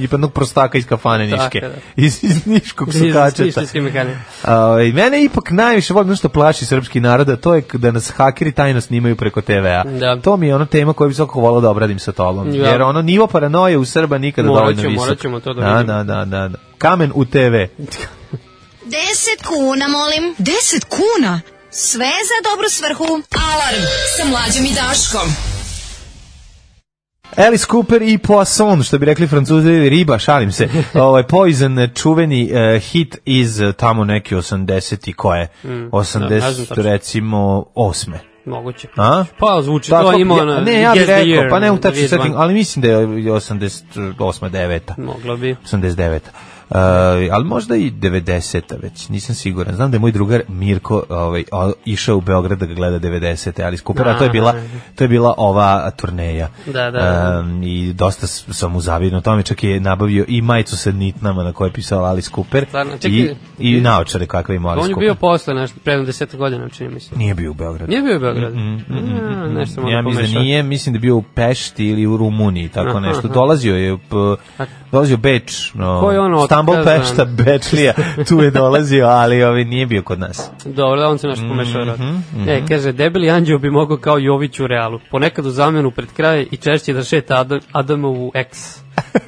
Speaker 5: jednog prostaka iz kafane
Speaker 6: Tako
Speaker 5: Niške.
Speaker 6: je, da.
Speaker 5: Iz, iz Niškog sukačeta.
Speaker 6: Iz- iz- iz mekane.
Speaker 5: Ovaj mene ipak najviše volim ono što plaši srpski narod, a to je da nas hakeri tajno snimaju preko TV-a.
Speaker 6: Da.
Speaker 5: To mi je ono tema koju bih svakako volao da obradim sa tobom.
Speaker 6: Ja.
Speaker 5: Jer ono nivo paranoje u Srba nikada
Speaker 6: Morat
Speaker 5: dovoljno
Speaker 6: ćemo,
Speaker 5: visok.
Speaker 6: morat ćemo to da
Speaker 5: da,
Speaker 6: vidimo.
Speaker 5: da, da, da, da. Kamen u TV.
Speaker 2: 10 kuna, molim.
Speaker 4: 10 kuna?
Speaker 2: Sve za dobru svrhu.
Speaker 4: Alarm sa mlađom i Daškom.
Speaker 5: Alice Cooper i Poisson, što bi rekli francuzi, riba, šalim
Speaker 6: *laughs*
Speaker 5: se. Ovaj Poison, čuveni eh, hit iz eh, tamo neki 80 i
Speaker 6: Mm,
Speaker 5: koje? 80,
Speaker 6: tačno.
Speaker 5: recimo, osme.
Speaker 6: Moguće.
Speaker 5: A?
Speaker 6: Pa zvuči,
Speaker 5: Tako,
Speaker 6: to ima
Speaker 5: ja-
Speaker 6: ona...
Speaker 5: ne, ja
Speaker 6: Yes
Speaker 5: bih
Speaker 6: the
Speaker 5: rekao,
Speaker 6: Year, ono,
Speaker 5: pa ne u tačnom
Speaker 6: Vid Van.
Speaker 5: settingu, ali mislim da je 88. 9.
Speaker 6: Moglo bi.
Speaker 5: 89. Uh, ali možda i 90. već, nisam siguran. Znam da je moj drugar Mirko ovaj, o- išao u Beograd da ga gleda 90. ali skupera, a to je, bila, to je bila ova turneja.
Speaker 6: Da, da, da.
Speaker 5: Um, I dosta s- sam mu zavidno tome, čak je nabavio i majicu sa nitnama na kojoj je pisao Alice Cooper
Speaker 6: Stvarno, čekaj.
Speaker 5: i, i naočare kakve ima Alice
Speaker 6: On je
Speaker 5: Cooper.
Speaker 6: bio posle, nešto, predno deseta godina, čini mi se.
Speaker 5: Nije bio u Beogradu.
Speaker 6: Nije bio u
Speaker 5: Mm,
Speaker 6: Beogradu? A, nešto sam
Speaker 5: Ja
Speaker 6: onda
Speaker 5: mislim da
Speaker 6: pomešao.
Speaker 5: nije, mislim da je bio u Pešti ili u Rumuniji, tako
Speaker 6: Aha,
Speaker 5: nešto.
Speaker 6: aha.
Speaker 5: Dolazio je, p, dolazio Beč, no,
Speaker 6: Ko je ono
Speaker 5: Stambol
Speaker 6: otkazan?
Speaker 5: Pešta, Bečlija, tu je dolazio, ali ovi nije bio kod nas.
Speaker 6: Dobro, da on se
Speaker 5: Mm-hmm,
Speaker 6: nešto pomešao. Mm E, kaže, debeli anđeo bi mogao kao Jović u realu. Ponekad u zamenu pred kraj i češće da šeta Adam, Adamovu
Speaker 5: *laughs*
Speaker 6: ex.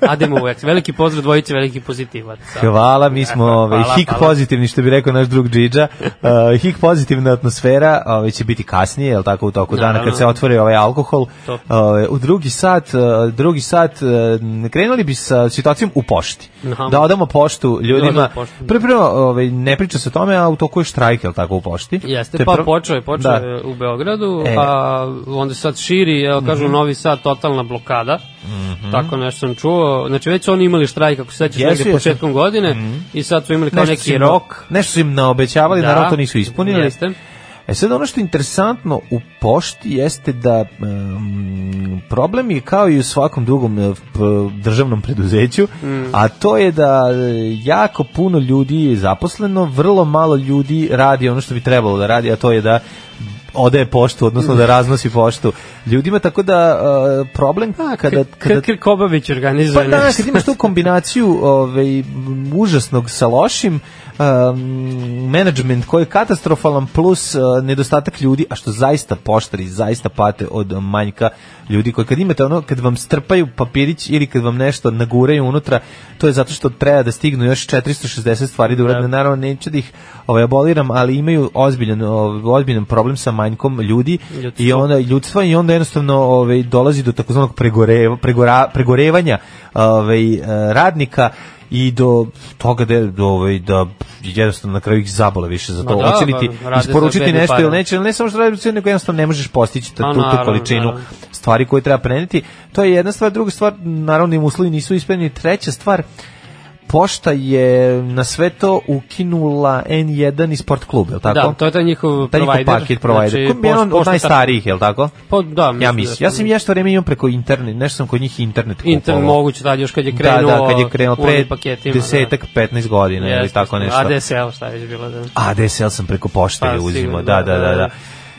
Speaker 6: Adamovu ex. Veliki pozdrav dvojice, veliki pozitivac.
Speaker 5: Hvala,
Speaker 6: *laughs*
Speaker 5: mi smo
Speaker 6: Hvala,
Speaker 5: ovaj, hik
Speaker 6: hvala.
Speaker 5: pozitivni, što bi rekao naš drug
Speaker 6: *laughs*
Speaker 5: Džidža. Uh, hik pozitivna atmosfera ovaj, će biti kasnije, jel tako, u toku dana,
Speaker 6: Naravno.
Speaker 5: kad se otvori ovaj alkohol.
Speaker 6: To.
Speaker 5: Ovaj, u drugi sat, uh, drugi sat uh, krenuli bi sa situacijom u pošti.
Speaker 6: Aha.
Speaker 5: Da odamo poštu
Speaker 6: Da
Speaker 5: ljudima.
Speaker 6: odamo poštu.
Speaker 5: Prvo, prvo, ovaj, ne priča se o tome, a u toku je štrajk, jel tako, u pošti. To
Speaker 6: Jeste,
Speaker 5: je
Speaker 6: pa
Speaker 5: prvo-
Speaker 6: počeo je, počeo
Speaker 5: Da.
Speaker 6: je u Beogradu,
Speaker 5: E. Mhm.
Speaker 6: a onda se sad širi, evo kažu, Novi Sad, totalna blokada, tako nešto sam čuo, znači već su oni imali štrajk, ako se sećaš,
Speaker 5: Jesu,
Speaker 6: negde
Speaker 5: jesu.
Speaker 6: početkom godine, i sad su imali kao
Speaker 5: Nešto su
Speaker 6: neki
Speaker 5: im-
Speaker 6: rok,
Speaker 5: Nešto su im naobećavali,
Speaker 6: Da.
Speaker 5: naravno to nisu ispunili.
Speaker 6: Jeste.
Speaker 5: E sad ono što je interesantno u pošti jeste da um, problem je kao i u svakom drugom e, p- državnom preduzeću, a to je da e, jako puno ljudi je zaposleno, vrlo malo ljudi radi ono što bi trebalo da radi, a to je da odaje poštu, odnosno da raznosi poštu ljudima, tako da e, problem kada, kada
Speaker 6: Krk Krkobavić organizuje
Speaker 5: pa da,
Speaker 6: nešto.
Speaker 5: kad imaš tu kombinaciju ovaj, m, užasnog sa lošim, um, management koji je katastrofalan plus uh, nedostatak ljudi, a što zaista poštari, zaista pate od manjka ljudi koji kad imate ono, kad vam strpaju papirić ili kad vam nešto naguraju unutra, to je zato što treba da stignu još 460 stvari da urade. Naravno, neću da ih ovaj, aboliram, ali imaju ozbiljan, ovaj, ozbiljan problem sa manjkom ljudi
Speaker 6: Ljudstvo.
Speaker 5: i onda ljudstva i onda jednostavno ovaj dolazi do takozvanog pregoreva pregora, pregorevanja ovaj eh, radnika i do toga da do ovaj da jednostavno na kraju ih zabole više za
Speaker 6: Ma
Speaker 5: to
Speaker 6: da,
Speaker 5: hoće li ti
Speaker 6: pa, rade za
Speaker 5: isporučiti
Speaker 6: bedne
Speaker 5: nešto
Speaker 6: pare.
Speaker 5: ili neće ali ne samo što radi sve nego jednostavno ne možeš postići ta,
Speaker 6: A,
Speaker 5: tu, tu
Speaker 6: naravno,
Speaker 5: količinu
Speaker 6: naravno.
Speaker 5: stvari koje treba preneti to je jedna stvar druga stvar naravno im uslovi nisu ispravljeni treća stvar Pošta je na sve to ukinula N1 i sport klub, je li tako?
Speaker 6: Da, to je taj njihov
Speaker 5: taj njihov
Speaker 6: provider.
Speaker 5: paket provider. Znači, Koji je jedan od
Speaker 6: pošta-
Speaker 5: najstarijih, je li tako?
Speaker 6: Pa da, mislim
Speaker 5: ja
Speaker 6: da
Speaker 5: mislim.
Speaker 6: su-
Speaker 5: Ja sam ja što vreme imam preko internet, nešto sam kod njih internet kupovao.
Speaker 6: Inter moguće tad još kad je
Speaker 5: Da,
Speaker 6: krenuo
Speaker 5: da, kad je krenuo
Speaker 6: u onim
Speaker 5: pre
Speaker 6: paketima,
Speaker 5: desetak, 15
Speaker 6: da.
Speaker 5: godina ili
Speaker 6: Jeste,
Speaker 5: tako nešto.
Speaker 6: ADSL, šta je već bilo da.
Speaker 5: ADSL sam preko pošte
Speaker 6: Pa,
Speaker 5: je uzimao,
Speaker 6: sigurno,
Speaker 5: da, da, da. da.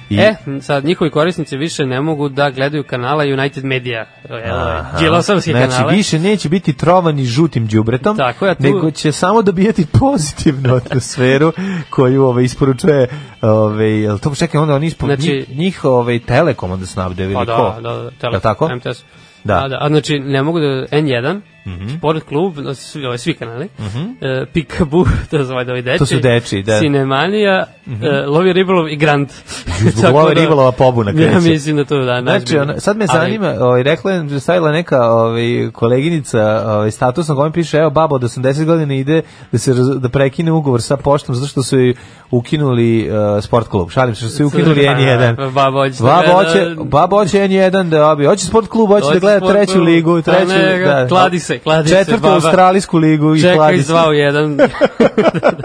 Speaker 5: I,
Speaker 6: E, sad njihovi korisnici više ne mogu da gledaju kanala United Media,
Speaker 5: aha.
Speaker 6: Đilosovski
Speaker 5: znači,
Speaker 6: kanale.
Speaker 5: više neće biti trovani žutim đubretom,
Speaker 6: Tako je, tu-
Speaker 5: nego će samo dobijati pozitivnu *laughs* atmosferu koju ove, isporučuje, ove, jel to čekaj, onda oni ispod
Speaker 6: Znači-
Speaker 5: njih, njih ove, telekom onda snabde ili
Speaker 6: Pa
Speaker 5: ko?
Speaker 6: da, da, da, tele,
Speaker 5: Jel tako?
Speaker 6: MTS.
Speaker 5: Da. Mhm.
Speaker 6: A, da. A znači, ne mogu da, N1, Sport klub, no, svi, ovaj, svi kanali, mm e, Pikabu, *laughs* to su ovaj, ovi deči,
Speaker 5: To su dečiji, da. Mhm.
Speaker 6: Cinemanija, e, Lovi Ribolov i Grand.
Speaker 5: Zbog
Speaker 6: *laughs* Tako
Speaker 5: love
Speaker 6: da-
Speaker 5: ribolova pobuna
Speaker 6: Ja
Speaker 5: kreće.
Speaker 6: mislim da to da,
Speaker 5: Znači,
Speaker 6: najzbiljnije.
Speaker 5: ona, sad me
Speaker 6: Ali-
Speaker 5: zanima, ovaj, rekla je, da je stavila neka ovaj, koleginica ovaj, status na kojem piše, evo, baba od 80 godina ide da se raz- da prekine ugovor sa poštom zato što su joj ukinuli eh, sport klub. Šalim se, što su joj
Speaker 6: *laughs*
Speaker 5: ukinuli
Speaker 6: Pa,
Speaker 5: N1.
Speaker 6: Baba hoće da
Speaker 5: Baba
Speaker 6: gleda-
Speaker 5: hoće, baba hoće N1 da obi. Hoće sport klub, hoće da
Speaker 6: Hoće
Speaker 5: gleda
Speaker 6: sport
Speaker 5: treću
Speaker 6: klub.
Speaker 5: ligu,
Speaker 6: Pa
Speaker 5: treću,
Speaker 6: ne,
Speaker 5: da.
Speaker 6: kladi se, kladi se,
Speaker 5: Četvrtu
Speaker 6: baba.
Speaker 5: australijsku ligu i
Speaker 6: Čeka
Speaker 5: kladi
Speaker 6: iz
Speaker 5: se.
Speaker 6: 2 u
Speaker 5: *laughs*
Speaker 6: 1.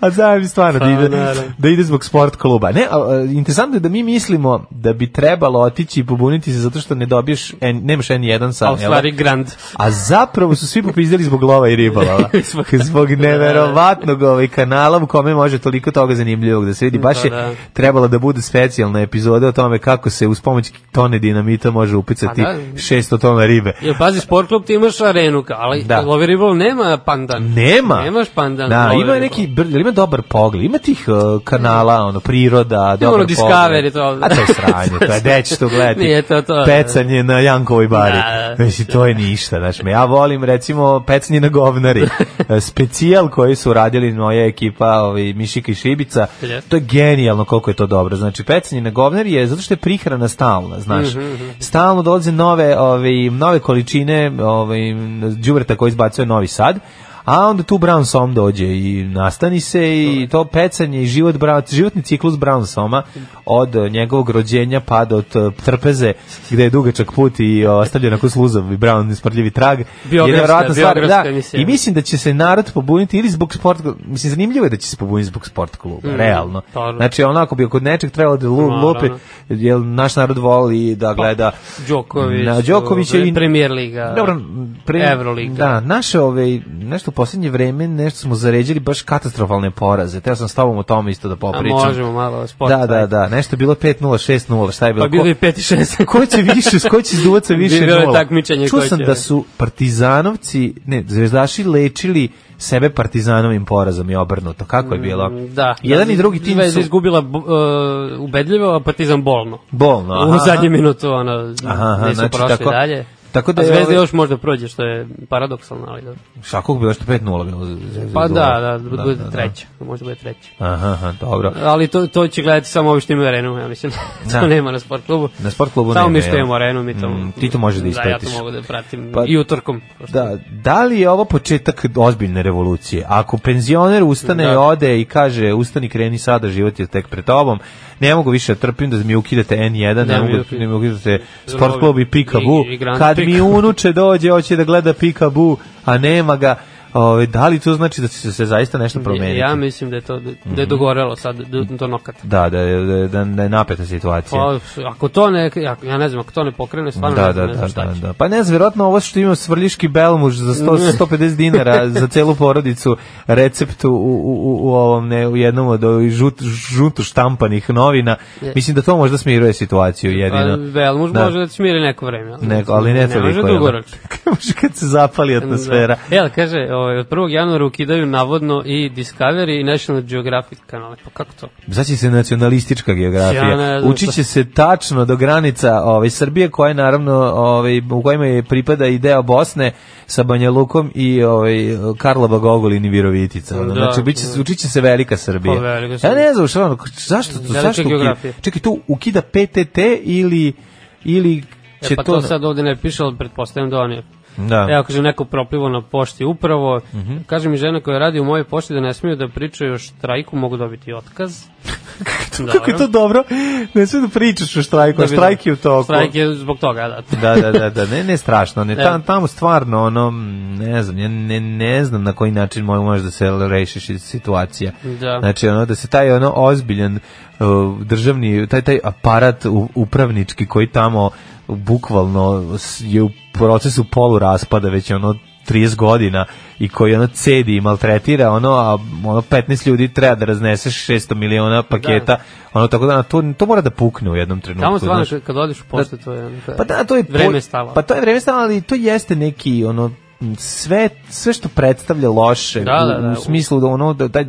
Speaker 5: A zajem stvarno da ide,
Speaker 6: Pa, naravno.
Speaker 5: da ide zbog sport kluba. Ne, a, a, interesantno je da mi mislimo da bi trebalo otići i pobuniti se zato što ne dobiješ, N, nemaš N1
Speaker 6: A
Speaker 5: sam,
Speaker 6: u
Speaker 5: jel?
Speaker 6: stvari Grand.
Speaker 5: A zapravo su svi popizdali zbog lova i
Speaker 6: *laughs*
Speaker 5: ribolova.
Speaker 6: Zbog-
Speaker 5: zbog neverovatnog ovaj kanala u kome može toliko toga zanimljivog da se vidi. Baš
Speaker 6: Da,
Speaker 5: je
Speaker 6: Pa da.
Speaker 5: trebala da bude specijalna epizoda o tome kako se uz pomoć tone dinamita može upicati
Speaker 6: A Pa da.
Speaker 5: 600 tona ribe.
Speaker 6: Jel pazi, sport klub ti imaš arenu, kao, ali
Speaker 5: Da.
Speaker 6: da. Lovi Ribol nema pandan.
Speaker 5: Nema.
Speaker 6: Nemaš pandan.
Speaker 5: Da,
Speaker 6: Lovi
Speaker 5: ima
Speaker 6: Ribol.
Speaker 5: neki br- jel ima dobar pogled. Ima tih uh, kanala, ono priroda, dobar
Speaker 6: ono
Speaker 5: pogled.
Speaker 6: Discovery, to.
Speaker 5: A to
Speaker 6: *laughs*
Speaker 5: je sranje, to je deći to gledati.
Speaker 6: Nije to to.
Speaker 5: Pecanje na Jankovoj bari.
Speaker 6: Da, da.
Speaker 5: Mislim, to je ništa, znaš me. Ja volim, recimo, pecanje na
Speaker 6: *laughs*
Speaker 5: govnari. E, Specijal koji su radili moja ekipa, ovi, Mišika i Šibica,
Speaker 6: Je.
Speaker 5: to je genijalno koliko je to dobro. Znači, pecanje na govnari je zato što je prihrana stalna, znaš.
Speaker 6: Mhm,
Speaker 5: Stalno dolaze nove, ovi, nove količine ovi, džubreta koji izbacuje Novi Sad, A onda tu Brown Som dođe i nastani se i to pecanje i život Brown, životni ciklus Brown Soma od eh, njegovog rođenja pa do t- trpeze gde je dugačak put i o, ostavljen ako sluzav i Brown smrdljivi trag. je
Speaker 6: Biografska-
Speaker 5: nevjerovatna stvar,
Speaker 6: biografska
Speaker 5: da,
Speaker 6: emisija.
Speaker 5: I mislim da će se narod pobuniti ili zbog sport mislim zanimljivo je da će se pobuniti zbog sport kluba, realno.
Speaker 6: pa, da.
Speaker 5: Znači onako bi kod nečeg trebalo da lu-
Speaker 6: Naravno.
Speaker 5: lupe jer naš narod voli da gleda
Speaker 6: Đoković.
Speaker 5: Na, Đoković je i-
Speaker 6: Premier Liga.
Speaker 5: e, dobro, pre,
Speaker 6: Evroliga.
Speaker 5: Da, naše ove, nešto u poslednje vreme, nešto smo zaređili baš katastrofalne poraze. Teo sam s tobom o tome isto da
Speaker 6: A
Speaker 5: popričam.
Speaker 6: možemo malo sport.
Speaker 5: Da, da, da, nešto je bilo 5-0, 6-0, šta je bilo?
Speaker 6: Pa bilo
Speaker 5: Ko-
Speaker 6: je 5 i 6.
Speaker 5: *laughs* ko će više, s ko će izduvat sa više
Speaker 6: Bilo je
Speaker 5: nula?
Speaker 6: takmičenje
Speaker 5: Čuo
Speaker 6: koje
Speaker 5: sam
Speaker 6: će-
Speaker 5: da su partizanovci, ne, zvezdaši lečili sebe partizanovim porazom i obrnuto. Kako je bilo?
Speaker 6: Da.
Speaker 5: Jedan
Speaker 6: da,
Speaker 5: i drugi tim
Speaker 6: Zvezda
Speaker 5: su
Speaker 6: izgubila bu- uh, ubedljivo, a Partizan bolno.
Speaker 5: bolno.
Speaker 6: u
Speaker 5: aha.
Speaker 6: zadnjem minutu ono,
Speaker 5: Aha, aha,
Speaker 6: nisu
Speaker 5: znači,
Speaker 6: prošli
Speaker 5: tako-
Speaker 6: dalje.
Speaker 5: tako da
Speaker 6: a
Speaker 5: je
Speaker 6: Zvezda
Speaker 5: ovaj-
Speaker 6: još možda prođe, što je paradoksalno, ali dobro.
Speaker 5: Šta, koliko bilo što 5-0 bilo? za- za- za-
Speaker 6: Pa
Speaker 5: za-
Speaker 6: da, da, da, bude treća, možda bude treća.
Speaker 5: Aha, aha, dobro.
Speaker 6: Ali to, to će gledati samo ovi što imaju arenu, ja mislim. *laughs* to
Speaker 5: Da.
Speaker 6: nema na sport klubu.
Speaker 5: Na sport klubu
Speaker 6: Samo
Speaker 5: nema,
Speaker 6: mi što
Speaker 5: jel?
Speaker 6: imamo arenu, mi to...
Speaker 5: Mm, ti to možeš da
Speaker 6: Da, ja to
Speaker 5: ispratiš.
Speaker 6: mogu da pratim
Speaker 5: Pa-
Speaker 6: i utorkom. pošto-
Speaker 5: Da, da li je ovo početak ozbiljne revolucije? Ako penzioner ustane
Speaker 6: Da.
Speaker 5: i ode i kaže ustani, kreni sada, život je tek pred tobom, ne mogu više da trpim da mi ukidate N1, ne,
Speaker 6: Ne,
Speaker 5: mogu,
Speaker 6: mi ukidate-
Speaker 5: ne mogu da ukidate
Speaker 6: Za
Speaker 5: sport
Speaker 6: novi-
Speaker 5: klub i Pikabu.
Speaker 6: i- i Grand
Speaker 5: Kad
Speaker 6: Prix.
Speaker 5: mi unuče dođe, hoće da gleda Pikabu, a nema ga, Ove, da li to znači da će se zaista nešto promeniti?
Speaker 6: Ja mislim da je to da
Speaker 5: Mhm.
Speaker 6: je dogorelo sad do, do nokata.
Speaker 5: Da, da, je- da, je- da, da je napeta situacija.
Speaker 6: Pa, ako to ne, ako- ja ne znam, ako to ne pokrene, stvarno
Speaker 5: da,
Speaker 6: Pa ne
Speaker 5: da, da,
Speaker 6: znam, ne znam
Speaker 5: da,
Speaker 6: šta će.
Speaker 5: da. Pa ne znam, vjerojatno ovo što ima svrljiški belmuž za
Speaker 6: *laughs*
Speaker 5: 100, 150 dinara za celu porodicu receptu u, u, u- u ovom, ne, u jednom od ovih žut, žuto štampanih novina. Mislim da to možda smiruje situaciju jedino.
Speaker 6: Pa, Belmuž
Speaker 5: Da.
Speaker 6: može da se smiri neko vreme. ali-
Speaker 5: Neko, ali ne toliko.
Speaker 6: može
Speaker 5: jel da?
Speaker 6: dugoročno.
Speaker 5: Može *laughs* kad se zapali atmosfera.
Speaker 6: Da. Jel, kaže, ovaj, od 1. januara ukidaju navodno i Discovery i National Geographic kanale. Pa kako to?
Speaker 5: Znači se nacionalistička geografija.
Speaker 6: Ja ne znam
Speaker 5: Učiće
Speaker 6: šta.
Speaker 5: se tačno do granica ovaj, Srbije, koja je naravno, ovaj, u kojima je pripada i deo Bosne sa Banja Lukom i ovaj, Karlova Gogolin i Virovitica. ono.
Speaker 6: Da,
Speaker 5: znači, učiće,
Speaker 6: da.
Speaker 5: učiće se velika Srbija.
Speaker 6: Pa, velika Srbija.
Speaker 5: Ja ne znam, šta, ono, zašto, to,
Speaker 6: Velika
Speaker 5: zašto ukida?
Speaker 6: geografija.
Speaker 5: Čekaj, tu ukida PTT ili, ili će
Speaker 6: E, pa to sad ovde ne piše, ali pretpostavljam da on je.
Speaker 5: Da. Mhm.
Speaker 6: Evo, kaže, neko proplivo na pošti upravo. Kaže mi žena koja radi u mojoj pošti da ne smiju da pričaju o štrajku, mogu dobiti otkaz.
Speaker 5: *laughs* Kako je to dobro? Ne sve da pričaš o štrajku, a štrajk je u toku.
Speaker 6: Štrajk je zbog toga, da.
Speaker 5: da, da, da, da, ne, ne strašno, ne,
Speaker 6: Da.
Speaker 5: tam, tamo stvarno, ono, mm, ne znam, ja ne, ne znam na koji način mo- može da se rešiš iz situacija.
Speaker 6: Da.
Speaker 5: Znači, ono, da se taj, ono, ozbiljan uh, državni, taj, taj aparat u- upravnički koji tamo bukvalno s- je u procesu polu raspada, već je ono 30 godina i koji ono cedi i maltretira ono a ono 15 ljudi treba da raznese 600 miliona paketa ono tako da to to mora da pukne u jednom trenutku
Speaker 6: Tamo stvarno,
Speaker 5: znaš.
Speaker 6: kad- kad odeš u poštu, to je... ono,
Speaker 5: Pa da, to je po-
Speaker 6: Vreme je stalo.
Speaker 5: Pa to je vreme stalo, ali to jeste neki ono m, sve sve što predstavlja loše
Speaker 6: Da, da,
Speaker 5: u-
Speaker 6: da.
Speaker 5: u smislu da ono da taj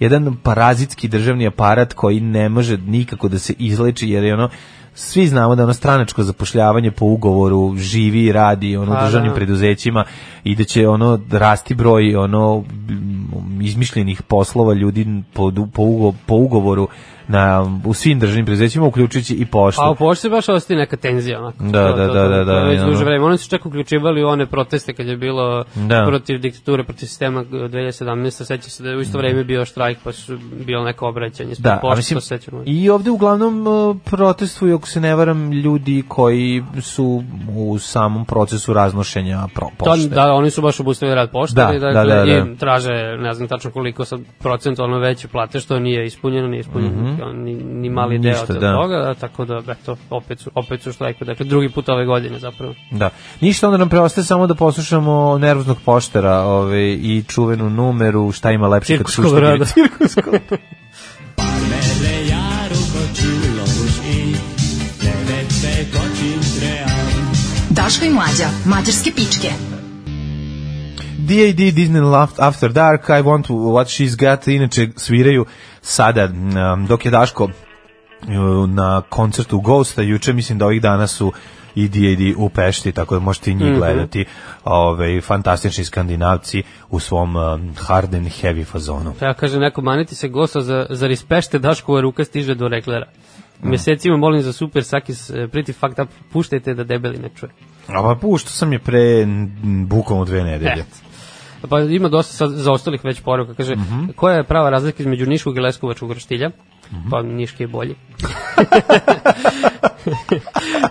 Speaker 5: jedan parazitski državni aparat koji ne može nikako da se izleči jer je ono svi znamo da ono stranačko zapošljavanje po ugovoru živi i radi ono u
Speaker 6: Pa, da.
Speaker 5: državnim preduzećima i da će ono rasti broj ono m, izmišljenih poslova ljudi po, du- po, ugo- po ugovoru na u svim državnim preduzećima uključujući i poštu.
Speaker 6: A Pa, u pošti baš ostaje neka tenzija. Onako.
Speaker 5: Da,
Speaker 6: To-
Speaker 5: da,
Speaker 6: to-
Speaker 5: da,
Speaker 6: to-
Speaker 5: da, da,
Speaker 6: To je već
Speaker 5: i ono.
Speaker 6: duže vreme. Oni su čak uključivali u one proteste kad je bilo
Speaker 5: Da.
Speaker 6: protiv diktature, protiv sistema e, 2017. Sećam se da je u isto vreme bio štrajk, pa su bilo neko obraćanje.
Speaker 5: Da, a
Speaker 6: Da, pošta,
Speaker 5: mislim,
Speaker 6: mislim... Sećamo.
Speaker 5: i ovde uglavnom e, protestuju, ako se ne varam, ljudi koji su u samom procesu raznošenja pro,
Speaker 6: To,
Speaker 5: pošte.
Speaker 6: da, oni su baš obustavili rad pošte da, dakle, da, da,
Speaker 5: da.
Speaker 6: i traže, ne znam tačno koliko sad procentualno veće plate, što nije ispunjeno, nije ispunjeno kao ni, ni mali deo
Speaker 5: Mhm. Ništa,
Speaker 6: od
Speaker 5: da.
Speaker 6: toga, da, tako da, eto, opet su, opet su u štrajku, dakle, drugi put ove godine zapravo.
Speaker 5: Da. Ništa, onda nam preostaje samo da poslušamo nervoznog poštera ovaj, i čuvenu numeru, šta ima lepše
Speaker 6: *laughs* Cirkus
Speaker 5: šušti *laughs*
Speaker 6: Colorado.
Speaker 5: ribica.
Speaker 4: Daško i Mlađa, mađarske pičke.
Speaker 5: D.A.D. Disney After Dark, I Want What She's Got, inače sviraju sada, um, dok je Daško um, na koncertu Ghosta, juče mislim da ovih dana su i D.A.D. u Pešti, tako da možete i njih
Speaker 6: Mhm.
Speaker 5: gledati, ove, fantastični skandinavci u svom um, hard and heavy fazonu.
Speaker 6: Pa Ja kaže neko maniti se gosta za za rispešte Daškova ruka stiže do reklera. Mesecima molim za super sakis eh, pretty fucked up, puštajte da debeli ne čuje.
Speaker 5: A pa pušto sam je pre m, bukvalno dve nedelje.
Speaker 6: E. Pa ima dosta sad zaostalih već poruka. Kaže, koja je prava razlika između niškog i leskovačkog roštilja? Pa niški je bolji. *laughs*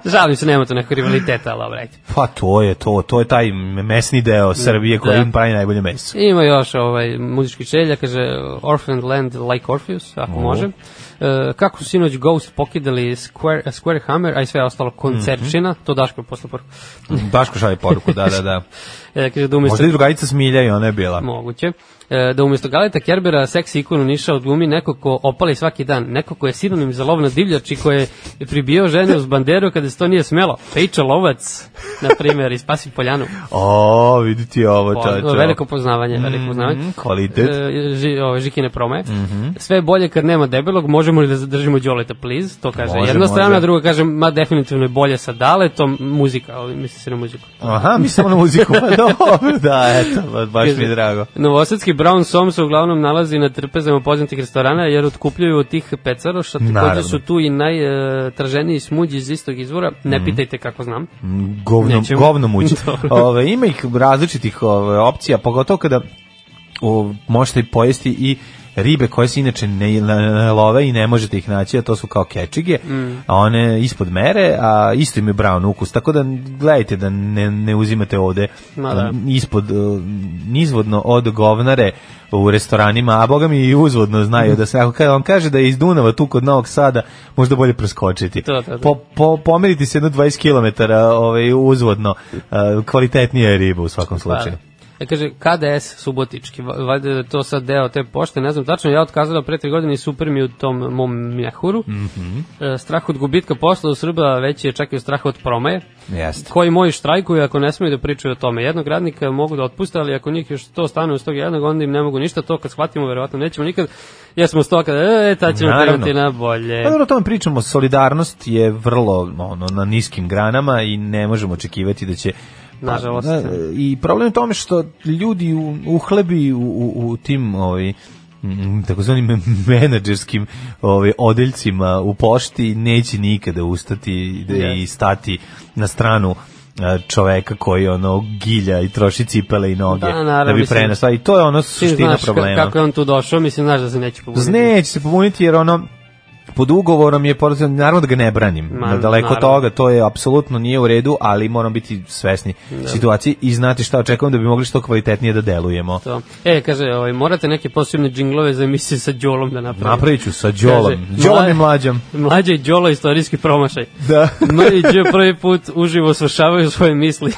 Speaker 6: Žalim se, nema tu nekog rivaliteta, ali ovaj.
Speaker 5: Pa to je to, to je taj mesni deo Srbije koji
Speaker 6: Da.
Speaker 5: im pravi najbolje meso.
Speaker 6: Ima još ovaj muzički čelja, kaže Orphan Land like Orpheus, ako može. E, kako su sinoć Ghost pokidali Square, Square Hammer, a i sve ostalo koncertčina, to Daško posle poruku.
Speaker 5: Daško šalje poruku, da, da, da. *laughs*
Speaker 6: E, kaže da umjesto
Speaker 5: Možda i drugarica Smilja i ona je bila.
Speaker 6: moguće. E, da umjesto Galeta Kerbera seks ikonu Niša odglumi neko ko opali svaki dan, neko ko je sinonim za lov na divljač i ko je pribio žene uz banderu kada se to nije smelo. Pejčo Lovac, na primjer, i Spasi Poljanu.
Speaker 5: O, vidi ti ovo,
Speaker 6: Po-
Speaker 5: čačo.
Speaker 6: Veliko poznavanje, veliko poznavanje.
Speaker 5: Mhm, kvalitet. Mhm.
Speaker 6: E, ži, ove, Žikine promaje. Sve je bolje kad nema debelog, možemo li da zadržimo Đoleta, please? To kaže
Speaker 5: Može,
Speaker 6: jedna strana,
Speaker 5: može.
Speaker 6: a druga kaže, ma definitivno je bolje sa Daletom, muzika, ali misli se na muziku.
Speaker 5: Aha, mi samo na muziku, pa dobro, da, eto, ba- baš mi je drago.
Speaker 6: Novosadski Brown Som se uglavnom nalazi na trpezama poznatih restorana jer otkupljuju od tih pecaroša,
Speaker 5: Naravno.
Speaker 6: takođe su tu i najtraženiji smuđi iz istog izvora,
Speaker 5: Mhm.
Speaker 6: ne pitajte kako znam.
Speaker 5: Govno,
Speaker 6: Nećemo.
Speaker 5: govno
Speaker 6: *laughs*
Speaker 5: muđe.
Speaker 6: Dobro.
Speaker 5: Ove, ima ih različitih ove, opcija, pogotovo kada o, možete i pojesti i ribe koje se inače ne, ne- ne love i ne možete ih naći, a to su kao kečige,
Speaker 6: Mm.
Speaker 5: a one ispod mere, a isto imaju brown ukus, tako da gledajte da ne, ne uzimate ovde
Speaker 6: Ma da.
Speaker 5: m, ispod, e, nizvodno od govnare u restoranima, a boga mi i uzvodno znaju da se, ako ka- vam kaže da je iz Dunava tu kod Novog Sada, možda bolje preskočiti.
Speaker 6: To, to, to.
Speaker 5: Po, po, pomeriti se jedno 20 km ovaj, uzvodno, e, kvalitetnija je riba u svakom slučaju.
Speaker 6: E, kaže, KDS Subotički, va- valjda je to sad deo te pošte, ne znam tačno, ja otkazala pre tri godine i super mi je u tom mom mjehuru.
Speaker 5: Mhm.
Speaker 6: E, strah od gubitka posla u Srba veći je čak i od straha od promaje.
Speaker 5: Jeste.
Speaker 6: koji moji štrajkuju ako ne smiju da pričaju o tome. Jednog radnika mogu da otpuste, ali ako njih još 100 stane uz tog jednog, onda im ne mogu ništa. To kad shvatimo, verovatno nećemo nikad. Jesmo sto kada, e, ta ćemo
Speaker 5: Naravno.
Speaker 6: krenuti na bolje.
Speaker 5: Pa dobro, o tome pričamo, solidarnost je vrlo ono, na niskim granama i ne možemo očekivati da će pa,
Speaker 6: Nažalost.
Speaker 5: da, I problem je u tome što ljudi u, uhlebi u, u, u tim ovaj, mm, takozvanim menadžerskim ovaj, odeljcima u pošti neće nikada ustati i da- i stati na stranu a, čoveka koji ono gilja i troši cipele i noge
Speaker 6: Da,
Speaker 5: da,
Speaker 6: naravno,
Speaker 5: bi
Speaker 6: mislim,
Speaker 5: prenesao i to je ono
Speaker 6: Ti
Speaker 5: suština
Speaker 6: znaš ka-
Speaker 5: problema.
Speaker 6: kako je on tu došao, mislim, znaš da se neće pobuniti.
Speaker 5: Neće se pobuniti jer ono pod ugovorom je porez- naravno da ga ne branim.
Speaker 6: Ma,
Speaker 5: daleko od
Speaker 6: naravno.
Speaker 5: toga to je apsolutno nije u redu, ali moramo biti svesni situacije i znati šta očekujemo da bi mogli što kvalitetnije da delujemo.
Speaker 6: To. E, kaže, ovaj, morate neke posebne džinglove za emisije sa Đolom da napravite.
Speaker 5: Napravit ću sa Đolom.
Speaker 6: Kaže,
Speaker 5: Đolom i
Speaker 6: mla- *laughs*
Speaker 5: mlađom.
Speaker 6: Mlađa i Đolo istorijski promašaj.
Speaker 5: Da.
Speaker 6: Mlađe prvi put uživo svršavaju svoje
Speaker 5: *laughs*
Speaker 6: misli.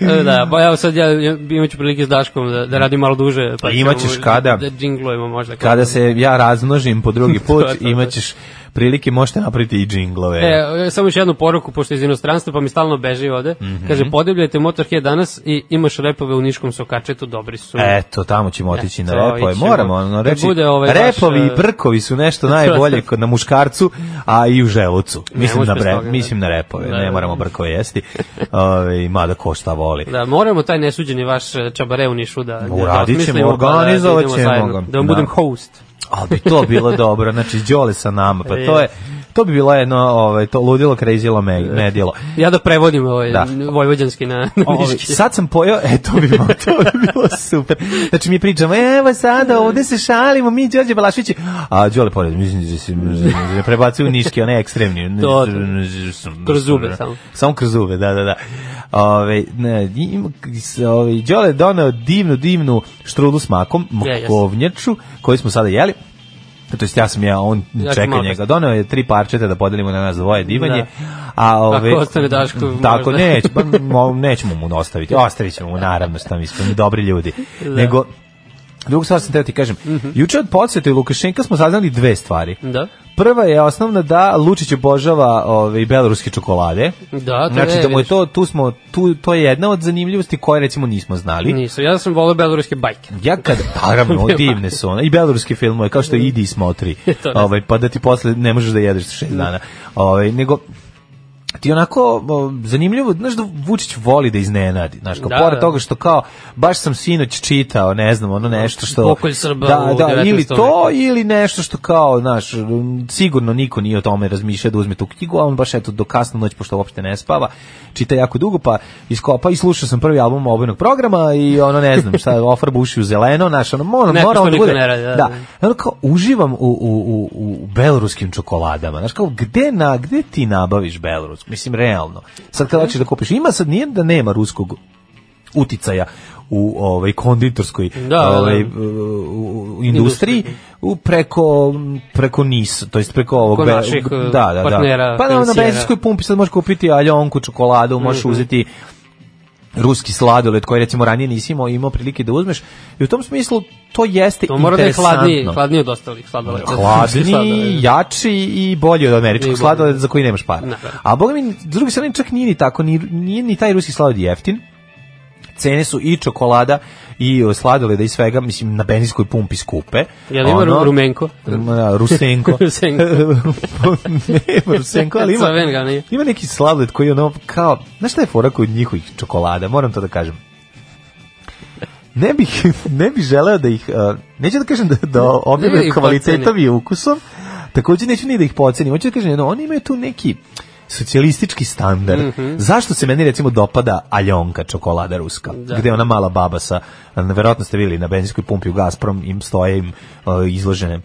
Speaker 6: E, da, pa evo sad ja ja imat ću prilike s Daškom da, da radim malo duže. Pa
Speaker 5: Imat
Speaker 6: ćemo
Speaker 5: ćeš kada-
Speaker 6: Da džinglujemo možda.
Speaker 5: Kada se ja razmnožim po drugi put,
Speaker 6: *laughs* To je to, da.
Speaker 5: imaćeš prilike, možete napraviti i džinglove.
Speaker 6: E, e, samo još jednu poruku, pošto je iz inostranstva, pa mi stalno beži ovde.
Speaker 5: Mhm.
Speaker 6: Kaže, podebljajte Motorhead danas i imaš repove u Niškom sokačetu, dobri su.
Speaker 5: Eto, tamo ćemo otići na
Speaker 6: to
Speaker 5: repove.
Speaker 6: ićemo.
Speaker 5: Moramo ono
Speaker 6: Da
Speaker 5: reći.
Speaker 6: bude ovaj baš,
Speaker 5: repovi i
Speaker 6: e,
Speaker 5: brkovi su nešto najbolje kod na muškarcu, a i u želucu. Mislim
Speaker 6: može
Speaker 5: na
Speaker 6: bez
Speaker 5: bre,
Speaker 6: toga, da.
Speaker 5: mislim na repove.
Speaker 6: Da,
Speaker 5: Ne
Speaker 6: da.
Speaker 5: moramo brkove jesti. Ovaj mada ko šta voli.
Speaker 6: Da, moramo taj nesuđeni vaš e, čabare u Nišu da, da
Speaker 5: Uradit ćemo,
Speaker 6: osmislimo, pa da
Speaker 5: organizovat
Speaker 6: idemo
Speaker 5: ćemo
Speaker 6: zajedno.
Speaker 5: ga.
Speaker 6: Da vam
Speaker 5: Da.
Speaker 6: budem host.
Speaker 5: Ali bi to
Speaker 6: *laughs*
Speaker 5: bilo dobro. Znači Đole sa nama, pa to je
Speaker 6: E.
Speaker 5: to bi bilo jedno ovaj to ludilo krezilo me, medilo.
Speaker 6: Ja da prevodim ovaj
Speaker 5: Da.
Speaker 6: vojvođanski na, na
Speaker 5: Ovi,
Speaker 6: niški.
Speaker 5: sad sam pojeo, e, to bi, bilo, to bi bilo super. Znači, mi pričamo, evo sada, ovde se šalimo, mi Đorđe Balašvići. A Đole pored, mislim da se da prebacuju niški, one ekstremni.
Speaker 6: *laughs* To, to. Kroz zube samo.
Speaker 5: Samo kroz zube, da, da, da. Ove, ne, im, s- ove, Đole je doneo divnu, divnu štrudlu s makom,
Speaker 6: Je, jes.
Speaker 5: makovnjaču, koju smo sada jeli. To jest ja sam ja, on
Speaker 6: Ja ću
Speaker 5: čeka
Speaker 6: malo
Speaker 5: njega. Doneo je tri parčeta da podelimo na nas dvoje divanje.
Speaker 6: Da.
Speaker 5: A ove,
Speaker 6: Ako ostane Dašku,
Speaker 5: Tako,
Speaker 6: možda.
Speaker 5: neće,
Speaker 6: *laughs*
Speaker 5: pa, mo- nećemo mu ostaviti. Ostavit ćemo mu, naravno, što mi smo mi dobri ljudi. Nego, Drugu stvar sam teo ti kažem.
Speaker 6: Mhm.
Speaker 5: Juče od podsjeta i Lukašenka smo saznali dve stvari.
Speaker 6: Da.
Speaker 5: Prva je osnovna da Lučić obožava ove beloruske čokolade.
Speaker 6: Da, to
Speaker 5: znači
Speaker 6: ne,
Speaker 5: da mu je
Speaker 6: vidiš.
Speaker 5: to tu smo tu to je jedna od zanimljivosti koje recimo nismo znali.
Speaker 6: Nisam, ja sam volio beloruske bajke.
Speaker 5: Ja kad, naravno, divne su one. I beloruski filmove, kao što je Idi i Smotri.
Speaker 6: *laughs* To ne.
Speaker 5: ovaj, pa da ti posle ne možeš da jedeš šest dana. Ovaj, nego, ti onako o, zanimljivo, znaš da Vučić voli da iznenadi, znaš, kao
Speaker 6: Da,
Speaker 5: pored
Speaker 6: da.
Speaker 5: toga što kao, baš sam sinoć čitao, ne znam, ono nešto što...
Speaker 6: Pokolj Srba
Speaker 5: da,
Speaker 6: u
Speaker 5: da,
Speaker 6: 19.
Speaker 5: ili to, ili nešto što kao, znaš, m, sigurno niko nije o tome razmišljao da uzme tu knjigu, a on baš eto do kasno noć, pošto uopšte ne spava, čita jako dugo, pa iskopa i slušao sam prvi album obojnog programa i ono, ne znam, šta, *laughs* ofarba uši u zeleno, znaš, ono, mora,
Speaker 6: Neko
Speaker 5: mora
Speaker 6: što
Speaker 5: on da
Speaker 6: niko
Speaker 5: bude.
Speaker 6: ne radi, da,
Speaker 5: da,
Speaker 6: da.
Speaker 5: I ono kao uživam u, u, u, u beloruskim čokoladama. Znaš kao gde na gde ti nabaviš belorusku? Mislim realno. Sad kad hoćeš da kupiš, ima sad nije da nema ruskog uticaja u ovaj konditorskoj
Speaker 6: Da, da, da.
Speaker 5: ovaj, u- u- u industriji u preko preko NIS, to jest preko ovog
Speaker 6: Preko
Speaker 5: be-
Speaker 6: naših,
Speaker 5: da,
Speaker 6: eh,
Speaker 5: da, da.
Speaker 6: partnera,
Speaker 5: Pa na, na
Speaker 6: financijera.
Speaker 5: benzinskoj pumpi sad možeš kupiti aljonku, čokoladu, možeš
Speaker 6: Mhm.
Speaker 5: uzeti ruski sladoled koji recimo ranije nisi imao, imao prilike da uzmeš i u tom smislu to jeste
Speaker 6: To mora da je hladniji,
Speaker 5: interesantno.
Speaker 6: hladniji od ostalih sladoleda.
Speaker 5: Hladni, jači i bolji od
Speaker 6: I
Speaker 5: američkog
Speaker 6: bolji.
Speaker 5: sladoleda za koji nemaš para.
Speaker 6: Ne.
Speaker 5: A boga mi, s druge strane, čak nije ni tako, ni, nije ni taj ruski sladoled jeftin. Cene su i čokolada i o, sladoleda i svega, mislim, na benzinskoj pumpi skupe.
Speaker 6: Jel ima
Speaker 5: ono-
Speaker 6: ru- rumenko?
Speaker 5: Da, Rusenko.
Speaker 6: *laughs* Rusenko.
Speaker 5: *laughs* Nema Rusenko, Pa, ali ima,
Speaker 6: Crven ga nije.
Speaker 5: ima neki sladoled koji je ono kao, znaš šta je fora kod njihovih čokolada, moram to da kažem. Ne bih, ne bih želeo da ih, uh, neću da kažem da, da
Speaker 6: Ne bih
Speaker 5: objavim
Speaker 6: ih
Speaker 5: kvalitetom i ukusom, takođe neću ni da ih pocenim, hoću da kažem, jedno, oni imaju tu neki socijalistički standard.
Speaker 6: Mhm.
Speaker 5: Zašto se meni recimo dopada aljonka čokolada ruska, gde ona mala baba sa, verovatno ste videli na benzinskoj pumpi u Gazprom, im stoje im uh, izložene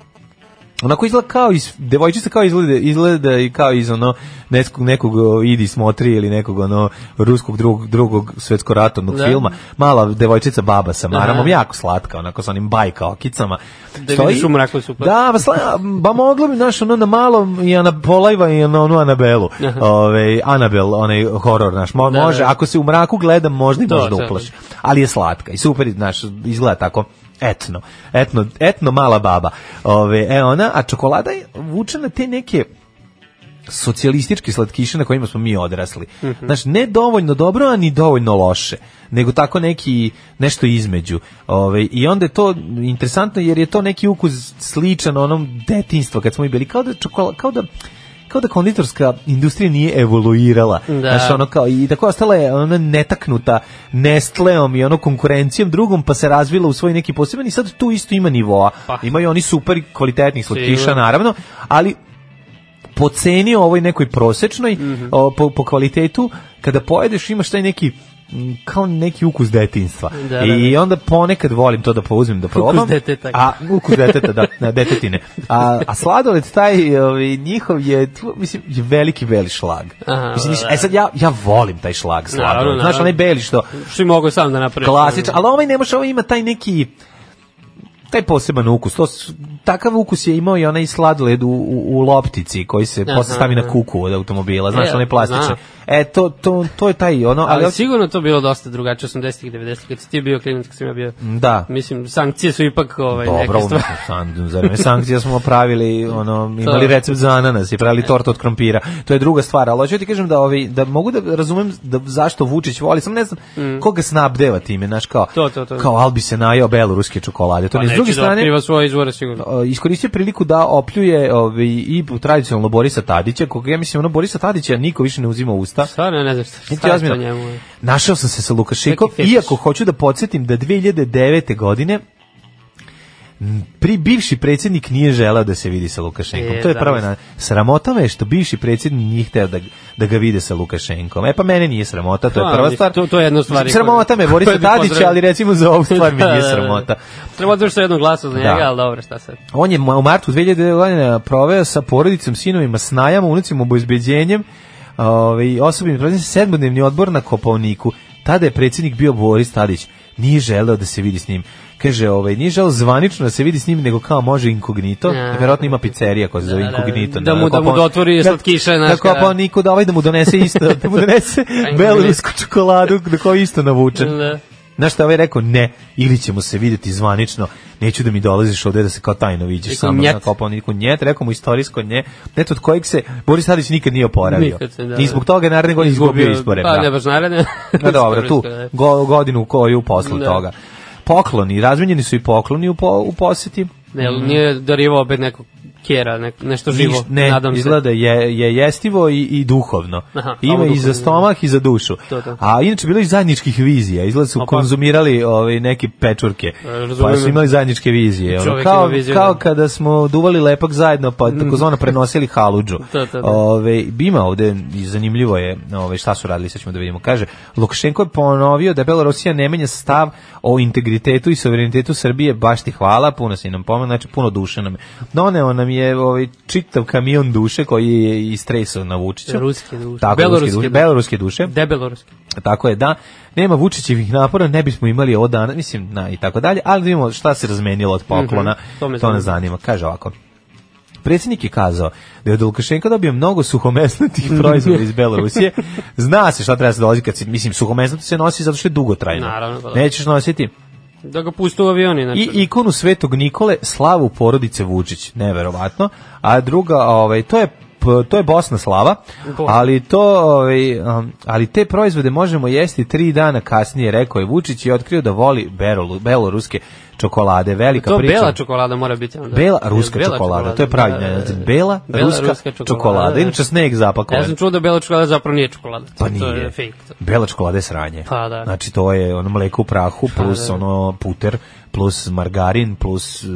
Speaker 5: onako izgleda kao iz devojčica kao izgleda izgleda i kao iz ono nekog nekog o, idi smotri ili nekog ono ruskog drugog drugog svetskoratornog
Speaker 6: Da.
Speaker 5: filma mala devojčica baba sa maramom
Speaker 6: Aha.
Speaker 5: jako slatka onako sa onim bajka okicama
Speaker 6: Da vidiš u mraku super.
Speaker 5: da pa sla, ba mogla bi naš ono na malom i ona polajva i na onu Anabelu ovaj Anabel onaj horor naš Mo,
Speaker 6: Da, da.
Speaker 5: može ako se u mraku gleda možda i
Speaker 6: To,
Speaker 5: može da
Speaker 6: to.
Speaker 5: uplaši ali je slatka i super znaš, izgleda tako etno, etno, etno mala baba. Ove, e ona, a čokolada je vuče na te neke socijalističke slatkiše na kojima smo mi odrasli.
Speaker 6: Mhm.
Speaker 5: Znaš, ne dovoljno dobro, a ni dovoljno loše, nego tako neki nešto između. Ove, I onda je to interesantno jer je to neki ukus sličan onom detinstva kad smo mi bili, kao da čokola, kao da kao da konditorska industrija nije evoluirala.
Speaker 6: Da.
Speaker 5: Znaš, ono kao, i tako ostala je ona netaknuta Nestleom i ono konkurencijom drugom, pa se razvila u svoj neki poseban i sad tu isto ima nivoa.
Speaker 6: Pa.
Speaker 5: Imaju oni super kvalitetnih slatkiša,
Speaker 6: Sigurno.
Speaker 5: naravno, ali po ceni ovoj nekoj prosečnoj,
Speaker 6: Mhm.
Speaker 5: o, po, po kvalitetu, kada pojedeš imaš taj neki m, kao neki ukus detinstva.
Speaker 6: Da, da,
Speaker 5: I onda ponekad volim to da pouzmem da probam.
Speaker 6: deteta.
Speaker 5: A ukus deteta, da, na detetine. A, a sladoled taj ovaj, njihov je, tu, mislim, je veliki beli šlag.
Speaker 6: Aha,
Speaker 5: mislim,
Speaker 6: da,
Speaker 5: nis- E sad ja, ja volim taj šlag sladoled.
Speaker 6: Naravno,
Speaker 5: Znaš,
Speaker 6: naravno.
Speaker 5: onaj beli što
Speaker 6: Što i mogu sam da napravim.
Speaker 5: klasičan, ali ovaj ne može, ovaj ima taj neki taj poseban ukus. To, s- takav ukus je imao i onaj sladoled u, u, u loptici koji se
Speaker 6: Aha,
Speaker 5: posle stavi na
Speaker 6: aha.
Speaker 5: kuku od automobila, znaš,
Speaker 6: E,
Speaker 5: onaj plastični.
Speaker 6: znam.
Speaker 5: E, to, to, to je taj ono, ali,
Speaker 6: Ali sigurno to bilo dosta drugačije 80-ih, 90-ih, kad si ti bio klinac, kad sam ja bio.
Speaker 5: da.
Speaker 6: Mislim, sankcije su ipak ovaj,
Speaker 5: Mm. Dobro,
Speaker 6: neke
Speaker 5: umjetno,
Speaker 6: stvari.
Speaker 5: san- za vreme sankcija smo pravili, ono, imali recept za ananas i
Speaker 6: E.
Speaker 5: pravili tort od krompira. To je druga stvar, ali hoću ti kažem da, ovi, da mogu da razumem da, zašto Vučić voli, sam ne znam koga snabdeva time, znaš, kao,
Speaker 6: Mm. To, to, to.
Speaker 5: kao Albi se najao beloruske čokolade. To
Speaker 6: Pa
Speaker 5: ne, s
Speaker 6: neće
Speaker 5: druge
Speaker 6: da
Speaker 5: strane,
Speaker 6: otkriva svoje izvore sigurno.
Speaker 5: Uh, iskoristio priliku da opljuje ovaj, i tradicionalno Borisa Tadića, koga ja mislim, ono Borisa Tadića niko više ne uzima u usta.
Speaker 6: Stvarno ne znam šta,
Speaker 5: Niti
Speaker 6: šta je
Speaker 5: ozbiljno.
Speaker 6: to njemu.
Speaker 5: Našao sam se sa Lukašenkom,
Speaker 6: Neki fetiš.
Speaker 5: iako hoću da podsjetim da 2009. godine m, pri bivši predsjednik nije želeo da se vidi sa Lukašenkom.
Speaker 6: E,
Speaker 5: to je
Speaker 6: da,
Speaker 5: prava
Speaker 6: mislim.
Speaker 5: na, sramota me je što bivši predsjednik nije hteo da, da ga vide sa Lukašenkom. E pa mene nije sramota, to je
Speaker 6: Pa,
Speaker 5: prva
Speaker 6: mislim,
Speaker 5: stvar.
Speaker 6: to- to je jedna od stvari
Speaker 5: Sramota me
Speaker 6: koje-
Speaker 5: je Borisa
Speaker 6: *laughs* koje bi
Speaker 5: Tadića,
Speaker 6: pozdravio.
Speaker 5: ali recimo za ovu
Speaker 6: *laughs*
Speaker 5: stvar mi
Speaker 6: Da, da,
Speaker 5: nije
Speaker 6: da.
Speaker 5: sramota.
Speaker 6: Treba odvrš sa jednog glasa za njega,
Speaker 5: Da.
Speaker 6: ali dobro, šta sad.
Speaker 5: On je ma- u martu 2009. godine proveo sa porodicom, sinovima, snajama, unucima, obezbeđenjem, ovaj, osobim prozim sedmodnevni odbor na Kopovniku. Tada je predsjednik bio Boris Tadić. Nije želeo da se vidi s njim. Kaže, ovaj, nije želeo zvanično da se vidi s njim, nego kao može inkognito.
Speaker 6: Ja.
Speaker 5: Verovatno ima pizzerija koja se zove
Speaker 6: Da, da,
Speaker 5: inkognito.
Speaker 6: da
Speaker 5: na
Speaker 6: mu- da mu
Speaker 5: Kopaon-
Speaker 6: dotvori
Speaker 5: Da-
Speaker 6: slatkiše, znaš,
Speaker 5: Na
Speaker 6: kada-
Speaker 5: Kopovniku,
Speaker 6: *laughs*
Speaker 5: da ovaj da mu donese isto, da mu donese belorusku čokoladu, da koju isto navuče.
Speaker 6: Da.
Speaker 5: Znaš šta je ovaj rekao? Ne, ili ćemo se videti zvanično, neću da mi dolaziš ovde da se kao tajno vidiš
Speaker 6: Rekao,
Speaker 5: sa mnom.
Speaker 6: "Njet."
Speaker 5: Rekao kao niko njet, rekao mu istorijsko nje, net od kojeg se Boris Tadić nikad nije oporavio.
Speaker 6: Nikad se, da,
Speaker 5: I zbog toga je naredne godine izgubio izbore.
Speaker 6: Pa,
Speaker 5: da.
Speaker 6: ne baš naredne.
Speaker 5: *laughs*
Speaker 6: *laughs*
Speaker 5: Pa dobro, tu
Speaker 6: Istorijsko, da.
Speaker 5: go, godinu koju posle
Speaker 6: Da.
Speaker 5: toga. Pokloni, razmenjeni su i pokloni u, po, u poseti.
Speaker 6: Ne,
Speaker 5: Mm.
Speaker 6: nije darivao opet nekog kjera, ne, nešto živo,
Speaker 5: Niš- ne,
Speaker 6: nadam se.
Speaker 5: izgleda je, je jestivo i, i duhovno.
Speaker 6: Aha, a ovo
Speaker 5: Ima i za
Speaker 6: duhovno,
Speaker 5: stomak i za dušu.
Speaker 6: To, to.
Speaker 5: A inače bilo je i zajedničkih vizija. Izgleda su
Speaker 6: Opa.
Speaker 5: konzumirali ovaj, neke pečurke. Pa
Speaker 6: razumem.
Speaker 5: su imali zajedničke vizije. ono,
Speaker 6: Čovek
Speaker 5: kao,
Speaker 6: ima viziju,
Speaker 5: kao
Speaker 6: da.
Speaker 5: kada smo duvali lepak zajedno, pa takozvano prenosili haludžu.
Speaker 6: To, to, Mm. *laughs* da.
Speaker 5: Ove, ima ovde, i zanimljivo je ove, šta su radili, sad ćemo da vidimo. Kaže, Lukašenko je ponovio da Belorusija ne menja stav o integritetu i suverenitetu Srbije, baš ti hvala, puno si nam pomen, znači puno duše nam je. Doneo nam je ovaj, čitav kamion duše koji je istresao na Vučića.
Speaker 6: Ruske duše.
Speaker 5: Tako, beloruske, duše,
Speaker 6: Beloruske duše.
Speaker 5: beloruske duše.
Speaker 6: Debeloruski.
Speaker 5: Tako je, da. Nema Vučićevih napora, ne bismo imali ovo dana, mislim, na, i tako dalje, ali da vidimo šta se razmenilo od poklona,
Speaker 6: Mhm,
Speaker 5: to,
Speaker 6: to
Speaker 5: me
Speaker 6: me
Speaker 5: to nas
Speaker 6: zanima.
Speaker 5: zanima. Kaže ovako, Predsjednik je kazao da je od Lukašenka dobio mnogo suhomesnatih
Speaker 6: *laughs*
Speaker 5: proizvoda iz Belorusije. Zna se šta treba se dolazi kad se, mislim, suhomesnato se nosi zato što je dugotrajno.
Speaker 6: Naravno, pa da.
Speaker 5: Nećeš nositi.
Speaker 6: Da ga pustu u avioni, znači.
Speaker 5: I ikonu Svetog Nikole, slavu porodice Vučić, neverovatno. A druga, ovaj, to je p- to je Bosna slava,
Speaker 6: Bosna.
Speaker 5: ali to ovaj, um, ali te proizvode možemo jesti tri dana kasnije, rekao je Vučić i otkrio da voli berolu, beloruske čokolade, velika
Speaker 6: to
Speaker 5: priča.
Speaker 6: bela čokolada mora biti onda.
Speaker 5: Bela ruska
Speaker 6: Bela
Speaker 5: čokolada, to je pravi
Speaker 6: da, da, da.
Speaker 5: njen. Bela, ruska, čokolada,
Speaker 6: da.
Speaker 5: inače sneg zapakovan.
Speaker 6: Ja sam čuo da bela čokolada zapravo nije čokolada.
Speaker 5: Pa
Speaker 6: To
Speaker 5: nije.
Speaker 6: je fake. to.
Speaker 5: Bela čokolada je sranje.
Speaker 6: Pa da.
Speaker 5: Znači to je ono mleko u prahu plus
Speaker 6: da.
Speaker 5: ono puter plus margarin plus uh,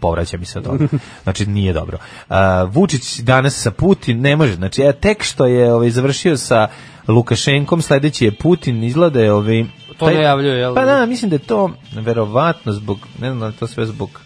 Speaker 5: povraća mi se od
Speaker 6: *laughs*
Speaker 5: toga. Znači nije dobro. Uh, Vučić danas sa Putin ne može. Znači ja tek što je ovaj, završio sa Lukašenkom, sledeći je Putin, izgleda je ovaj...
Speaker 6: To najavljuje, jel?
Speaker 5: Pa da, mislim da je to verovatno zbog, ne znam da li je to sve zbog...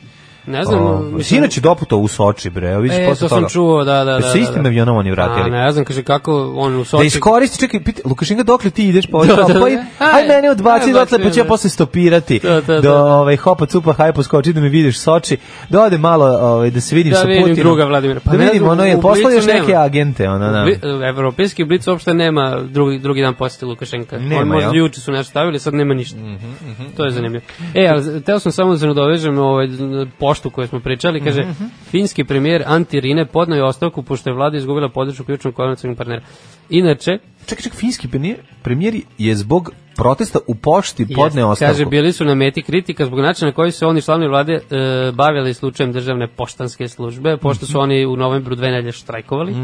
Speaker 6: Ne znam.
Speaker 5: Ovaj,
Speaker 6: mislim-
Speaker 5: sinoć je doputao u Soči, bre, evo vidiš
Speaker 6: E,
Speaker 5: posle
Speaker 6: to sam
Speaker 5: toga.
Speaker 6: čuo, da, da, da.
Speaker 5: se
Speaker 6: da,
Speaker 5: istim
Speaker 6: da.
Speaker 5: avionom oni vratili.
Speaker 6: A, ne znam, kaže, kako on u
Speaker 5: Da
Speaker 6: Soči...
Speaker 5: iskoristi, čekaj, pita, Lukašenka, dokle ti ideš po
Speaker 6: Da,
Speaker 5: da,
Speaker 6: da, da.
Speaker 5: pa, i- aj
Speaker 6: Aj,
Speaker 5: mene odbaci
Speaker 6: aj,
Speaker 5: dotle, pa
Speaker 6: odbaci
Speaker 5: ću ja
Speaker 6: me.
Speaker 5: posle stopirati.
Speaker 6: Da, da,
Speaker 5: do
Speaker 6: da.
Speaker 5: ovaj, hopa, cupa, haj, poskoči da mi vidiš Soči, da ode malo ovaj, da se vidim
Speaker 6: Da
Speaker 5: sa
Speaker 6: vidim
Speaker 5: Putinom.
Speaker 6: druga Vladimira. Pa
Speaker 5: da
Speaker 6: ne
Speaker 5: vidim,
Speaker 6: znam,
Speaker 5: ono, je
Speaker 6: u
Speaker 5: poslao
Speaker 6: Blicu
Speaker 5: još neke
Speaker 6: nema.
Speaker 5: agente, ono, da.
Speaker 6: Vi- Evropski blic uopšte nema drugi, drugi dan posjeti Lukašenka.
Speaker 5: Nema,
Speaker 6: On možda
Speaker 5: jel? Mhm,
Speaker 6: juče su nešto stavili, sad nema ništa. To je zanimljivo. E, ali teo sam samo da se nadovežem ovaj, na poštu koju smo pričali. Kaže,
Speaker 5: Mhm,
Speaker 6: finski premijer Antti Rine podnao je ostavku pošto je vlada izgubila podršku ključnog koalicijnog partnera. Inače,
Speaker 5: Čekaj, čekaj, finski premijer, premijer je zbog protesta u pošti podneo
Speaker 6: jeste,
Speaker 5: ostavku.
Speaker 6: kaže, bili su na meti kritika zbog načina na koji su oni članovi vlade e, bavili slučajem državne poštanske službe, pošto
Speaker 5: Mhm.
Speaker 6: su oni u novembru dve nedelje štrajkovali.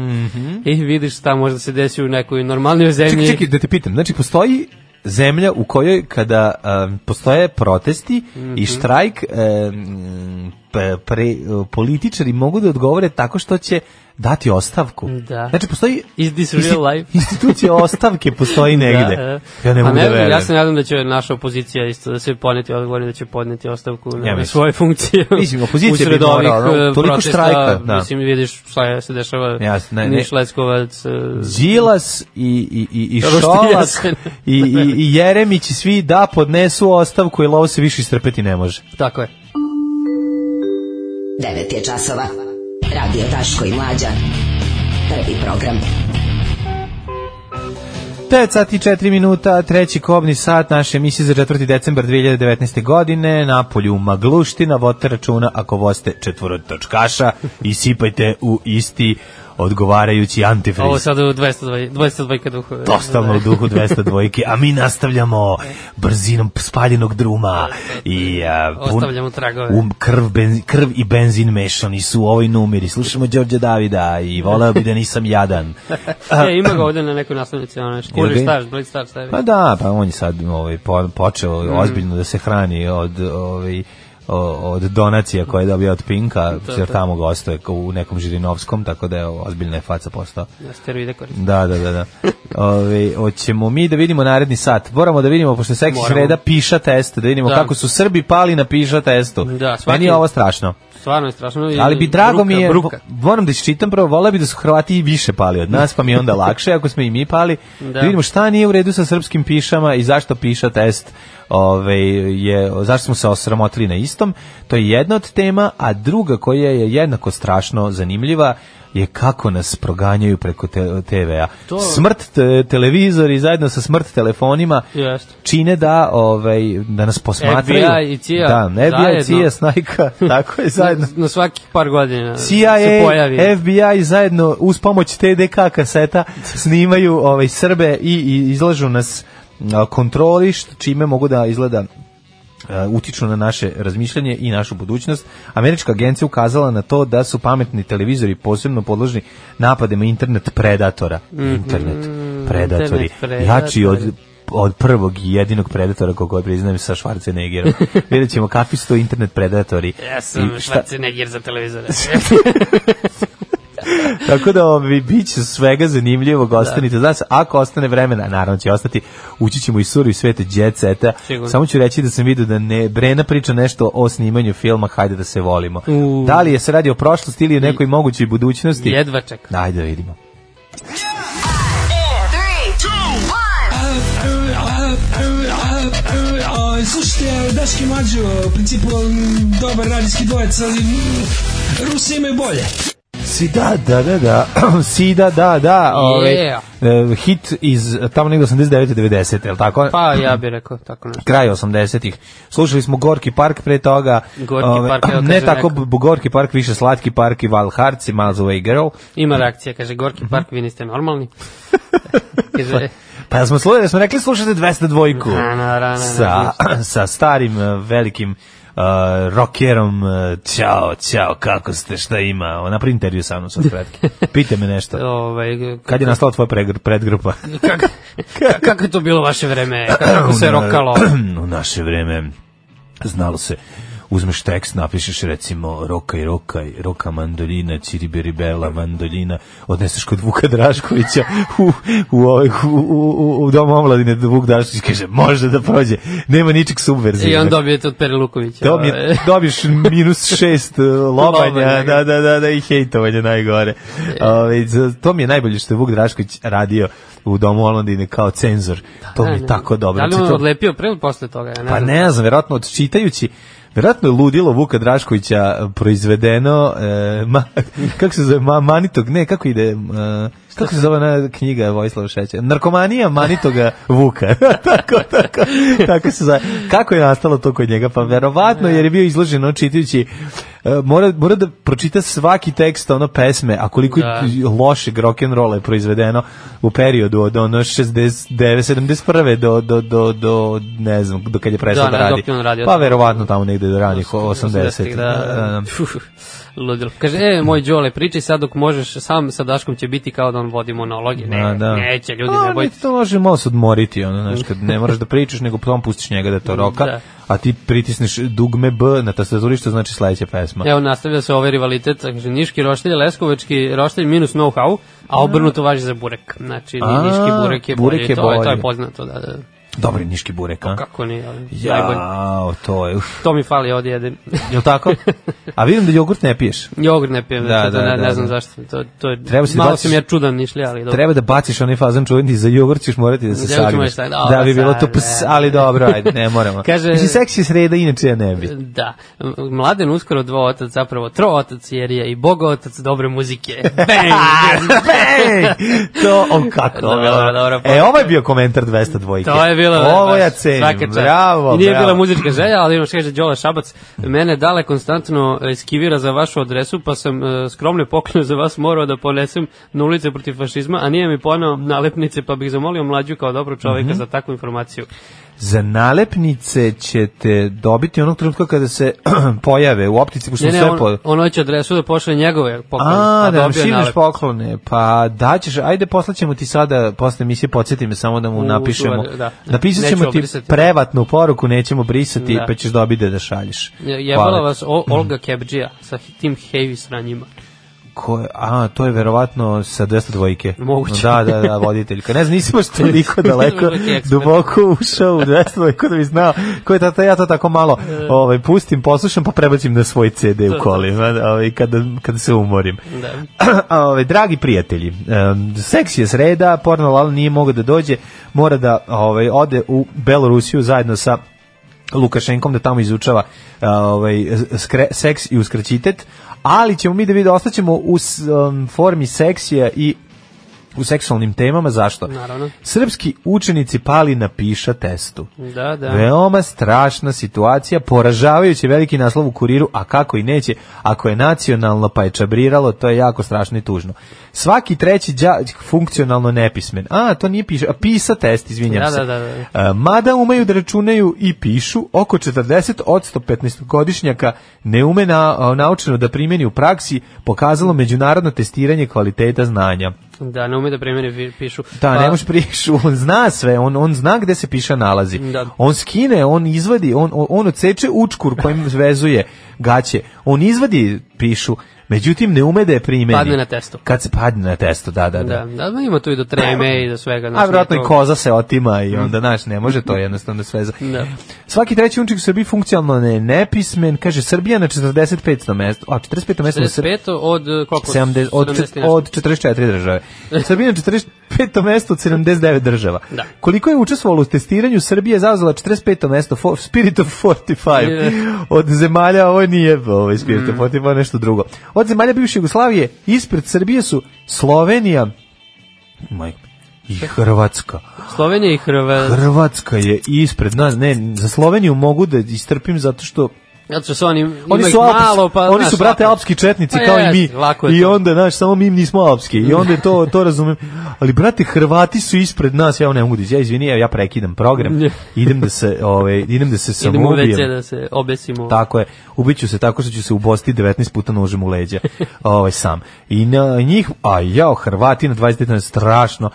Speaker 6: I vidiš šta možda se desi u nekoj normalnoj
Speaker 5: Čekaj,
Speaker 6: zemlji.
Speaker 5: Mhm. čekaj, da te pitam, znači postoji zemlja u kojoj kada um, postoje protesti
Speaker 6: Mhm.
Speaker 5: i štrajk um, pe- pre, političari mogu da odgovore tako što će dati ostavku.
Speaker 6: Da.
Speaker 5: Znači postoji
Speaker 6: Is this real
Speaker 5: insti- *laughs*
Speaker 6: life?
Speaker 5: institucija ostavke postoji negde.
Speaker 6: Da, e.
Speaker 5: Ja ne
Speaker 6: A
Speaker 5: mogu da
Speaker 6: znam,
Speaker 5: verujem.
Speaker 6: Ja se nadam da će naša opozicija isto da se poneti odgovor i da će podneti ostavku na,
Speaker 5: Ja
Speaker 6: na
Speaker 5: mislim.
Speaker 6: svoje funkcije.
Speaker 5: *laughs* Mislim, opozicija
Speaker 6: Usred
Speaker 5: bi morala,
Speaker 6: ovih,
Speaker 5: ono,
Speaker 6: e,
Speaker 5: toliko
Speaker 6: protesta,
Speaker 5: štrajka, da.
Speaker 6: Mislim, vidiš šta je, se dešava.
Speaker 5: Jasno, ne, ne.
Speaker 6: Niš Leskovac. e,
Speaker 5: Đilas i, i, i, i
Speaker 6: Dobro što
Speaker 5: Šolak
Speaker 6: jesen.
Speaker 5: i, i, i Jeremić i svi da podnesu ostavku jer ovo se više istrpeti ne može.
Speaker 6: Tako je.
Speaker 4: 9 je časova. Radio Daško i Mlađa. Prvi program.
Speaker 5: 9 sati i 4 minuta, treći kobni sat naše emisije za 4. decembar 2019. godine, na polju Magluština, vodite računa ako voste četvorotočkaša i sipajte u isti odgovarajući antifriz.
Speaker 6: Ovo sad u 202, 202 duhu.
Speaker 5: Totalno u duhu 202 a mi nastavljamo brzinom spaljenog druma i a,
Speaker 6: Ostavljamo tragove.
Speaker 5: Um, krv, benz, krv i benzin mešani su u ovoj numeri. Slušamo Đorđa Davida i voleo bi da nisam jadan.
Speaker 6: E, ima ga ovde na nekoj naslovnici, ono nešto.
Speaker 5: Jel
Speaker 6: Kuri
Speaker 5: ga?
Speaker 6: staž, blit staž, stavi.
Speaker 5: Pa da, pa on je sad ovaj, po, počeo
Speaker 6: Mhm.
Speaker 5: ozbiljno da se hrani od, ovaj, o- od donacija koje je dobio od Pinka, jer tamo gostuje ko- u nekom Žirinovskom, tako da je ozbiljna je faca postao.
Speaker 6: Na steroide koristi.
Speaker 5: Da, da, da,
Speaker 6: *laughs*
Speaker 5: da. Ove, hoćemo mi da vidimo naredni sat. Moramo da vidimo, pošto je seksi
Speaker 6: Moramo.
Speaker 5: sreda piša test, da vidimo
Speaker 6: Da.
Speaker 5: kako su Srbi pali na piša testu.
Speaker 6: Da, svaki-
Speaker 5: Meni je ovo strašno.
Speaker 6: Stvarno je strašno. i
Speaker 5: Ali bi drago
Speaker 6: bruka,
Speaker 5: mi je,
Speaker 6: Bruka.
Speaker 5: moram da iščitam prvo, voleo bi da su Hrvati i više pali od nas, pa mi je onda lakše ako smo i mi pali. Da.
Speaker 6: Da.
Speaker 5: vidimo šta nije u redu sa srpskim pišama i zašto piša test. Ove, je, zašto smo se osramotili na istom, to je jedna od tema, a druga koja je jednako strašno zanimljiva, je kako nas proganjaju preko te, TV-a.
Speaker 6: To-
Speaker 5: Smrt te, televizori zajedno sa smrt telefonima
Speaker 6: Jeste.
Speaker 5: čine da ovaj da nas posmatraju.
Speaker 6: FBI i CIA
Speaker 5: Da, FBI i CIA
Speaker 6: zajedno.
Speaker 5: snajka, *laughs* tako je zajedno.
Speaker 6: Na svaki par godina se
Speaker 5: CIA,
Speaker 6: pojavi.
Speaker 5: FBI zajedno uz pomoć TDK kaseta snimaju ovaj Srbe i, i izlažu nas a, kontroli št- čime mogu da izgleda a, utiču na naše razmišljanje i našu budućnost. Američka agencija ukazala na to da su pametni televizori posebno podložni napadima internet predatora. Internet predatori.
Speaker 6: Mhm. internet predatori.
Speaker 5: Jači od od prvog i jedinog predatora koga priznajem sa
Speaker 6: *laughs*
Speaker 5: Schwarzeneggerom. Vidjet ćemo kakvi su to internet predatori.
Speaker 6: Ja sam
Speaker 5: I šta-
Speaker 6: Schwarzenegger za televizore.
Speaker 5: *laughs* Tako da ovi, bit će svega zanimljivog, ostanite. Da. Znači, ako ostane vremena, naravno će ostati, ući ćemo i suru i svete jet seta.
Speaker 6: Sigurno.
Speaker 5: Samo ću reći da sam vidio da ne, Brena priča nešto o snimanju filma Hajde da se volimo.
Speaker 6: U.
Speaker 5: Da li je se radi o prošlosti ili o nekoj mogućoj budućnosti?
Speaker 6: Jedva čekam.
Speaker 5: Ajde da vidimo.
Speaker 9: Slušajte, Daški Mađo, u principu dobar radijski dvojec, ali mm, Rusi imaju bolje.
Speaker 5: Si da, da, da, da. *clears throat* si da, da, da. Ovaj,
Speaker 6: Yeah.
Speaker 5: eh, hit iz eh, tamo negde 89. 90. Je li tako?
Speaker 6: Pa ja bih rekao tako nešto.
Speaker 5: kraj 80-ih. Slušali smo Gorki park pre toga.
Speaker 6: Gorki park, evo
Speaker 5: ne
Speaker 6: kaže
Speaker 5: tako
Speaker 6: neko.
Speaker 5: b- Gorki park, više Slatki park i Val Harci, Miles Away Girl.
Speaker 6: Ima reakcija, kaže Gorki Park, vi niste
Speaker 5: *laughs*
Speaker 6: normalni. kaže,
Speaker 5: Pa ja smo, slušali, ja smo rekli slušate 202-ku.
Speaker 6: Na, na, na, na,
Speaker 5: Sa, sa starim eh, velikim uh, rockerom eh, Ćao, ćao, kako ste, šta ima? Napravi intervju sa mnom sad kratki. Pite me nešto.
Speaker 6: ovaj,
Speaker 5: Pa, Kad je nastala tvoja pregr- predgrupa?
Speaker 6: kako, kako je to bilo vaše vreme? Kako se rokalo?
Speaker 5: *clears throat* U naše vreme znalo se uzmeš tekst, napišeš recimo rokaj, rokaj, roka mandolina, ciribiribela, mandolina, odneseš kod Vuka Draškovića u, u, ovaj- u, u, u, u dom omladine, Vuk Drašković kaže, može da prođe, nema ničeg subverzivnog.
Speaker 6: I on dobijete od Pere Lukovića.
Speaker 5: Dobi,
Speaker 6: ovaj. *laughs*
Speaker 5: dobiš minus šest eh, lobanja,
Speaker 6: Lobanja. E.
Speaker 5: da, da, da, da, i hejtovanja najgore. Ove, za- to mi je najbolje što je Vuk Drašković radio u Domu Omladine kao cenzor. To mi je tako dobro.
Speaker 6: Da li mu
Speaker 5: Znači,
Speaker 6: je
Speaker 5: to-
Speaker 6: odlepio pre ili posle toga? Ja ne
Speaker 5: pa
Speaker 6: znam.
Speaker 5: ne znam, verovatno odčitajući Verovatno je ludilo Vuka Draškovića e, proizvedeno, e, ma, *laughs* kako se zove, ma, Manitog, ne, kako ide, e, kako se zove ona knjiga Vojislava Šeća? Narkomanija Manitoga Vuka, *laughs* tako, tako, tako se zove. Kako je nastalo to kod njega? Pa verovatno, jer je bio izložen ono čitajući, e, mora, mora da pročita svaki tekst ono pesme, a koliko
Speaker 6: Da.
Speaker 5: je lošeg rock'n'rolla je proizvedeno u periodu od ono 69, 71. do, do, do, do, ne znam, do kad je prestao
Speaker 6: Da,
Speaker 5: da
Speaker 6: ne,
Speaker 5: radi.
Speaker 6: dok je on radio.
Speaker 5: Pa verovatno tamo negde do ranih 80.
Speaker 6: Osamdesetih,
Speaker 5: Da, da, da.
Speaker 6: Fuh, Ludilo. Kaže, e, moj Đole, pričaj sad dok možeš, sam sa Daškom će biti kao da on vodi monologe. Ne,
Speaker 5: Da, da.
Speaker 6: neće, ljudi,
Speaker 5: A,
Speaker 6: ne bojte
Speaker 5: niti to može malo se odmoriti, ono, znaš, kad ne moraš da pričaš, nego potom pustiš njega da to roka,
Speaker 6: Mm, Da.
Speaker 5: a ti pritisneš dugme B na tastaturi, što znači sledeća pesma.
Speaker 6: Evo nastavlja se ovaj rivalitet, kaže Niški roštilj, Leskovački roštilj minus know-how, a obrnuto važi za burek. Znači
Speaker 5: A,
Speaker 6: Niški burek je
Speaker 5: burek
Speaker 6: bolji,
Speaker 5: je
Speaker 6: to, je, to
Speaker 5: bolji.
Speaker 6: je poznato, da, da.
Speaker 5: Dobar je niški burek, a?
Speaker 6: Kako nije, ali najbolje.
Speaker 5: Jao, to je, uf.
Speaker 6: To mi fali ovdje jedem.
Speaker 5: Jel tako? A vidim da jogurt ne piješ.
Speaker 6: *laughs* Jogurt ne pijem,
Speaker 5: Da,
Speaker 6: da,
Speaker 5: da,
Speaker 6: ne,
Speaker 5: da,
Speaker 6: ne
Speaker 5: da.
Speaker 6: znam zašto. To, to je,
Speaker 5: Treba si da
Speaker 6: malo
Speaker 5: baciš-
Speaker 6: sam ja čudan nišli, ali dobro.
Speaker 5: Treba da baciš onaj fazan čuveni za jogurt ćeš morati da se
Speaker 6: Jogurt ćemo
Speaker 5: sagneš.
Speaker 6: staviti,
Speaker 5: Da bi bilo to
Speaker 6: dobro,
Speaker 5: ps,
Speaker 6: sad,
Speaker 5: ali
Speaker 6: ne.
Speaker 5: dobro, ajde, ne moramo.
Speaker 6: Kaže-
Speaker 5: Mislim, seks je sreda, inače ja ne bi.
Speaker 6: Da, mladen uskoro dva otac, zapravo tro otac, jer je i bogo otac dobre
Speaker 5: *laughs*
Speaker 6: muzike. Bang!
Speaker 5: Ej, to, o kako.
Speaker 6: Dobro,
Speaker 5: bravo.
Speaker 6: dobro, pa-
Speaker 5: e, ovo je bio komentar 202.
Speaker 6: To je bilo
Speaker 5: Ovo
Speaker 6: baš,
Speaker 5: ja cenim.
Speaker 6: svaka čast.
Speaker 5: Bravo,
Speaker 6: I nije
Speaker 5: bravo.
Speaker 6: bila muzička želja, ali ono što kaže Đole Šabac, mene dale konstantno eskivira za vašu adresu, pa sam e, skromne poklone za vas morao da ponesem na ulice protiv fašizma, a nije mi ponao nalepnice, pa bih zamolio mlađu kao dobro čoveka
Speaker 5: Mhm.
Speaker 6: za takvu informaciju.
Speaker 5: Za nalepnice ćete dobiti onog trenutka kada se *clears throat* pojave u optici, pošto
Speaker 6: Ne,
Speaker 5: su
Speaker 6: ne,
Speaker 5: sve
Speaker 6: on,
Speaker 5: po...
Speaker 6: on hoće adresu da pošle njegove poklone,
Speaker 5: A,
Speaker 6: a,
Speaker 5: da nam
Speaker 6: dobio je
Speaker 5: širaš
Speaker 6: nalep.
Speaker 5: poklone, pa daćeš, ajde poslaćemo ti sada, posle emisije podsjeti me samo da mu
Speaker 6: U,
Speaker 5: napišemo,
Speaker 6: čuvar, da.
Speaker 5: napisat ćemo
Speaker 6: Nećemo
Speaker 5: ti
Speaker 6: brisati.
Speaker 5: prevatnu poruku, nećemo brisati,
Speaker 6: Da.
Speaker 5: pa ćeš dobiti da šalješ.
Speaker 6: Je- Jebala
Speaker 5: Hvala.
Speaker 6: vas o, Olga Kebđija sa tim heavy sranjima.
Speaker 5: Ko je, a, to je verovatno sa 200 dvojke.
Speaker 6: Moguće.
Speaker 5: Da, da, da, voditeljka. Ne znam, nisam
Speaker 6: *laughs*
Speaker 5: baš toliko daleko,
Speaker 6: Neki ekspert.
Speaker 5: duboko ušao u 200 dvojku da bi znao ko je tata, ja to tako malo
Speaker 6: E.
Speaker 5: ovaj, pustim, poslušam, pa prebacim na svoj CD u kolima, ovaj, kada, kada se umorim.
Speaker 6: Da.
Speaker 5: *clears throat* A, ovaj, dragi prijatelji, em, seks je sreda, porno lal nije mogao da dođe, mora da ovaj, ode u Belorusiju zajedno sa Lukašenkom da tamo izučava a, ovaj, skre, seks i uskraćitet, ali ćemo mi da vidimo, ostaćemo u s- um, formi seksija i u seksualnim temama, zašto?
Speaker 6: Naravno.
Speaker 5: Srpski učenici pali na piša testu.
Speaker 6: Da, da.
Speaker 5: Veoma strašna situacija, poražavajući veliki naslov u kuriru, a kako i neće, ako je nacionalno pa je čabriralo, to je jako strašno i tužno. Svaki treći đak funkcionalno nepismen. A, to nije piše, a pisa test, izvinjam
Speaker 6: Da,
Speaker 5: se.
Speaker 6: da, da, da.
Speaker 5: E, Mada umeju da računaju i pišu, oko 40 od 115-godišnjaka ne ume na, a, naučeno da primjeni u praksi, pokazalo međunarodno testiranje kvaliteta znanja.
Speaker 6: Da, ne ume da primjeri pi- pišu.
Speaker 5: Da,
Speaker 6: Pa,
Speaker 5: ne možeš prišu, on zna sve, on, on zna gde se piša nalazi.
Speaker 6: Da.
Speaker 5: On skine, on izvadi, on, on- on oceče učkur
Speaker 6: *laughs*
Speaker 5: kojim vezuje gaće, on izvadi pišu, međutim ne ume da je primeni.
Speaker 6: Padne na testu.
Speaker 5: Kad se padne na testu, da, da, da.
Speaker 6: Da, da, da, ima tu i do treme i do svega. znaš,
Speaker 5: A vjerojatno i
Speaker 6: to- Mm.
Speaker 5: koza se otima i onda, znaš, ne može
Speaker 6: *laughs*
Speaker 5: to jednostavno sve za...
Speaker 6: Da.
Speaker 5: Svaki treći unčik u Srbiji funkcionalno ne, nepismen, kaže Srbija na 45. mesto, a 45. mesto na Srbiji.
Speaker 6: 45 od eh, koliko?
Speaker 5: 70, od, čet-
Speaker 6: 70 i nešto.
Speaker 5: od 44 države. Srbija je na 45. mesto od 79 država.
Speaker 6: Da.
Speaker 5: Koliko je učestvovalo u testiranju, Srbija je zauzela 45. mesto for, Spirit of 45. Od zemalja, ovo nije ovaj Spirit
Speaker 6: Mm.
Speaker 5: of 45, ovo je nešto drugo. Od zemalja bivše Jugoslavije, ispred Srbije su Slovenija Majko, i Hrvatska.
Speaker 6: Slovenija i Hrvatska.
Speaker 5: Hrvatska je ispred nas. Ne, za Sloveniju mogu da istrpim zato što
Speaker 6: Zato što su oni, ima
Speaker 5: oni
Speaker 6: ih
Speaker 5: su alps,
Speaker 6: malo, pa...
Speaker 5: oni
Speaker 6: znaš,
Speaker 5: su brate
Speaker 6: lako-
Speaker 5: alpski četnici
Speaker 6: Pa
Speaker 5: kao i
Speaker 6: jest,
Speaker 5: mi.
Speaker 6: lako je
Speaker 5: I
Speaker 6: to.
Speaker 5: onda znaš samo mi nismo alpski. I onda je to to razumem. Ali brate Hrvati su ispred nas, ja ovo ne mogu da iz- ja izvini, ja, ja prekidam program.
Speaker 6: *laughs* Ne.
Speaker 5: Idem da se ovaj idem da se
Speaker 6: Idemo u WC
Speaker 5: samoubijem.
Speaker 6: da se obesimo.
Speaker 5: Tako je. Ubiću se tako što ću se u Bosti 19 puta nožem u
Speaker 6: *laughs*
Speaker 5: leđa. Ovaj sam. I na njih, a jao, Hrvati na 29 strašno.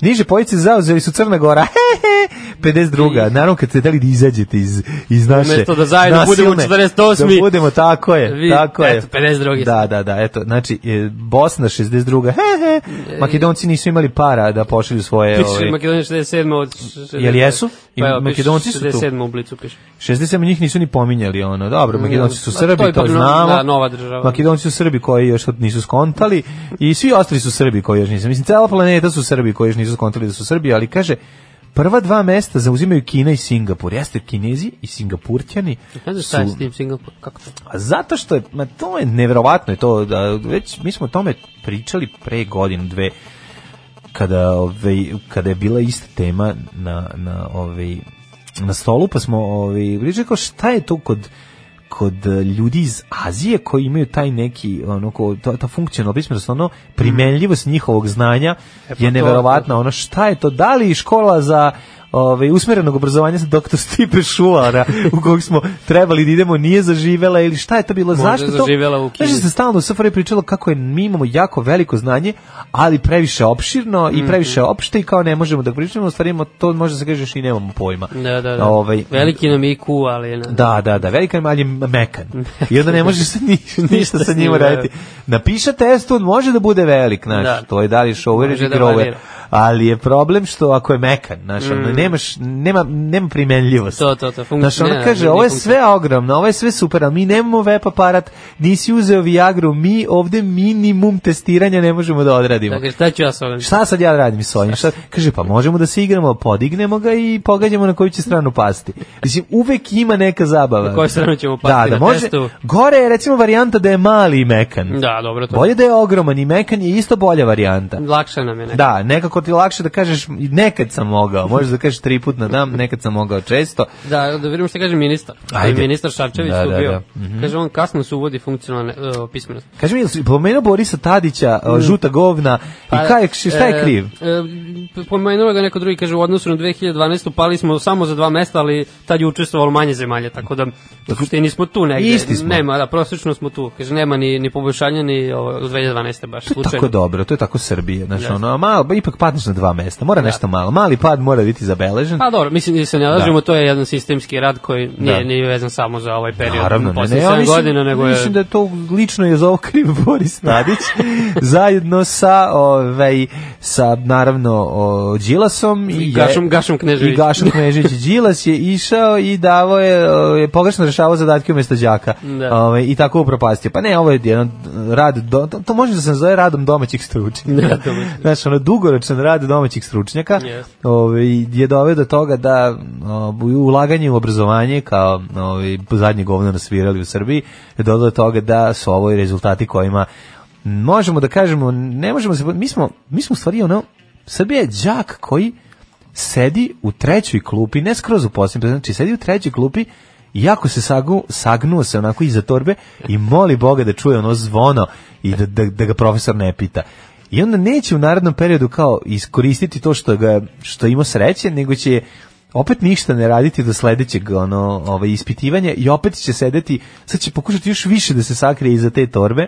Speaker 5: Niže pojice zauzeli su Crna Gora. *laughs* 52. Naravno kad ste dali da izađete iz, iz naše
Speaker 6: Umesto da zajedno budemo u 48..
Speaker 5: Da budemo, tako je.
Speaker 6: Vi-
Speaker 5: tako je.
Speaker 6: eto, 52.
Speaker 5: Da, da, da, eto. Znači, e, Bosna 62. *laughs* He, he.
Speaker 6: E,
Speaker 5: Makedonci nisu imali para da pošalju svoje...
Speaker 6: Piše
Speaker 5: Ovaj,
Speaker 6: Makedonija 67. od... 60.
Speaker 5: Jel jesu? I
Speaker 6: Pa evo, piše
Speaker 5: Makedonci su tu.
Speaker 6: 67. u Blicu piše.
Speaker 5: 67 njih nisu ni pominjali ono. Dobro, Makedonci su
Speaker 6: Pa to je
Speaker 5: Srbi, to,
Speaker 6: ipak no-
Speaker 5: znamo.
Speaker 6: da, nova država.
Speaker 5: Makedonci su Srbi koji još od- nisu skontali i svi ostali su Srbi koji još nisu. Mislim cela planeta su Srbi koji još nisu skontali da su Srbi, ali kaže prva dva mesta zauzimaju Kina i Singapur. Jeste Kinezi i Singapurćani.
Speaker 6: Ne znaš
Speaker 5: su-
Speaker 6: šta je s tim Singapur, kako to?
Speaker 5: a zato što je, ma to je neverovatno je to, da, već mi smo o tome pričali pre godinu, dve, kada, ovaj, kada je bila ista tema na, na, ovaj, na stolu, pa smo ovaj, pričali kao šta je to kod kod eh, ljudi iz Azije koji imaju taj neki ono ko ta, ta funkcionalna pismenost ono primenljivost njihovog znanja
Speaker 6: pa
Speaker 5: je
Speaker 6: to-
Speaker 5: neverovatna ono šta je to da li škola za ovaj usmerenog obrazovanja sa doktor Stipe Šuara u kog smo trebali da idemo nije zaživela ili šta je to bilo
Speaker 6: Možda je
Speaker 5: zašto to
Speaker 6: zaživela u Kini.
Speaker 5: Znaš da se stalno u SFRJ pričalo kako je mi imamo jako veliko znanje ali previše opširno
Speaker 6: Mhm.
Speaker 5: i previše opšte i kao ne možemo da pričamo u stvari imamo- to može se kažeš i nemamo pojma
Speaker 6: Da, da, da.
Speaker 5: Ovaj,
Speaker 6: Veliki nam je IQ, ali... Ne.
Speaker 5: da, da, da, velika je, ali je mekan. I onda ne možeš
Speaker 6: *laughs*
Speaker 5: ni, ništa sa njim
Speaker 6: s njim,
Speaker 5: raditi. Napiša test, on može da bude velik, znaš,
Speaker 6: Da.
Speaker 5: to je da li je shower
Speaker 6: Može
Speaker 5: ili
Speaker 6: da
Speaker 5: grower.
Speaker 6: varira.
Speaker 5: ali je problem što ako je mekan, znaš,
Speaker 6: Mm.
Speaker 5: ono, nemaš, nema, nema primenljivost.
Speaker 6: To, to, to, funkci-
Speaker 5: Znaš,
Speaker 6: ne,
Speaker 5: ona
Speaker 6: ne,
Speaker 5: kaže,
Speaker 6: ne
Speaker 5: ovo je
Speaker 6: funkci-
Speaker 5: sve ogromno, ovo je sve super, ali mi nemamo web aparat, nisi uzeo Viagru, mi ovde minimum testiranja ne možemo da odradimo.
Speaker 6: Dakle, šta ću ja s ovim?
Speaker 5: Šta sad ja radim s ovim? Šta? Kaže, pa možemo da se igramo, podignemo ga i pogađamo na koju će stranu pasti. Mislim, uvek ima neka zabava.
Speaker 6: Na koju stranu ćemo pasti
Speaker 5: da, da,
Speaker 6: na
Speaker 5: može,
Speaker 6: testu?
Speaker 5: Gore je recimo varijanta da je mali i mekan.
Speaker 6: Da, dobro, to.
Speaker 5: Bolje da je ogroman i mekan je isto bolja varijanta.
Speaker 6: Lakše nam je nekako.
Speaker 5: Da, nekako ti je lakše da kažeš nekad sam mogao. Možeš da kažeš tri put na dan, nekad sam mogao često.
Speaker 6: Da, da vidimo šta kaže ministar.
Speaker 5: Ajde.
Speaker 6: Ajde. Ministar Šarčević
Speaker 5: Da,
Speaker 6: da, tu
Speaker 5: da, Mhm.
Speaker 6: bio. Mhm.
Speaker 5: da.
Speaker 6: Kaže, on kasno se uvodi funkcionalne uh, pismenost.
Speaker 5: Kaži mi, jel si pomenuo Borisa Tadića, o, žuta govna, i kaj, je- šta je kriv?
Speaker 6: Mm. Pa, E, e, pomenuo ga neko drugi, kaže, u odnosu na 2012. pali smo samo za dva mesta, ali tad je učestvovalo manje zemalja, tako da u suštini smo tu negde.
Speaker 5: Isti smo.
Speaker 6: Nema, da, prosečno smo tu. Kaže, nema ni, ni poboljšanja ni ovo, u 2012. baš
Speaker 5: To je
Speaker 6: slučajno.
Speaker 5: tako dobro, to je tako Srbija, znači
Speaker 6: Jeste.
Speaker 5: ono, a malo, ba, ipak padneš na dva mesta, mora nešto malo, mali pad mora biti zabeležen.
Speaker 6: Pa dobro, mislim da se ne lažemo, to je jedan sistemski rad koji nije,
Speaker 5: Da.
Speaker 6: nije vezan samo za ovaj period.
Speaker 5: Naravno, ne, ne,
Speaker 6: posle
Speaker 5: ja
Speaker 6: 7
Speaker 5: mislim,
Speaker 6: godina, nego je...
Speaker 5: mislim da je to lično je za ovo kriv *laughs* Boris Tadić, zajedno sa, ovaj, sa naravno, o, Đilasom i, je-
Speaker 6: Gašom, Gašom Knežević.
Speaker 5: I
Speaker 6: *laughs*
Speaker 5: Gašom Knežević. Đilas je išao i davo je, o, je pogrešno rešavao zadatke umesto đaka.
Speaker 6: Da.
Speaker 5: Ovaj, I tako upropastio. Pa ne, ovo je jedan rad, do, to, to može da se nazove *laughs* radom domaćih stručnjaka.
Speaker 6: domaćih.
Speaker 5: Znači, ono, dugoročan rad domaćih stručnjaka
Speaker 6: Jeste.
Speaker 5: ovaj, je doveo do toga da o, ulaganje u obrazovanje kao ovaj zadnje govno nasvirali u Srbiji je dovelo do toga da su ovo i rezultati kojima možemo da kažemo ne možemo se mi smo mi smo u stvari ono Srbija je đak koji sedi u trećoj klupi, ne skroz u posljednjem, znači sedi u trećoj klupi i jako se sagu, sagnuo se onako iza torbe i moli Boga da čuje ono zvono i da, da, da ga profesor ne pita. I onda neće u narednom periodu kao iskoristiti to što ga što ima sreće, nego će opet ništa ne raditi do sledećeg ono ovaj ispitivanja i opet će sedeti, sad će pokušati još više da se sakrije iza te torbe.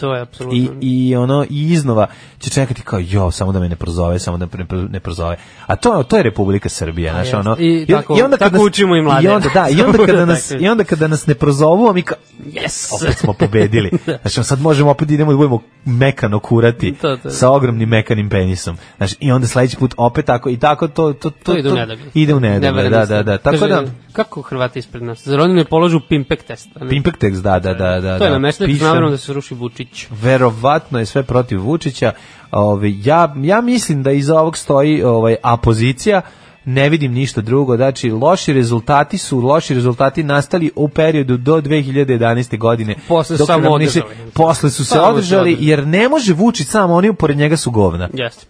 Speaker 6: To je apsolutno.
Speaker 5: I, I ono i iznova će čekati kao jo samo da me ne prozove, samo da ne, pro- ne prozove. A to to je Republika Srbija, znaš
Speaker 6: jeste.
Speaker 5: ono.
Speaker 6: I tako- tako učimo i mlade.
Speaker 5: I onda
Speaker 6: *laughs*
Speaker 5: da, i onda
Speaker 6: Samo
Speaker 5: kada
Speaker 6: da
Speaker 5: nas
Speaker 6: tako.
Speaker 5: i onda kada nas ne prozovu, a mi kao yes, opet smo pobedili. Znači sad možemo opet idemo da budemo mekano kurati
Speaker 6: To, to.
Speaker 5: sa ogromnim mekanim penisom. Znači i onda sledeći put opet tako i tako to to to,
Speaker 6: *laughs* To, ide u nedogled.
Speaker 5: Ide u nedogled, da, da, da. Tako
Speaker 6: Kaže,
Speaker 5: da
Speaker 6: Kako Hrvati ispred nas? Zar oni ne polažu pimpek test? a ne?
Speaker 5: Pimpek tekst, da, da, da, da.
Speaker 6: to je
Speaker 5: da.
Speaker 6: na mešljaku s
Speaker 5: Pišem.
Speaker 6: namerom da se ruši Vučić.
Speaker 5: verovatno je sve protiv Vučića. Ovaj ja ja mislim da iza ovog stoji ovaj apozicija. Ne vidim ništa drugo, znači loši rezultati su loši rezultati nastali u periodu do 2011. godine.
Speaker 6: Posle
Speaker 5: Dok
Speaker 6: samo
Speaker 5: nam nisu-
Speaker 6: održali.
Speaker 5: Posle su se
Speaker 6: Samo su
Speaker 5: održali
Speaker 6: održali.
Speaker 5: jer ne može Vučić samo, oni pored njega su govna.
Speaker 6: Jeste.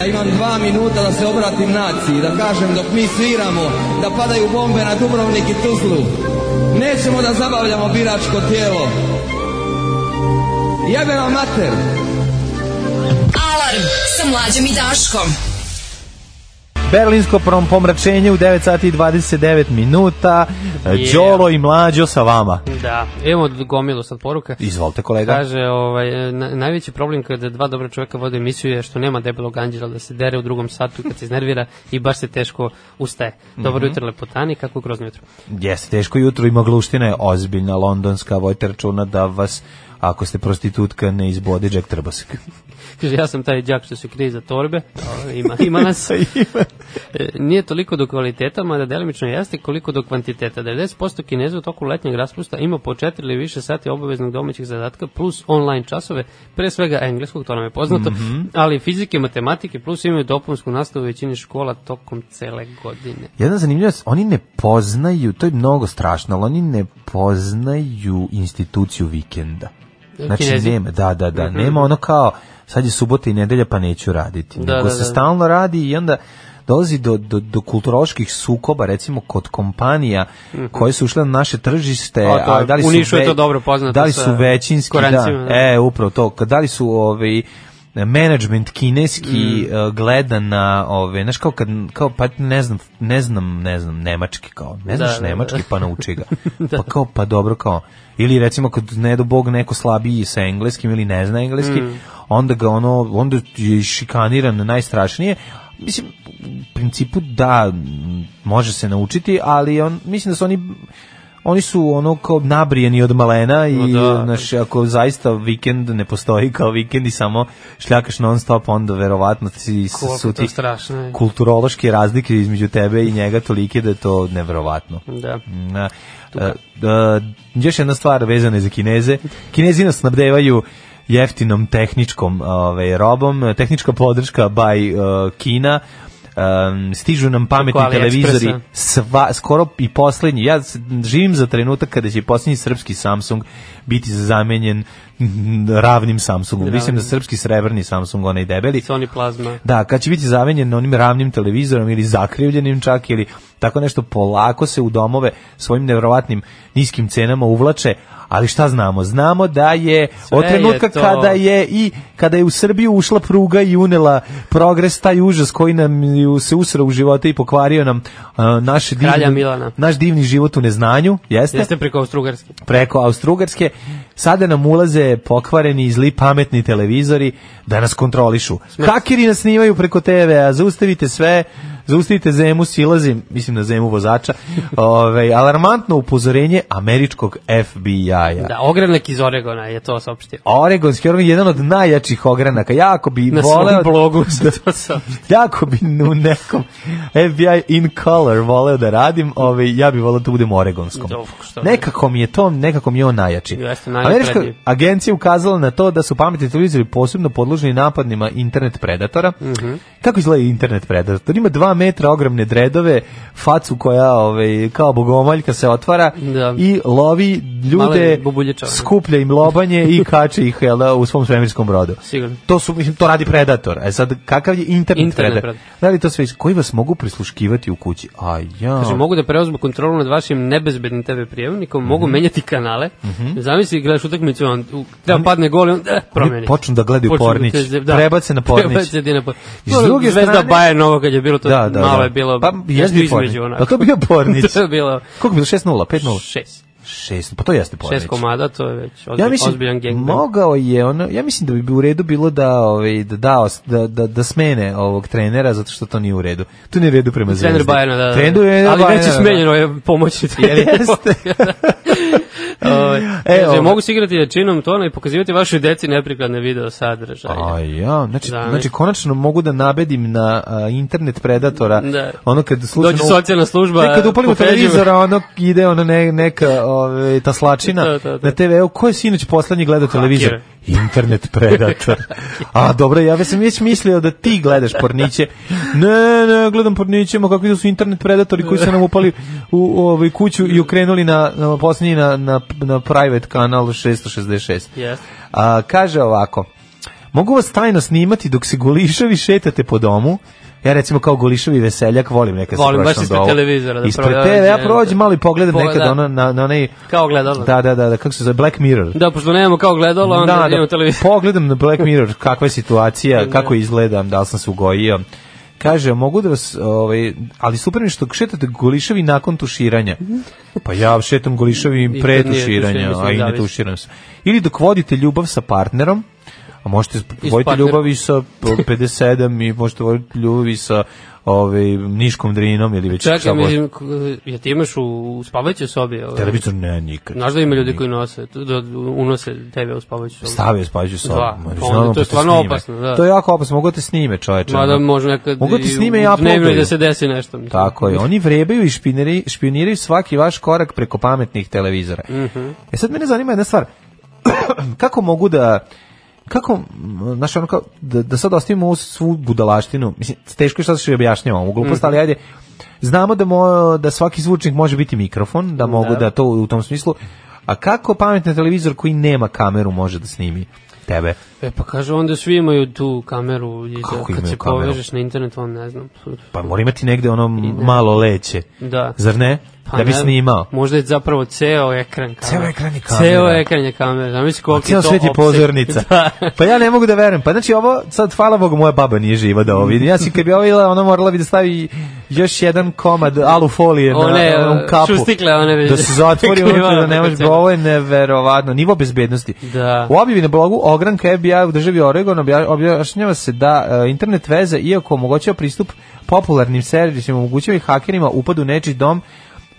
Speaker 9: Ja imam dva minuta da se obratim naciji, da kažem dok mi sviramo, da padaju bombe na Dubrovnik i Tuzlu. Nećemo da zabavljamo biračko tijelo. Jebe vam mater!
Speaker 4: Alarm sa mlađom i Daškom.
Speaker 5: Berlinsko prom- pomračenje u 9 sati i 29 minuta.
Speaker 6: Yeah.
Speaker 5: Đolo i mlađo sa vama.
Speaker 6: Da, imamo gomilu sad poruka.
Speaker 5: Izvolite kolega.
Speaker 6: Kaže, ovaj, na, najveći problem kada dva dobra čovjeka vode emisiju je što nema debelog anđela da se dere u drugom satu kad se iznervira i baš se teško ustaje. Dobro jutro lepotani, kako grozno jutro.
Speaker 5: Jeste teško jutro i magluština je ozbiljna londonska, vojte računa da vas ako ste prostitutka ne izbode Jack Trbasak.
Speaker 6: Kaže, ja sam taj đak što se krije za torbe, Dobro, ima, ima
Speaker 5: *laughs*
Speaker 6: nas. E, Nije toliko do kvaliteta, mada delimično jeste koliko do kvantiteta. 90% kineza u toku letnjeg raspusta ima po četiri ili više sati obaveznog domaćih zadatka plus online časove, pre svega engleskog, to nam je poznato,
Speaker 5: Mhm.
Speaker 6: ali fizike, matematike plus imaju dopunsku nastavu u većini škola tokom cele godine.
Speaker 5: Jedna zanimljivost, oni ne poznaju, to je mnogo strašno, ali oni ne poznaju instituciju vikenda. Znači
Speaker 6: Kinezi. Mhm.
Speaker 5: nema, da, da, da, nema ono kao sad je subota i nedelja pa neću raditi.
Speaker 6: Da,
Speaker 5: Nego
Speaker 6: da,
Speaker 5: se
Speaker 6: da.
Speaker 5: stalno radi i onda dolazi do, do, do kulturoloških sukoba, recimo kod kompanija koje su ušle na naše tržište,
Speaker 6: Mhm. A, to
Speaker 5: a
Speaker 6: je-
Speaker 5: da li
Speaker 6: u
Speaker 5: su
Speaker 6: Nišu je
Speaker 5: ve-
Speaker 6: to dobro poznato
Speaker 5: Da li
Speaker 6: sa
Speaker 5: su većinski,
Speaker 6: Koreancima,
Speaker 5: da,
Speaker 6: da.
Speaker 5: e, upravo to, kad- da li su ovi management kineski
Speaker 6: Mhm.
Speaker 5: e, gleda na ove znaš kao kad kao pa ne znam ne znam ne znam nemački kao ne znaš
Speaker 6: Da, da,
Speaker 5: nemački
Speaker 6: da.
Speaker 5: pa nauči
Speaker 6: *laughs*
Speaker 5: ga pa kao pa dobro kao ili recimo kad ne do bog neko slabiji sa engleskim ili ne zna engleski
Speaker 6: Mm.
Speaker 5: onda ga ono onda je šikaniran najstrašnije mislim u principu da m, može se naučiti ali on mislim da su oni oni su ono kao nabrijeni od malena i
Speaker 6: No da.
Speaker 5: znaš, ako zaista vikend ne postoji kao vikend i samo šljakaš non stop onda verovatno ti s-
Speaker 6: Koliko
Speaker 5: su
Speaker 6: to
Speaker 5: ti
Speaker 6: strašno je.
Speaker 5: kulturološke razlike između tebe i njega tolike da je to nevjerovatno.
Speaker 6: Da.
Speaker 5: Na, e, e, još jedna stvar vezana je za Kineze. Kinezi nas snabdevaju jeftinom tehničkom ovaj, robom, e, tehnička podrška by e, Kina, Em, stižu nam pametni
Speaker 6: Preko
Speaker 5: televizori
Speaker 6: AliExpressa.
Speaker 5: sva, skoro i poslednji ja s- živim za trenutak kada će i poslednji srpski Samsung biti zamenjen *laughs* mm, ravnim Samsungom mislim da srpski srebrni Samsung onaj debeli
Speaker 6: Sony Plasma.
Speaker 5: da, kad će biti zamenjen onim ravnim televizorom ili zakrivljenim čak ili tako nešto polako se u domove svojim nevjerovatnim niskim cenama uvlače, ali šta znamo? Znamo da je od
Speaker 6: je
Speaker 5: trenutka
Speaker 6: to.
Speaker 5: kada je i kada je u Srbiju ušla pruga i unela progres taj užas koji nam ju se usrao u živote i pokvario nam uh, naš
Speaker 6: Kralja
Speaker 5: divni,
Speaker 6: Milana.
Speaker 5: naš divni život u neznanju, jeste?
Speaker 6: Jeste preko Austrugarske.
Speaker 5: preko Austrugarske. Sada nam ulaze pokvareni zli pametni televizori da nas kontrolišu. Hakeri nas snimaju preko TV-a, zaustavite sve, zaustavite Zemu, silazim, mislim na Zemu
Speaker 6: *laughs*
Speaker 5: vozača, Ove, alarmantno upozorenje američkog FBI-a.
Speaker 6: Da, ogranak iz Oregona je to saopštio.
Speaker 5: Oregonski organ je jedan od najjačih ogranaka. Jako bi
Speaker 6: Na svom
Speaker 5: voleo
Speaker 6: blogu *laughs*
Speaker 5: da,
Speaker 6: se to saopštio.
Speaker 5: jako bi u nekom FBI in color voleo da radim, ovaj ja bih voleo da budem u Oregonskom.
Speaker 6: Dobro, što ne.
Speaker 5: Nekako mi je to, nekako mi je on najjači.
Speaker 6: Jeste, najnapredniji.
Speaker 5: Američka agencija ukazala na to da su pametni
Speaker 6: Mhm.
Speaker 5: televizori posebno podložni napadnima internet predatora. Kako izgleda internet predator? Ima dva metra ogromne dredove, facu koja ovaj, kao bogomoljka se otvara
Speaker 6: Da.
Speaker 5: i lovi ljude,
Speaker 6: Male bubuljičare.
Speaker 5: skuplja im lobanje i kače ih jel, da, u svom svemirskom brodu.
Speaker 6: Sigurno.
Speaker 5: To, su, mislim, to radi predator. E sad, kakav je internet,
Speaker 6: Internet
Speaker 5: predator?
Speaker 6: predator.
Speaker 5: Da li to sve, koji vas mogu prisluškivati u kući? A ja...
Speaker 6: Kaže, Znači, mogu da preuzmu kontrolu nad vašim nebezbednim TV prijemnikom,
Speaker 5: Mhm.
Speaker 6: mogu menjati kanale. Zamisli, gledaš utakmicu, on u- treba padne gol i on eh, promeni.
Speaker 5: Oni počnu da gledaju
Speaker 6: Počnu
Speaker 5: Pornić.
Speaker 6: te-
Speaker 5: Prebace na Pornić.
Speaker 6: *laughs* Prebace ti na Pornić.
Speaker 5: I s
Speaker 6: Dobro,
Speaker 5: druge
Speaker 6: Zvezda
Speaker 5: strane-
Speaker 6: Bayern ovo kad je bilo to,
Speaker 5: da, da,
Speaker 6: malo
Speaker 5: da.
Speaker 6: je bilo
Speaker 5: pa,
Speaker 6: nešto
Speaker 5: jeste bio Pornić.
Speaker 6: između onako.
Speaker 5: Pa to bio Pornić.
Speaker 6: *laughs* to je bilo
Speaker 5: Koliko je bilo? 6-0, 5-0?
Speaker 6: šest.
Speaker 5: 6, pa to jeste Pornić.
Speaker 6: Šest komada, to je već ozbi,
Speaker 5: Ja mislim,
Speaker 6: ozbiljan gangbang.
Speaker 5: mogao je ono, ja mislim da bi bi u redu bilo da, ovaj, da, dao, da, da, da smene ovog trenera, zato što to nije u redu. To nije u redu prema zvezdi.
Speaker 6: Trener Bajerna, da. da.
Speaker 5: Trener Bayerna,
Speaker 6: Ali već je
Speaker 5: da.
Speaker 6: smenjeno je pomoćni trener.
Speaker 5: Jel *laughs* jeste?
Speaker 6: *laughs* Ovaj,
Speaker 5: E,
Speaker 6: kaže,
Speaker 5: ovo-
Speaker 6: mogu se igrati većinom tona i pokazivati vašoj deci neprikladne video sadržaje.
Speaker 5: A ja, znači,
Speaker 6: Da,
Speaker 5: znači
Speaker 6: ne.
Speaker 5: konačno mogu da nabedim na a, internet predatora.
Speaker 6: Da.
Speaker 5: Ono kad slučajno
Speaker 6: Dođe socijalna služba,
Speaker 5: Ne, kad upalimo
Speaker 6: po Peđu.
Speaker 5: televizora, ono ide ono ne, neka ovaj taslačina
Speaker 6: Da, da, da.
Speaker 5: na TV-u. Ko je sinoć poslednji gledao televizor? Internet
Speaker 6: *laughs*
Speaker 5: predator. A dobro, ja sam već mislio da ti gledaš porniće. Ne, ne, gledam porniće, ma kakvi da su internet predatori koji su nam upali u, u ovaj kuću i okrenuli na, na poslednji na, na, na private kanal 666.
Speaker 6: Jeste.
Speaker 5: A, kaže ovako, mogu vas tajno snimati dok se golišavi šetate po domu, ja recimo kao golišavi veseljak volim nekad
Speaker 6: Volim,
Speaker 5: se
Speaker 6: baš
Speaker 5: prošlam
Speaker 6: ispred
Speaker 5: do ovog.
Speaker 6: televizora da
Speaker 5: ispred
Speaker 6: prođem,
Speaker 5: TV, ja
Speaker 6: da.
Speaker 5: prođem malo i pogledam
Speaker 6: Pogleda-
Speaker 5: nekad ono, na, na onaj,
Speaker 6: Kao gledalo.
Speaker 5: da, da, da, da, kako se zove, Black Mirror.
Speaker 6: Da, pošto nemamo kao gledalo, pa onda
Speaker 5: Da, da,
Speaker 6: imamo televizor.
Speaker 5: *laughs* pogledam na Black Mirror kakva je situacija, kako izgledam, da li sam se ugojio. Kaže, mogu da vas, ovaj, ali super mi je što šetate golišavi nakon tuširanja. Pa ja šetam golišavi
Speaker 6: Mhm. I
Speaker 5: i
Speaker 6: kad nije
Speaker 5: pre
Speaker 6: tuširanje,
Speaker 5: tuširanja,
Speaker 6: mislim,
Speaker 5: a i ne
Speaker 6: zavisi.
Speaker 5: tuširam se. Ili dok vodite ljubav sa partnerom, a možete
Speaker 6: I s
Speaker 5: voditi
Speaker 6: partnerom.
Speaker 5: ljubav i sa 57 i možete voditi ljubav i sa ovaj, niškom drinom ili već šta
Speaker 6: Čekaj,
Speaker 5: god.
Speaker 6: mislim, k- ja ti imaš u, u spavajućoj sobi. Ovaj.
Speaker 5: Televizor ne, nikad.
Speaker 6: Znaš da ima ljudi koji nose, da unose tebe u spavajuću sobu.
Speaker 5: Stavio spađu sobu.
Speaker 6: Dva.
Speaker 5: Ma,
Speaker 6: Pa onda
Speaker 5: znamo,
Speaker 6: to je
Speaker 5: pa te
Speaker 6: stvarno
Speaker 5: snime.
Speaker 6: opasno, da.
Speaker 5: To je jako opasno, mogu da te snime, čoveče.
Speaker 6: Mada
Speaker 5: ono.
Speaker 6: može nekad
Speaker 5: Mogu ti
Speaker 6: i
Speaker 5: snime
Speaker 6: u
Speaker 5: ja
Speaker 6: dnevno i
Speaker 5: uploaduju.
Speaker 6: da se desi nešto. Mislim.
Speaker 5: Tako je, oni vrebaju i špineri, špioniraju svaki vaš korak preko pametnih televizora.
Speaker 6: Mhm.
Speaker 5: E sad mene zanima jedna stvar, *clears throat* kako mogu da kako, m, znaš, ono kao, da, da sad ostavimo ovu svu budalaštinu, mislim, teško je što se objašnjava ovu glupost,
Speaker 6: Mhm.
Speaker 5: ali ajde, znamo da, mo, da svaki zvučnik može biti mikrofon, da mogu da. to u tom smislu, a kako pametni televizor koji nema kameru može da snimi tebe?
Speaker 6: E pa kaže, onda svi imaju tu kameru. I da,
Speaker 5: Kako
Speaker 6: kad
Speaker 5: imaju
Speaker 6: se
Speaker 5: kameru?
Speaker 6: povežeš na internet, on ne znam.
Speaker 5: Pa mora imati negde ono malo leće,
Speaker 6: Da.
Speaker 5: zar ne?
Speaker 6: Pa
Speaker 5: da bi
Speaker 6: ne,
Speaker 5: snimao.
Speaker 6: Možda je zapravo ceo ekran kamera.
Speaker 5: Ceo ekran je kamera.
Speaker 6: Ceo ekran je kamera. Zamisli koliko je
Speaker 5: Cijel
Speaker 6: to
Speaker 5: svet je
Speaker 6: opseg.
Speaker 5: pozornica.
Speaker 6: *laughs* Da.
Speaker 5: Pa ja ne mogu da verujem. Pa znači ovo, sad hvala Bogu, moja baba nije živa da ovo vidi. Ja si kad bi ovo videla, ona morala bi da stavi još jedan komad alufolije na
Speaker 6: One,
Speaker 5: onom
Speaker 6: e,
Speaker 5: kapu.
Speaker 6: šustikle, one
Speaker 5: Da se
Speaker 6: *laughs*
Speaker 5: zatvori
Speaker 6: klivale
Speaker 5: unutra, da ne
Speaker 6: preko
Speaker 5: može.
Speaker 6: cene.
Speaker 5: Ovo je neverovatno. Nivo bezbednosti.
Speaker 6: Da.
Speaker 5: U objavi na blogu Ogranka FBI u državi Oregon obja- objašnjava se da e, internet veze, iako omogućava pristup popularnim servisima, omogućava i hakerima upad u nečiji dom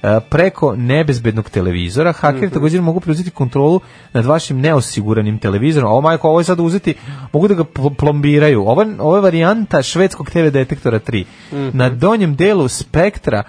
Speaker 5: e, preko nebezbednog televizora. Hakeri
Speaker 6: Mhm.
Speaker 5: također mogu preuzeti kontrolu nad vašim neosiguranim televizorom. Ovo, majko, ovo je sad uzeti, mogu da ga pl- plombiraju. Ovo, ovo je varijanta švedskog TV detektora 3.
Speaker 6: Mhm.
Speaker 5: Na donjem delu spektra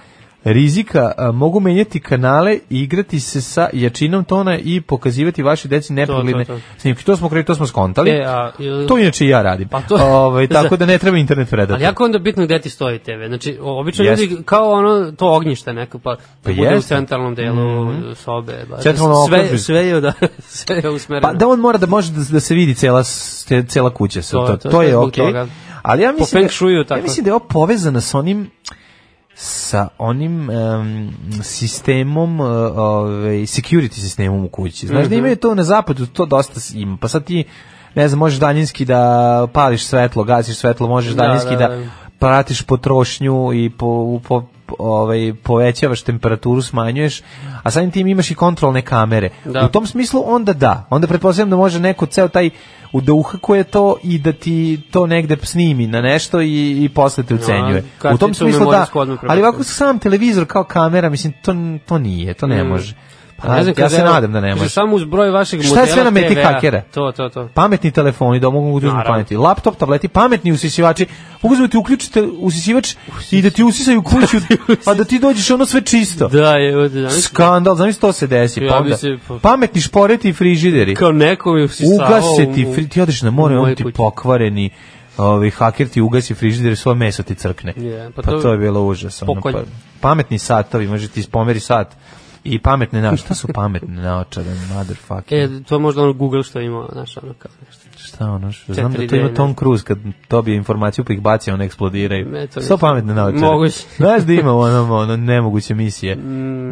Speaker 5: rizika a, mogu menjati kanale i igrati se sa jačinom tona i pokazivati vašoj deci nepregledne
Speaker 6: to, to.
Speaker 5: snimke. To smo kraj, to smo skontali.
Speaker 6: E, a, jel-
Speaker 5: to inače i ja radim.
Speaker 6: Pa to-
Speaker 5: Ovaj,
Speaker 6: *laughs*
Speaker 5: tako da ne treba internet predator.
Speaker 6: Ali jako je onda bitno gde ti stoji TV. Znači, o- obično
Speaker 5: Jeste.
Speaker 6: ljudi kao ono, to ognjište neko, pa,
Speaker 5: Pa
Speaker 6: pa bude u
Speaker 5: jeste. Mhm.
Speaker 6: centralnom delu sobe. Ba,
Speaker 5: Centralno
Speaker 6: sve,
Speaker 5: okružje.
Speaker 6: sve je, da, *laughs* sve je usmereno.
Speaker 5: Pa da on mora da može da, da se vidi cela s- ce- cela kuća sa
Speaker 6: To-
Speaker 5: to, to,
Speaker 6: to sve
Speaker 5: je
Speaker 6: zbog
Speaker 5: okej.
Speaker 6: toga.
Speaker 5: Ali ja
Speaker 6: Po
Speaker 5: mislim
Speaker 6: feng shuiju
Speaker 5: da,
Speaker 6: tako.
Speaker 5: ja mislim da je ovo povezano sa onim sa onim em, sistemom eh, ovaj security sistemom u kući. Znaš
Speaker 6: Mhm.
Speaker 5: da imaju to na zapadu, to dosta s- ima. Pa sad ti ne znam, možeš daljinski da pališ svetlo, gasiš svetlo, možeš
Speaker 6: Da,
Speaker 5: daljinski
Speaker 6: da,
Speaker 5: da,
Speaker 6: da.
Speaker 5: pratiš potrošnju i po, u- po, po- ovaj, povećavaš temperaturu, smanjuješ, a samim tim imaš i kontrolne kamere.
Speaker 6: Da.
Speaker 5: U tom smislu onda da. Onda pretpostavljam da može neko ceo taj u da uhakuje to i da ti to negde snimi na nešto i, i posle te ucenjuje.
Speaker 6: kad
Speaker 5: u tom
Speaker 6: ti to
Speaker 5: smislu
Speaker 6: memoriju
Speaker 5: da.
Speaker 6: shodno prebacuje.
Speaker 5: Ali ovako sam televizor kao kamera, mislim, to, to nije, to ne
Speaker 6: Mm.
Speaker 5: može.
Speaker 6: Pa ne znam,
Speaker 5: ja
Speaker 6: kaže,
Speaker 5: se
Speaker 6: evo,
Speaker 5: nadam da ne
Speaker 6: kaže,
Speaker 5: može.
Speaker 6: Samo uz broj vašeg
Speaker 5: Šta je
Speaker 6: modela
Speaker 5: sve na meti
Speaker 6: TV-a.
Speaker 5: hakera?
Speaker 6: To, to, to.
Speaker 5: pametni telefoni da mogu uzmu
Speaker 6: Naravno.
Speaker 5: pameti, laptop, tableti, pametni usisivači, mogu uzmeti, uključite usisivač i da ti usisaju
Speaker 6: *laughs*
Speaker 5: kuću, pa da ti dođeš ono sve čisto.
Speaker 6: Da, je, da, zamisli,
Speaker 5: Skandal, znam to se desi.
Speaker 6: Ja
Speaker 5: pa
Speaker 6: bi
Speaker 5: onda,
Speaker 6: se- pa-
Speaker 5: Pametni šporeti i frižideri.
Speaker 6: kao neko mi usisavao
Speaker 5: Ugase ti,
Speaker 6: u-
Speaker 5: fri, ti odeš na
Speaker 6: u
Speaker 5: more,
Speaker 6: mojoj
Speaker 5: on ti
Speaker 6: kući.
Speaker 5: pokvareni ovaj, haker ti ugasi frižider i svoje meso ti crkne.
Speaker 6: Je,
Speaker 5: pa,
Speaker 6: pa
Speaker 5: to,
Speaker 6: to-
Speaker 5: je bilo užas. Ono,
Speaker 6: Pokolj.
Speaker 5: pa, pametni satovi, može ti ispomeri sat i pametne naočare. Šta su pametne naočare, motherfucker?
Speaker 6: E, to je možda ono Google što ima, znaš, ono kao nešto.
Speaker 5: Šta ono? što- Znam da to
Speaker 6: 4D,
Speaker 5: ima
Speaker 6: ne.
Speaker 5: Tom Cruise kad dobije informaciju pa ih baci, one eksplodiraju.
Speaker 6: Ne, to
Speaker 5: Sto
Speaker 6: nisam.
Speaker 5: pametne naočare.
Speaker 6: Moguće.
Speaker 5: *laughs*
Speaker 6: Mm.
Speaker 5: Znaš da ima ono, ono nemoguće misije.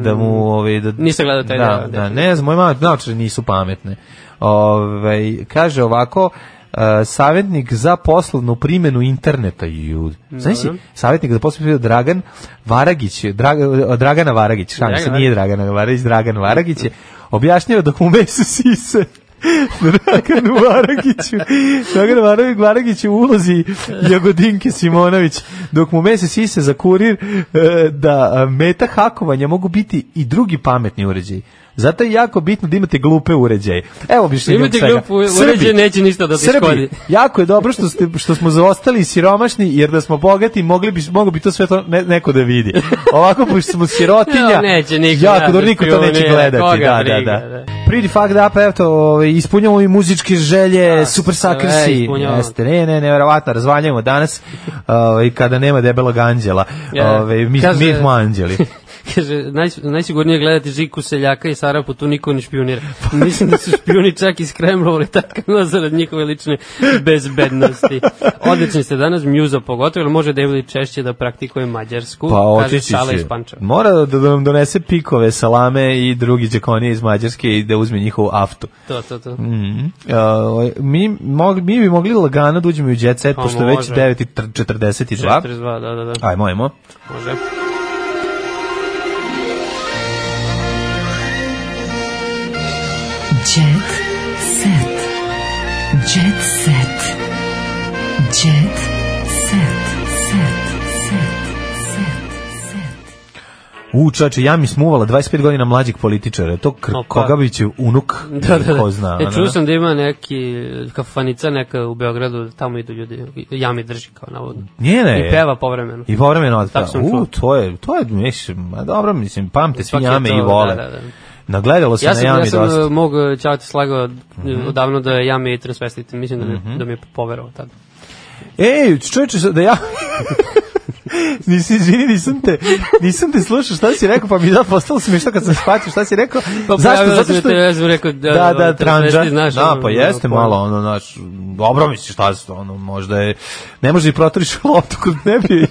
Speaker 5: Da mu, ovaj, da,
Speaker 6: Nisam gledao taj
Speaker 5: da,
Speaker 6: deo,
Speaker 5: da, ne znam, moje mame naočare nisu pametne. Ovaj kaže ovako, Uh, savjetnik za poslovnu primjenu interneta jud. Znaš si, savjetnik za poslovnu primjenu Dragan Varagić, je, Draga, Dragana Varagić, šalim se,
Speaker 6: Dragan
Speaker 5: nije Dragana Varagić, Dragan Varagić je objašnjava dok mu mesu sise Draganu Varagiću Dragan Varagić, Varagić u ulozi Jagodinke Simonović dok mu mese sise za kurir e, da e, meta hakovanja mogu biti i drugi pametni uređaji zato je jako bitno da imate glupe uređaje evo objašnjenje
Speaker 6: Imate
Speaker 5: svega.
Speaker 6: glup u-
Speaker 5: Srbi,
Speaker 6: uređaj, neće ništa da ti
Speaker 5: Srbi, *laughs*
Speaker 6: škodi.
Speaker 5: jako je dobro što, ste, što smo zaostali i siromašni, jer da smo bogati, mogli bi, mogo bi to sve to ne, neko da vidi. Ovako, pošto smo sirotinja,
Speaker 6: *laughs* Ja, neće niko
Speaker 5: jako dobro,
Speaker 6: gledati,
Speaker 5: niko to neće
Speaker 6: pionir,
Speaker 5: gledati.
Speaker 6: koga
Speaker 5: Da, da,
Speaker 6: briga,
Speaker 5: da.
Speaker 6: da.
Speaker 5: Pretty fucked up, eto, ovaj, ispunjamo i muzičke želje, super sucker
Speaker 6: sve e,
Speaker 5: si.
Speaker 6: ispunjavamo.
Speaker 5: Jeste, ne, ne, nevjerovatno, razvaljamo danas, ovaj, kada nema debelog anđela,
Speaker 6: Ja.
Speaker 5: ovaj, mi,
Speaker 6: Kaže-
Speaker 5: mi smo anđeli.
Speaker 6: *laughs* Kaže, naj, najsigurnije je gledati Žiku Seljaka i Sarapu, tu niko ne špionira. Pa Mislim da su špioni čak iz Kremla uletakano zarad njihove lične bezbednosti. Odlični ste danas, Mjuza pogotovo, jer može David češće da praktikuje Mađarsku,
Speaker 5: Pa
Speaker 6: kaže
Speaker 5: otići
Speaker 6: Šala
Speaker 5: će.
Speaker 6: iz Pančeva.
Speaker 5: Mora da, da nam donese pikove, salame i drugi džekonije iz Mađarske i da uzme njihovu aftu.
Speaker 6: To, to, to.
Speaker 5: Mhm. Uh, mi, mogli, mi bi mogli lagano da uđemo i u jet set,
Speaker 6: Pa
Speaker 5: pošto je već
Speaker 6: može.
Speaker 5: 9.42.
Speaker 6: 42, da, da, da.
Speaker 5: Ajmo, ajmo.
Speaker 6: Može.
Speaker 4: Jet set. Jet set. Jet set. Set. Set. Set. Set.
Speaker 5: U, čače, ja mi smuvala 25 godina mlađeg političara. To kr
Speaker 6: Opa.
Speaker 5: koga biće unuk,
Speaker 6: pa. *laughs* Da, da, da.
Speaker 5: ko zna.
Speaker 6: e,
Speaker 5: ono,
Speaker 6: čuo
Speaker 5: ne?
Speaker 6: sam da ima neki kafanica neka u Beogradu, tamo idu ljudi, jami drži kao navodno.
Speaker 5: Nije, ne.
Speaker 6: I peva povremeno.
Speaker 5: I povremeno otpeva.
Speaker 6: Tako sam
Speaker 5: U,
Speaker 6: čuo.
Speaker 5: to je, to je, mislim, ma dobro, mislim, pamte svi
Speaker 6: Ipak je
Speaker 5: jame
Speaker 6: to-
Speaker 5: i vole.
Speaker 6: da, da, da.
Speaker 5: Nagledalo se
Speaker 6: Ja
Speaker 5: na
Speaker 6: sam,
Speaker 5: jami
Speaker 6: ja sam
Speaker 5: dosta. Mhm.
Speaker 6: e, mog e, čao ti slagao e, odavno da ja mi je transvestit, mislim da, mi, da mi je poverovao tada. e,
Speaker 5: Ej, čovječe, sad da ja... *laughs* Nisi, izvini, nisam te, nisam te slušao šta si rekao, pa mi je da postalo smiješno kad sam shvatio šta si rekao.
Speaker 6: Pa
Speaker 5: Zašto?
Speaker 6: pojavilo
Speaker 5: Zato
Speaker 6: se na
Speaker 5: što...
Speaker 6: TV, ja sam rekao da-
Speaker 5: da, da,
Speaker 6: ono,
Speaker 5: tranđa.
Speaker 6: transvesti, znaš,
Speaker 5: da,
Speaker 6: ono,
Speaker 5: pa jeste
Speaker 6: ono,
Speaker 5: malo, ono, znaš, dobro misliš šta se to, ono, možda je, ne može i protoriš *laughs* loptu kroz ne bi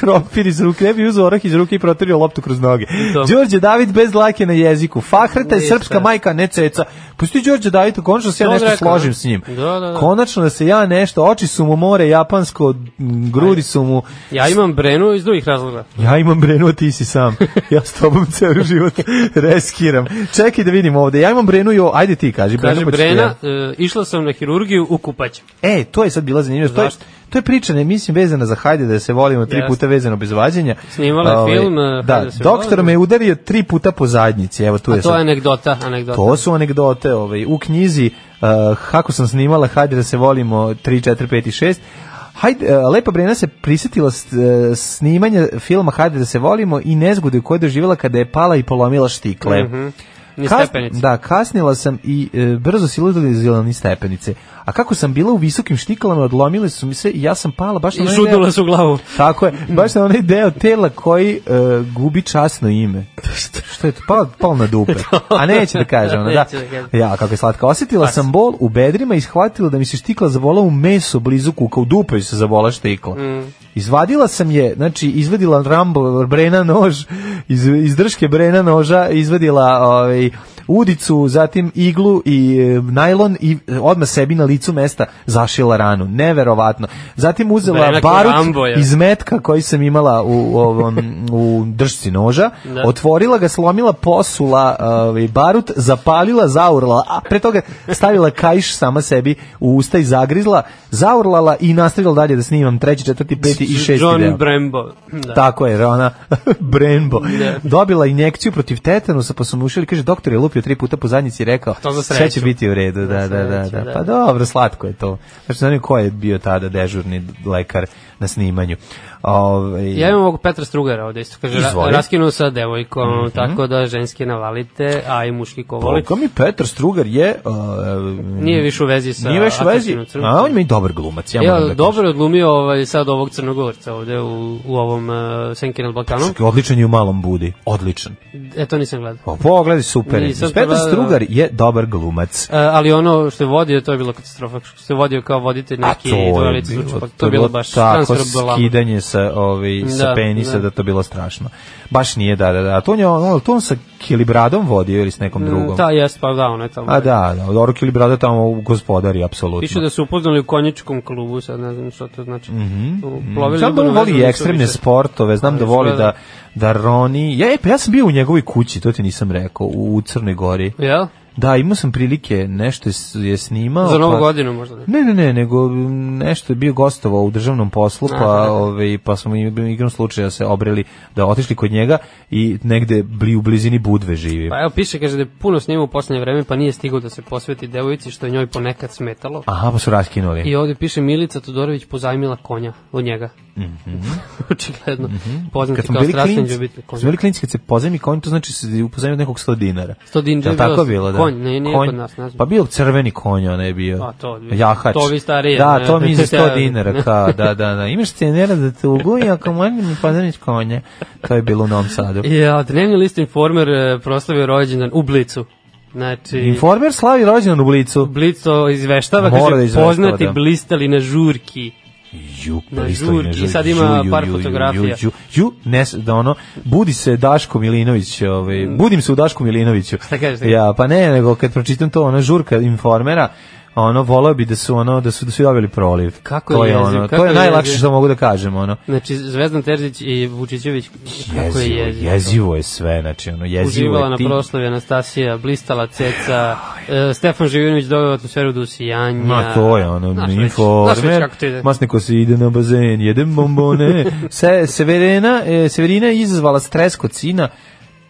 Speaker 5: kropir iz ruke, ne bi uzeo orah iz ruke i protorio loptu kroz noge.
Speaker 6: To.
Speaker 5: Đorđe David bez lake na jeziku, Fahreta je
Speaker 6: Ne,
Speaker 5: srpska
Speaker 6: šta?
Speaker 5: majka, ne ceca. Pusti Đorđe David, konačno se ja
Speaker 6: To on
Speaker 5: nešto
Speaker 6: rekao,
Speaker 5: složim
Speaker 6: da.
Speaker 5: s njim.
Speaker 6: Da, da, da.
Speaker 5: Konačno da se ja nešto, oči su mu more japansko, m, grudi su mu...
Speaker 6: Ja imam brenu iz drugih razloga.
Speaker 5: Ja imam brenu, a ti si
Speaker 6: *laughs*
Speaker 5: sam. Ja s tobom ceo život reskiram. Čekaj da vidim ovde. Ja imam brenu, jo, ajde ti kaži. brenu,
Speaker 6: Kaže
Speaker 5: pa ću ti
Speaker 6: Brena,
Speaker 5: ja.
Speaker 6: e, išla sam na hirurgiju u kupaće.
Speaker 5: E, to je sad bila zanimljivo. To je,
Speaker 6: Zašto?
Speaker 5: to je priča, ne mislim, vezana za Hajde da se volimo tri
Speaker 6: Jeste.
Speaker 5: puta vezano bez vađenja. Ovaj,
Speaker 6: Snimala je film, eh,
Speaker 5: Da,
Speaker 6: Hajde da se
Speaker 5: doktor
Speaker 6: volimo.
Speaker 5: me udario tri puta po zadnjici. Evo, tu je
Speaker 6: A to
Speaker 5: sad.
Speaker 6: je anegdota, anegdota.
Speaker 5: To su anegdote ovaj, u knjizi uh, kako sam snimala Hajde da se volimo 3, 4, 5 i 6. Hajde, uh, Lepa Brena se prisetila s- uh, snimanja filma Hajde da se volimo i nezgode koju je doživjela kada je pala i polomila štikle.
Speaker 6: Mhm. Ni
Speaker 5: Kas-
Speaker 6: stepenice.
Speaker 5: Da, kasnila sam i e, brzo si ludila ni stepenice. A kako sam bila u visokim štiklama, odlomile su mi se i ja sam pala baš na
Speaker 6: I
Speaker 5: onaj
Speaker 6: šutnula
Speaker 5: deo-
Speaker 6: se u glavu.
Speaker 5: Tako je, baš na onaj deo tela koji e, gubi časno ime. Što je to? Pal, pal na dupe. A neće da kaže ona, da.
Speaker 6: Neće da kaže.
Speaker 5: Ja, kako je slatka. Osjetila sam bol u bedrima i shvatila da mi se štikla zavola u meso blizu kuka, u dupe se zavola štikla.
Speaker 6: Mm.
Speaker 5: Izvadila sam je, znači izvadila Rambo Brena nož, iz, iz drške Brena noža izvadila ovaj, udicu, zatim iglu i e, najlon i e, odmah sebi na licu mesta zašila ranu. Neverovatno. Zatim uzela
Speaker 6: Brena kao
Speaker 5: barut
Speaker 6: Rambo, je.
Speaker 5: iz metka koji sam imala u, ovom, u držci noža,
Speaker 6: Da.
Speaker 5: otvorila ga, slomila, posula ovaj, barut, zapalila, zaurlala, a pre toga stavila kajš sama sebi u usta i zagrizla, zaurlala i nastavila dalje da snimam treći, četvrti, peti i šesti deo.
Speaker 6: John Brembo. Da.
Speaker 5: Tako je, Rona *laughs* Brembo.
Speaker 6: Da.
Speaker 5: Dobila injekciju protiv tetanusa, pa su mu ušili, kaže, doktor je lupio tri puta po zadnjici i rekao,
Speaker 6: To za
Speaker 5: sve
Speaker 6: sreću."
Speaker 5: će biti u redu. Da, da, da,
Speaker 6: sreću,
Speaker 5: da.
Speaker 6: da.
Speaker 5: Pa dobro, slatko je to. Znači, znam ko je bio tada dežurni lekar na snimanju. Ovaj, Ove,
Speaker 6: Ja imam ovog Petra Strugara ovde isto, kaže, ra-
Speaker 5: Izvoli. Mhm.
Speaker 6: raskinuo sa devojkom, tako da ženski navalite, a i muški ko voli.
Speaker 5: Boga mi Petar Strugar je... Uh,
Speaker 6: Nije više u vezi sa
Speaker 5: Nije već u vezi,
Speaker 6: Atlastinom crnom.
Speaker 5: a on ima i dobar glumac, ja,
Speaker 6: Ja,
Speaker 5: moram da
Speaker 6: dobro je odlumio ovaj, sad ovog crnogorca ovde u, u ovom uh, Senki nad Balkanom.
Speaker 5: kažem. Odličan je u malom budi, odličan.
Speaker 6: E, to nisam gledao.
Speaker 5: Pa pogledaj, super. je.
Speaker 6: Nisam
Speaker 5: Petar
Speaker 6: pogledao.
Speaker 5: Strugar je dobar glumac.
Speaker 6: E, ali ono što je vodio, to je bilo katastrofa. Što je vodio kao voditelj
Speaker 5: A
Speaker 6: neki dualic zvučupak, to je bilo baš
Speaker 5: tako
Speaker 6: transfer blama.
Speaker 5: skidanje sa, ovaj, sa
Speaker 6: Da,
Speaker 5: penisa da.
Speaker 6: da.
Speaker 5: to bilo strašno. Baš nije, da, da, da. A To on, je, on, to on sa Kilibradom vodio ili s nekom drugom?
Speaker 6: Da, jest, pa da, ono je tamo.
Speaker 5: A da, da, Doro Kilibrada tamo u gospodari,
Speaker 6: Piše
Speaker 5: apsolutno.
Speaker 6: da su upoznali u konjičkom klubu, sad ne znam što to znači. Mm -hmm.
Speaker 5: Znam
Speaker 6: Plovili
Speaker 5: Mhm, da on
Speaker 6: ribolovno
Speaker 5: voli
Speaker 6: vezu,
Speaker 5: ekstremne
Speaker 6: nisu više.
Speaker 5: sportove, znam
Speaker 6: Ali
Speaker 5: da voli da,
Speaker 6: izgleda-
Speaker 5: da roni. Ja, e, pa ja sam bio u njegovoj kući, to ti nisam rekao, u Crnoj Gori.
Speaker 6: Jel?
Speaker 5: Da, imao sam prilike, nešto je, s- je snimao.
Speaker 6: Za novu
Speaker 5: pa-
Speaker 6: godinu možda. ne?
Speaker 5: Ne, ne, ne, nego m, nešto je bio gostovao u državnom poslu, pa,
Speaker 6: Aha.
Speaker 5: ovaj, pa smo im- igrom slučaja se obreli da otišli kod njega i negde bli, u blizini Budve živi.
Speaker 6: Pa evo piše, kaže da je puno snima u poslednje vreme, pa nije stigao da se posveti devojci, što je njoj ponekad smetalo.
Speaker 5: Aha, pa su raskinuli.
Speaker 6: I ovde piše Milica Todorović pozajmila konja od njega. Mhm. *laughs* Očigledno. Poznati
Speaker 5: Mhm. kad smo
Speaker 6: kao
Speaker 5: bili
Speaker 6: strastveni
Speaker 5: klinci,
Speaker 6: ljubitelj
Speaker 5: kad
Speaker 6: konja.
Speaker 5: smo bili klinci, kad se pozajmi konj, to znači se upozajmi od nekog 100 dinara.
Speaker 6: 100 dinara
Speaker 5: Je li
Speaker 6: je bilo
Speaker 5: tako bilo, da.
Speaker 6: konj, ne, nije kod nas, ne znam.
Speaker 5: Pa bio crveni konj, onaj je bio.
Speaker 6: A, to,
Speaker 5: Jahač.
Speaker 6: to vi starije,
Speaker 5: Da,
Speaker 6: ne,
Speaker 5: to mi je za 100
Speaker 6: te-
Speaker 5: dinara, kao, da, da, da. Imaš cenera da te uguji, ako možeš mi pozajmiš konje. To je bilo u Novom Sadu.
Speaker 6: Ja, dnevni list Informer e, proslavio rođendan u Blicu. Znači,
Speaker 5: Informer slavi rođendan u Blicu.
Speaker 6: Blic to izveštava,
Speaker 5: Mora
Speaker 6: kaže,
Speaker 5: da izveštava,
Speaker 6: poznati
Speaker 5: da.
Speaker 6: blistali na žurki.
Speaker 5: Ju, pa
Speaker 6: Na
Speaker 5: isto je,
Speaker 6: žurki,
Speaker 5: na žurki.
Speaker 6: sad ima
Speaker 5: Ju, ju,
Speaker 6: par
Speaker 5: ju, ju,
Speaker 6: fotografija.
Speaker 5: Ju, ju, ne, s- da ono, budi se Daško Milinović, ovaj, budim se u Daško Milinoviću.
Speaker 6: Mm. Šta kažeš?
Speaker 5: Ja, pa ne, nego kad pročitam to, ona žurka informera, ono, volao bi da su, ono, da su, da su javili proliv.
Speaker 6: Kako
Speaker 5: to
Speaker 6: je
Speaker 5: je,
Speaker 6: jeziv,
Speaker 5: ono,
Speaker 6: kako
Speaker 5: to je
Speaker 6: je
Speaker 5: najlakše
Speaker 6: jeziv.
Speaker 5: što mogu da kažem, ono.
Speaker 6: Znači, Zvezdan Terzić i Vučićević, kako je jezivo.
Speaker 5: jezivo je sve, znači, ono, jezivo
Speaker 6: Uživala
Speaker 5: je
Speaker 6: na
Speaker 5: ti.
Speaker 6: proslavi Anastasija, blistala ceca, e, Stefan Živinović doveo atmosferu do usijanja.
Speaker 5: Ma to je ono,
Speaker 6: Znaš
Speaker 5: znaš
Speaker 6: već- Znaš već
Speaker 5: informer,
Speaker 6: kako to ide.
Speaker 5: masniko se ide na bazen, jedem
Speaker 6: *laughs*
Speaker 5: bombone. Se, Severina, e, Severina je izazvala stres kod sina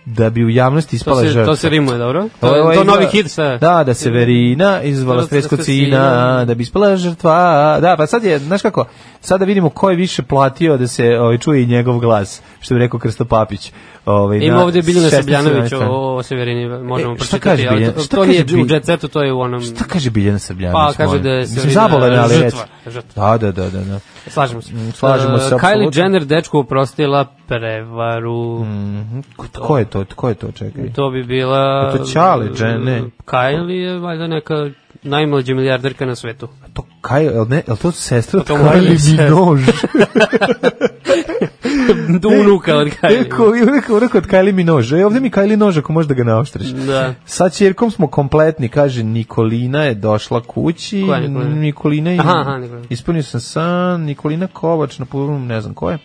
Speaker 5: da bi u javnosti
Speaker 6: To
Speaker 5: ispala
Speaker 6: se,
Speaker 5: žrtva.
Speaker 6: to se rimuje, dobro? To,
Speaker 5: Ovo
Speaker 6: to,
Speaker 5: je
Speaker 6: to novi
Speaker 5: izgleda-
Speaker 6: hit sve.
Speaker 5: Da, da Severina izvala
Speaker 6: Stres
Speaker 5: stres kod
Speaker 6: kod
Speaker 5: sina,
Speaker 6: sina.
Speaker 5: da bi ispala žrtva. Da, pa sad je, znaš kako, sad da vidimo ko je više platio da se ovaj, čuje i njegov glas, što bi rekao Krsto Papić. Ovaj,
Speaker 6: Ima ovde Biljana
Speaker 5: 16.
Speaker 6: Srbljanović o,
Speaker 5: strani.
Speaker 6: o Severini, možemo
Speaker 5: E, šta
Speaker 6: pročitati,
Speaker 5: kaže
Speaker 6: ali
Speaker 5: Biljana-
Speaker 6: to,
Speaker 5: šta
Speaker 6: to nije
Speaker 5: kaže
Speaker 6: u
Speaker 5: Bil-
Speaker 6: jet setu, to je ono- u onom...
Speaker 5: Šta kaže Biljana Srbljanović?
Speaker 6: Pa, kaže
Speaker 5: molim?
Speaker 6: da je
Speaker 5: Mislim,
Speaker 6: Severina
Speaker 5: zabolena, ali
Speaker 6: žrtva,
Speaker 5: reći.
Speaker 6: žrtva.
Speaker 5: Da, da, da, da. da.
Speaker 6: Slažemo se.
Speaker 5: Mm, slažemo se,
Speaker 6: E, Kylie
Speaker 5: apsolutno. Mm.
Speaker 6: Jenner dečku oprostila prevaru.
Speaker 5: Ko- Tko je to? Tko je to? Čekaj.
Speaker 6: To bi bila...
Speaker 5: Pa to Ćale Jenner, ne.
Speaker 6: Kylie je valjda neka najmlađa milijarderka na svetu. *laughs*
Speaker 5: To Kaj, el ne, el to sestra od
Speaker 6: To mora
Speaker 5: Kylie
Speaker 6: biti sestra.
Speaker 5: Minogue.
Speaker 6: Unuka od Kylie.
Speaker 5: Eko, eko, eko od Kylie Minogue. E, ovde mi Kylie nož, ako možeš da ga naoštriš.
Speaker 6: Da.
Speaker 5: Sa ćerkom smo kompletni, kaže Nikolina je došla kući.
Speaker 6: Koja je Nikolina?
Speaker 5: Nikolina je,
Speaker 6: Aha, aha, Nikolina.
Speaker 5: Ispunio sam san, Nikolina Kovač, na pogledom ne znam ko je.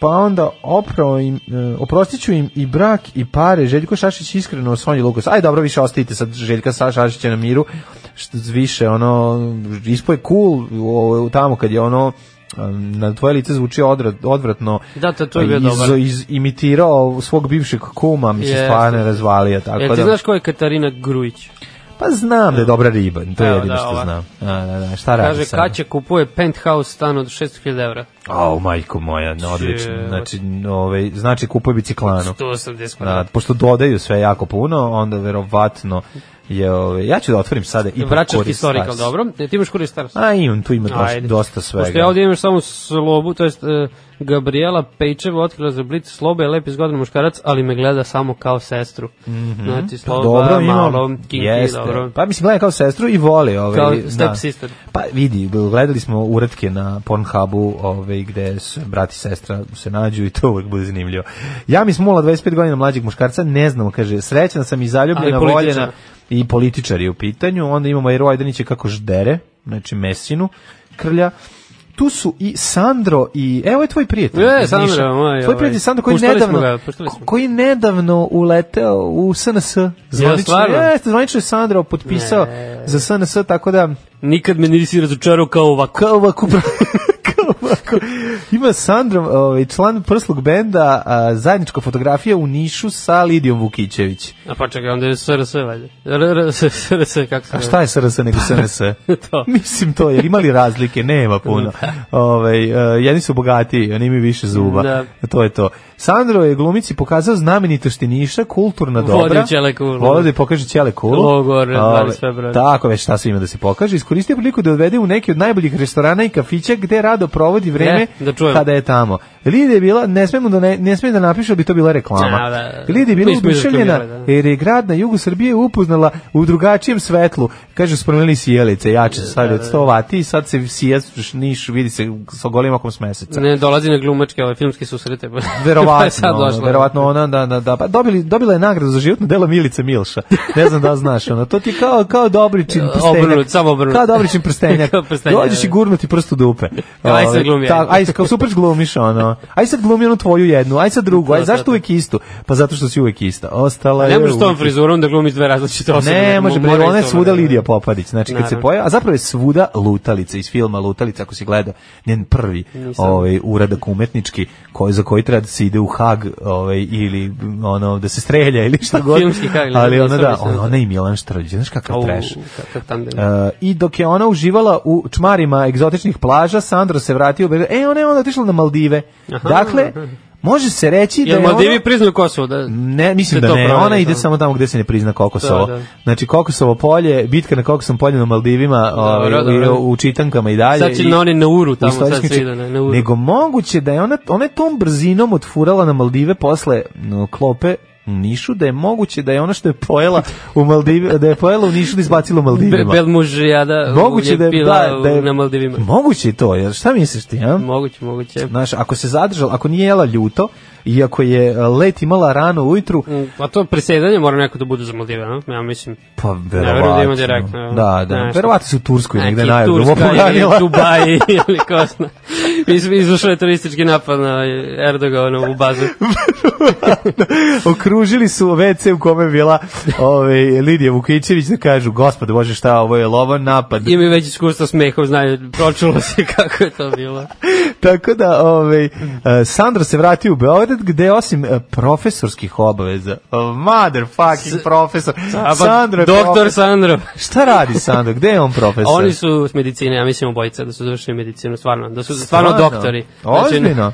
Speaker 5: Pa onda oprao im, e, oprostit ću im i brak i pare. Željko Šašić iskreno Sonji Lukas. Aj dobro, više ostavite sad Željka Sa- Šašića na miru. Što više, ono, ispo je cool o, tamo kad je ono em, na tvoje lice zvuči odvrat, odvratno
Speaker 6: Da, to- to je bio
Speaker 5: Izo-
Speaker 6: dobar.
Speaker 5: iz, imitirao svog bivšeg kuma, mi se
Speaker 6: Jeste.
Speaker 5: stvarno razvalio. Tako
Speaker 6: Jel ti
Speaker 5: Pa da,
Speaker 6: znaš ko je Katarina Grujić?
Speaker 5: pa znam da je dobra riba, to je
Speaker 6: Evo,
Speaker 5: jedino
Speaker 6: da,
Speaker 5: što
Speaker 6: ova.
Speaker 5: znam. A, da, da, šta radi
Speaker 6: Kaže,
Speaker 5: sad?
Speaker 6: Kaća kupuje penthouse stan od 600.000 evra.
Speaker 5: Au, majko moja, no, odlično.
Speaker 6: Če-
Speaker 5: Znači, ovaj, znači kupuj biciklanu.
Speaker 6: 180
Speaker 5: Da,
Speaker 6: kvadrata.
Speaker 5: pošto dodaju sve jako puno, onda verovatno je... Ovaj, ja ću da otvorim sada i
Speaker 6: Vračarski historical, dobro. E, ti imaš kurir stars.
Speaker 5: A imam, tu ima dosta,
Speaker 6: Ajde.
Speaker 5: dosta svega.
Speaker 6: Pošto ja ovdje imaš samo slobu, to jest e, Gabriela Pejčeva otkrila za blic sloba je lep izgodan muškarac, ali me gleda samo kao sestru. Znači, sloba,
Speaker 5: Mhm. Pa dobro, ima.
Speaker 6: malo, kinky,
Speaker 5: Jeste.
Speaker 6: dobro.
Speaker 5: Pa mislim, gleda kao sestru i voli. Ovaj,
Speaker 6: Kao
Speaker 5: da.
Speaker 6: stepsister.
Speaker 5: Pa vidi, gledali smo uratke na Pornhubu ovaj, gde se brat i sestra se nađu i to uvek bude zanimljivo. Ja mi smula 25 godina mlađeg muškarca, ne znamo, kaže, srećna sam i zaljubljena,
Speaker 6: Ali političar.
Speaker 5: voljena i političar je u pitanju. Onda imamo Eroa Ajdanića kako ždere, znači mesinu krlja. Tu su i Sandro i evo je tvoj prijatelj.
Speaker 6: E,
Speaker 5: iz Niša.
Speaker 6: Sandro, moj,
Speaker 5: tvoj
Speaker 6: ovaj,
Speaker 5: prijatelj Sandro koji
Speaker 6: puštali smo
Speaker 5: nedavno
Speaker 6: ga, puštali smo.
Speaker 5: koji nedavno uleteo u SNS. Zvanično,
Speaker 6: stvarno?
Speaker 5: jeste, zvanično je Sandro potpisao za SNS, tako da
Speaker 6: Nikad me nisi razočarao kao ovako.
Speaker 5: *laughs* kao ovako, pra- kao ovako, Ima Sandrom, ovaj, član prslog benda, a, zajednička fotografija u Nišu sa Lidijom Vukićević.
Speaker 6: A pa čekaj, onda je SRS valjda. RRS, SRS, kako se
Speaker 5: A šta je SRS nego SNS?
Speaker 6: *laughs* To.
Speaker 5: *laughs* Mislim to, jer imali razlike, nema puno. Ove, jedni su bogatiji, oni imaju više zuba.
Speaker 6: Da.
Speaker 5: To je to. Sandro je glumici pokazao znamenitošti Niša, kulturna dobra.
Speaker 6: Vodio Ćele Kulu.
Speaker 5: Volio da je pokaže Ćele Kulu.
Speaker 6: Logor,
Speaker 5: Ove,
Speaker 6: 12 februara.
Speaker 5: Tako već šta sve ima da se pokaže. Iskoristio priliku da je odvede u neki od najboljih restorana i kafića gde rado provodi vreme
Speaker 6: E, da čujem.
Speaker 5: kada je tamo. Lidija je bila, ne smemo da, ne, ne smije da napiše, ali bi to bila reklama.
Speaker 6: Da, da, da.
Speaker 5: Lidija je bila
Speaker 6: Mi smo
Speaker 5: oduševljena
Speaker 6: izračunali, da.
Speaker 5: jer je grad na jugu Srbije upoznala u drugačijem svetlu. Kaže, spromenili sijelice, jače se stavili od 100 vati i sad se sija niš, vidi se sa golim okom s
Speaker 6: *laughs*
Speaker 5: meseca.
Speaker 6: Ne, dolazi na glumačke ove filmske susrete. pa- *laughs* pa je Pa sad
Speaker 5: Verovatno, ono,
Speaker 6: došla.
Speaker 5: verovatno ona, da, da, da, pa dobili, dobila je nagradu za životno delo Milice Milša. Ne znam da li znaš, ono, to ti je kao, kao dobričin
Speaker 6: *laughs*
Speaker 5: prstenjak.
Speaker 6: Obrnut, samo obrnut.
Speaker 5: Kao dobričin prstenjak.
Speaker 6: *laughs* Kao prstenjak,
Speaker 5: Dođeš i
Speaker 6: da.
Speaker 5: gurnuti prst u dupe.
Speaker 6: *laughs* Aj sad
Speaker 5: Ovaj,
Speaker 6: glumi, aj.
Speaker 5: ta- Aj, kao super glumiš, ono. Aj sad glumi onu tvoju jednu, aj sad drugu, aj
Speaker 6: To, to,
Speaker 5: zašto
Speaker 6: to.
Speaker 5: uvek istu? Pa zato što si uvek ista. Ostala Pa je
Speaker 6: Ne možeš s tom
Speaker 5: uvek ista.
Speaker 6: frizurom da glumiš dve različite osobe.
Speaker 5: Ne, može, bre,
Speaker 6: mora
Speaker 5: ona je
Speaker 6: isto,
Speaker 5: svuda
Speaker 6: ono,
Speaker 5: Lidija Popadić, znači kad se
Speaker 6: Naravno.
Speaker 5: pojava, a zapravo je svuda Lutalica iz filma Lutalica, ako si gledao, njen prvi ovaj, uradak umetnički, koji, za koji treba da se ide u Hag ovaj, ili ono, da se strelja ili šta god,
Speaker 6: Pa, Filmski Hag, ili
Speaker 5: ali
Speaker 6: da
Speaker 5: ona
Speaker 6: se
Speaker 5: da,
Speaker 6: obisne.
Speaker 5: ona, ona i Milan Štrđe, znaš kakav
Speaker 6: Au,
Speaker 5: trash.
Speaker 6: kakav tandem.
Speaker 5: E, I dok je ona uživala u čmarima egzotičnih plaža, Sandro se vratio, u Beograd. e, ona je onda otišla na Maldive. Dakle, može se reći da
Speaker 6: Jel
Speaker 5: je ona...
Speaker 6: Maldivi priznaju Kosovo? Da,
Speaker 5: Ne, mislim
Speaker 6: Se
Speaker 5: da
Speaker 6: to
Speaker 5: ne.
Speaker 6: proveri,
Speaker 5: Ona ide
Speaker 6: da.
Speaker 5: samo tamo gde se ne prizna Kokosovo.
Speaker 6: Da, da.
Speaker 5: Znači Kokosovo polje, bitka na Kokosovom polju na Maldivima, ovaj,
Speaker 6: dobro.
Speaker 5: u, u čitankama i dalje.
Speaker 6: Sad će
Speaker 5: i-
Speaker 6: na oni Nauru tamo, sad
Speaker 5: istorijskim
Speaker 6: svi
Speaker 5: čit-
Speaker 6: da ne, Nauru.
Speaker 5: Nego moguće da je ona, ona je tom brzinom otfurala na Maldive posle no, klope u Nišu, da je moguće da je ono što je pojela u Maldivi, da je pojela u Nišu da izbacila u
Speaker 6: Be,
Speaker 5: Maldivima.
Speaker 6: Belmuž je, da,
Speaker 5: moguće da je,
Speaker 6: bila
Speaker 5: da, da je,
Speaker 6: na Maldivima.
Speaker 5: Moguće je to, jer šta misliš ti, a?
Speaker 6: Moguće, moguće.
Speaker 5: Znaš, ako se zadržala, ako nije jela ljuto, i ako je e, let imala rano ujutru,
Speaker 6: Mm, A to presedanje mora neko da bude za Maldive, a? ja mislim.
Speaker 5: Pa
Speaker 6: verovatno.
Speaker 5: verovatno.
Speaker 6: da ima direktno, evo.
Speaker 5: Da, da.
Speaker 6: Znaš.
Speaker 5: Verovatno su u Turskoj negde
Speaker 6: Neki
Speaker 5: najbolje. *laughs*
Speaker 6: Turska ili
Speaker 5: Turska
Speaker 6: Dubaji ili ko zna. Mi smo izvršili turistički napad na Erdoganovu bazu.
Speaker 5: Okružili su WC u kome je bila ovaj, Lidija Vukićević da kažu, gospode bože šta, ovo je lovan napad. *laughs*
Speaker 6: Imaju već iskustva smehom, znaju, pročulo se *laughs* kako je to bilo.
Speaker 5: Tako da, ovaj, eh, Sandro se vratio u Beograd gde osim eh, profesorskih obaveza, oh, motherfucking profesor,
Speaker 6: A pa,
Speaker 5: Sandro je
Speaker 6: Doktor
Speaker 5: profesor. E
Speaker 6: Sandro.
Speaker 5: Šta radi Sandro? Gde je on profesor?
Speaker 6: Oni su s medicine, ja mislim obojica da su završili medicinu, stvarno, da su stvarno, doktori. Znači,
Speaker 5: Ozbiljno?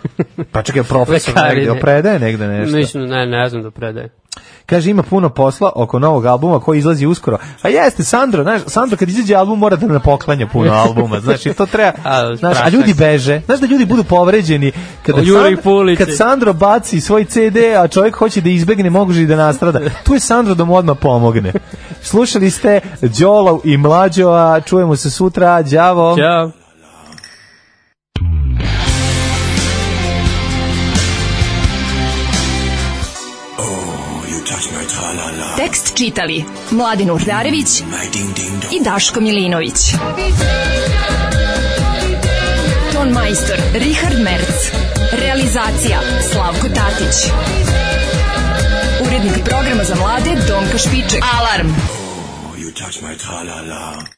Speaker 5: Pa čekaj, profesor
Speaker 6: Lekari,
Speaker 5: negde,
Speaker 6: ne.
Speaker 5: on predaje negde nešto.
Speaker 6: Mislim, ne, ne znam da predaje.
Speaker 5: Kaže ima puno posla oko novog albuma koji izlazi uskoro. A jeste Sandro, znaš, Sandro kad izađe album mora da ne poklanja
Speaker 6: *laughs*
Speaker 5: puno albuma. Znači to treba,
Speaker 6: A,
Speaker 5: znaš, a
Speaker 6: prašak
Speaker 5: ljudi
Speaker 6: se.
Speaker 5: beže. Znaš da ljudi budu povređeni kada
Speaker 6: O, Jure i
Speaker 5: Sandro,
Speaker 6: Pulici.
Speaker 5: kad Sandro baci svoj CD, a čovjek hoće da izbegne, može i da nastrada. Tu je Sandro da mu odmah pomogne. Slušali ste Đolo i Mlađo, a čujemo se sutra. Đavo.
Speaker 6: Ćao.
Speaker 4: Tekst čitali Mladin Urdarević i Daško Milinović. Ton majstor Richard Merc. Realizacija Slavko Tatić. Urednik programa za mlade Donka Špiček. Alarm!
Speaker 10: Oh, you touch my tra-la-la.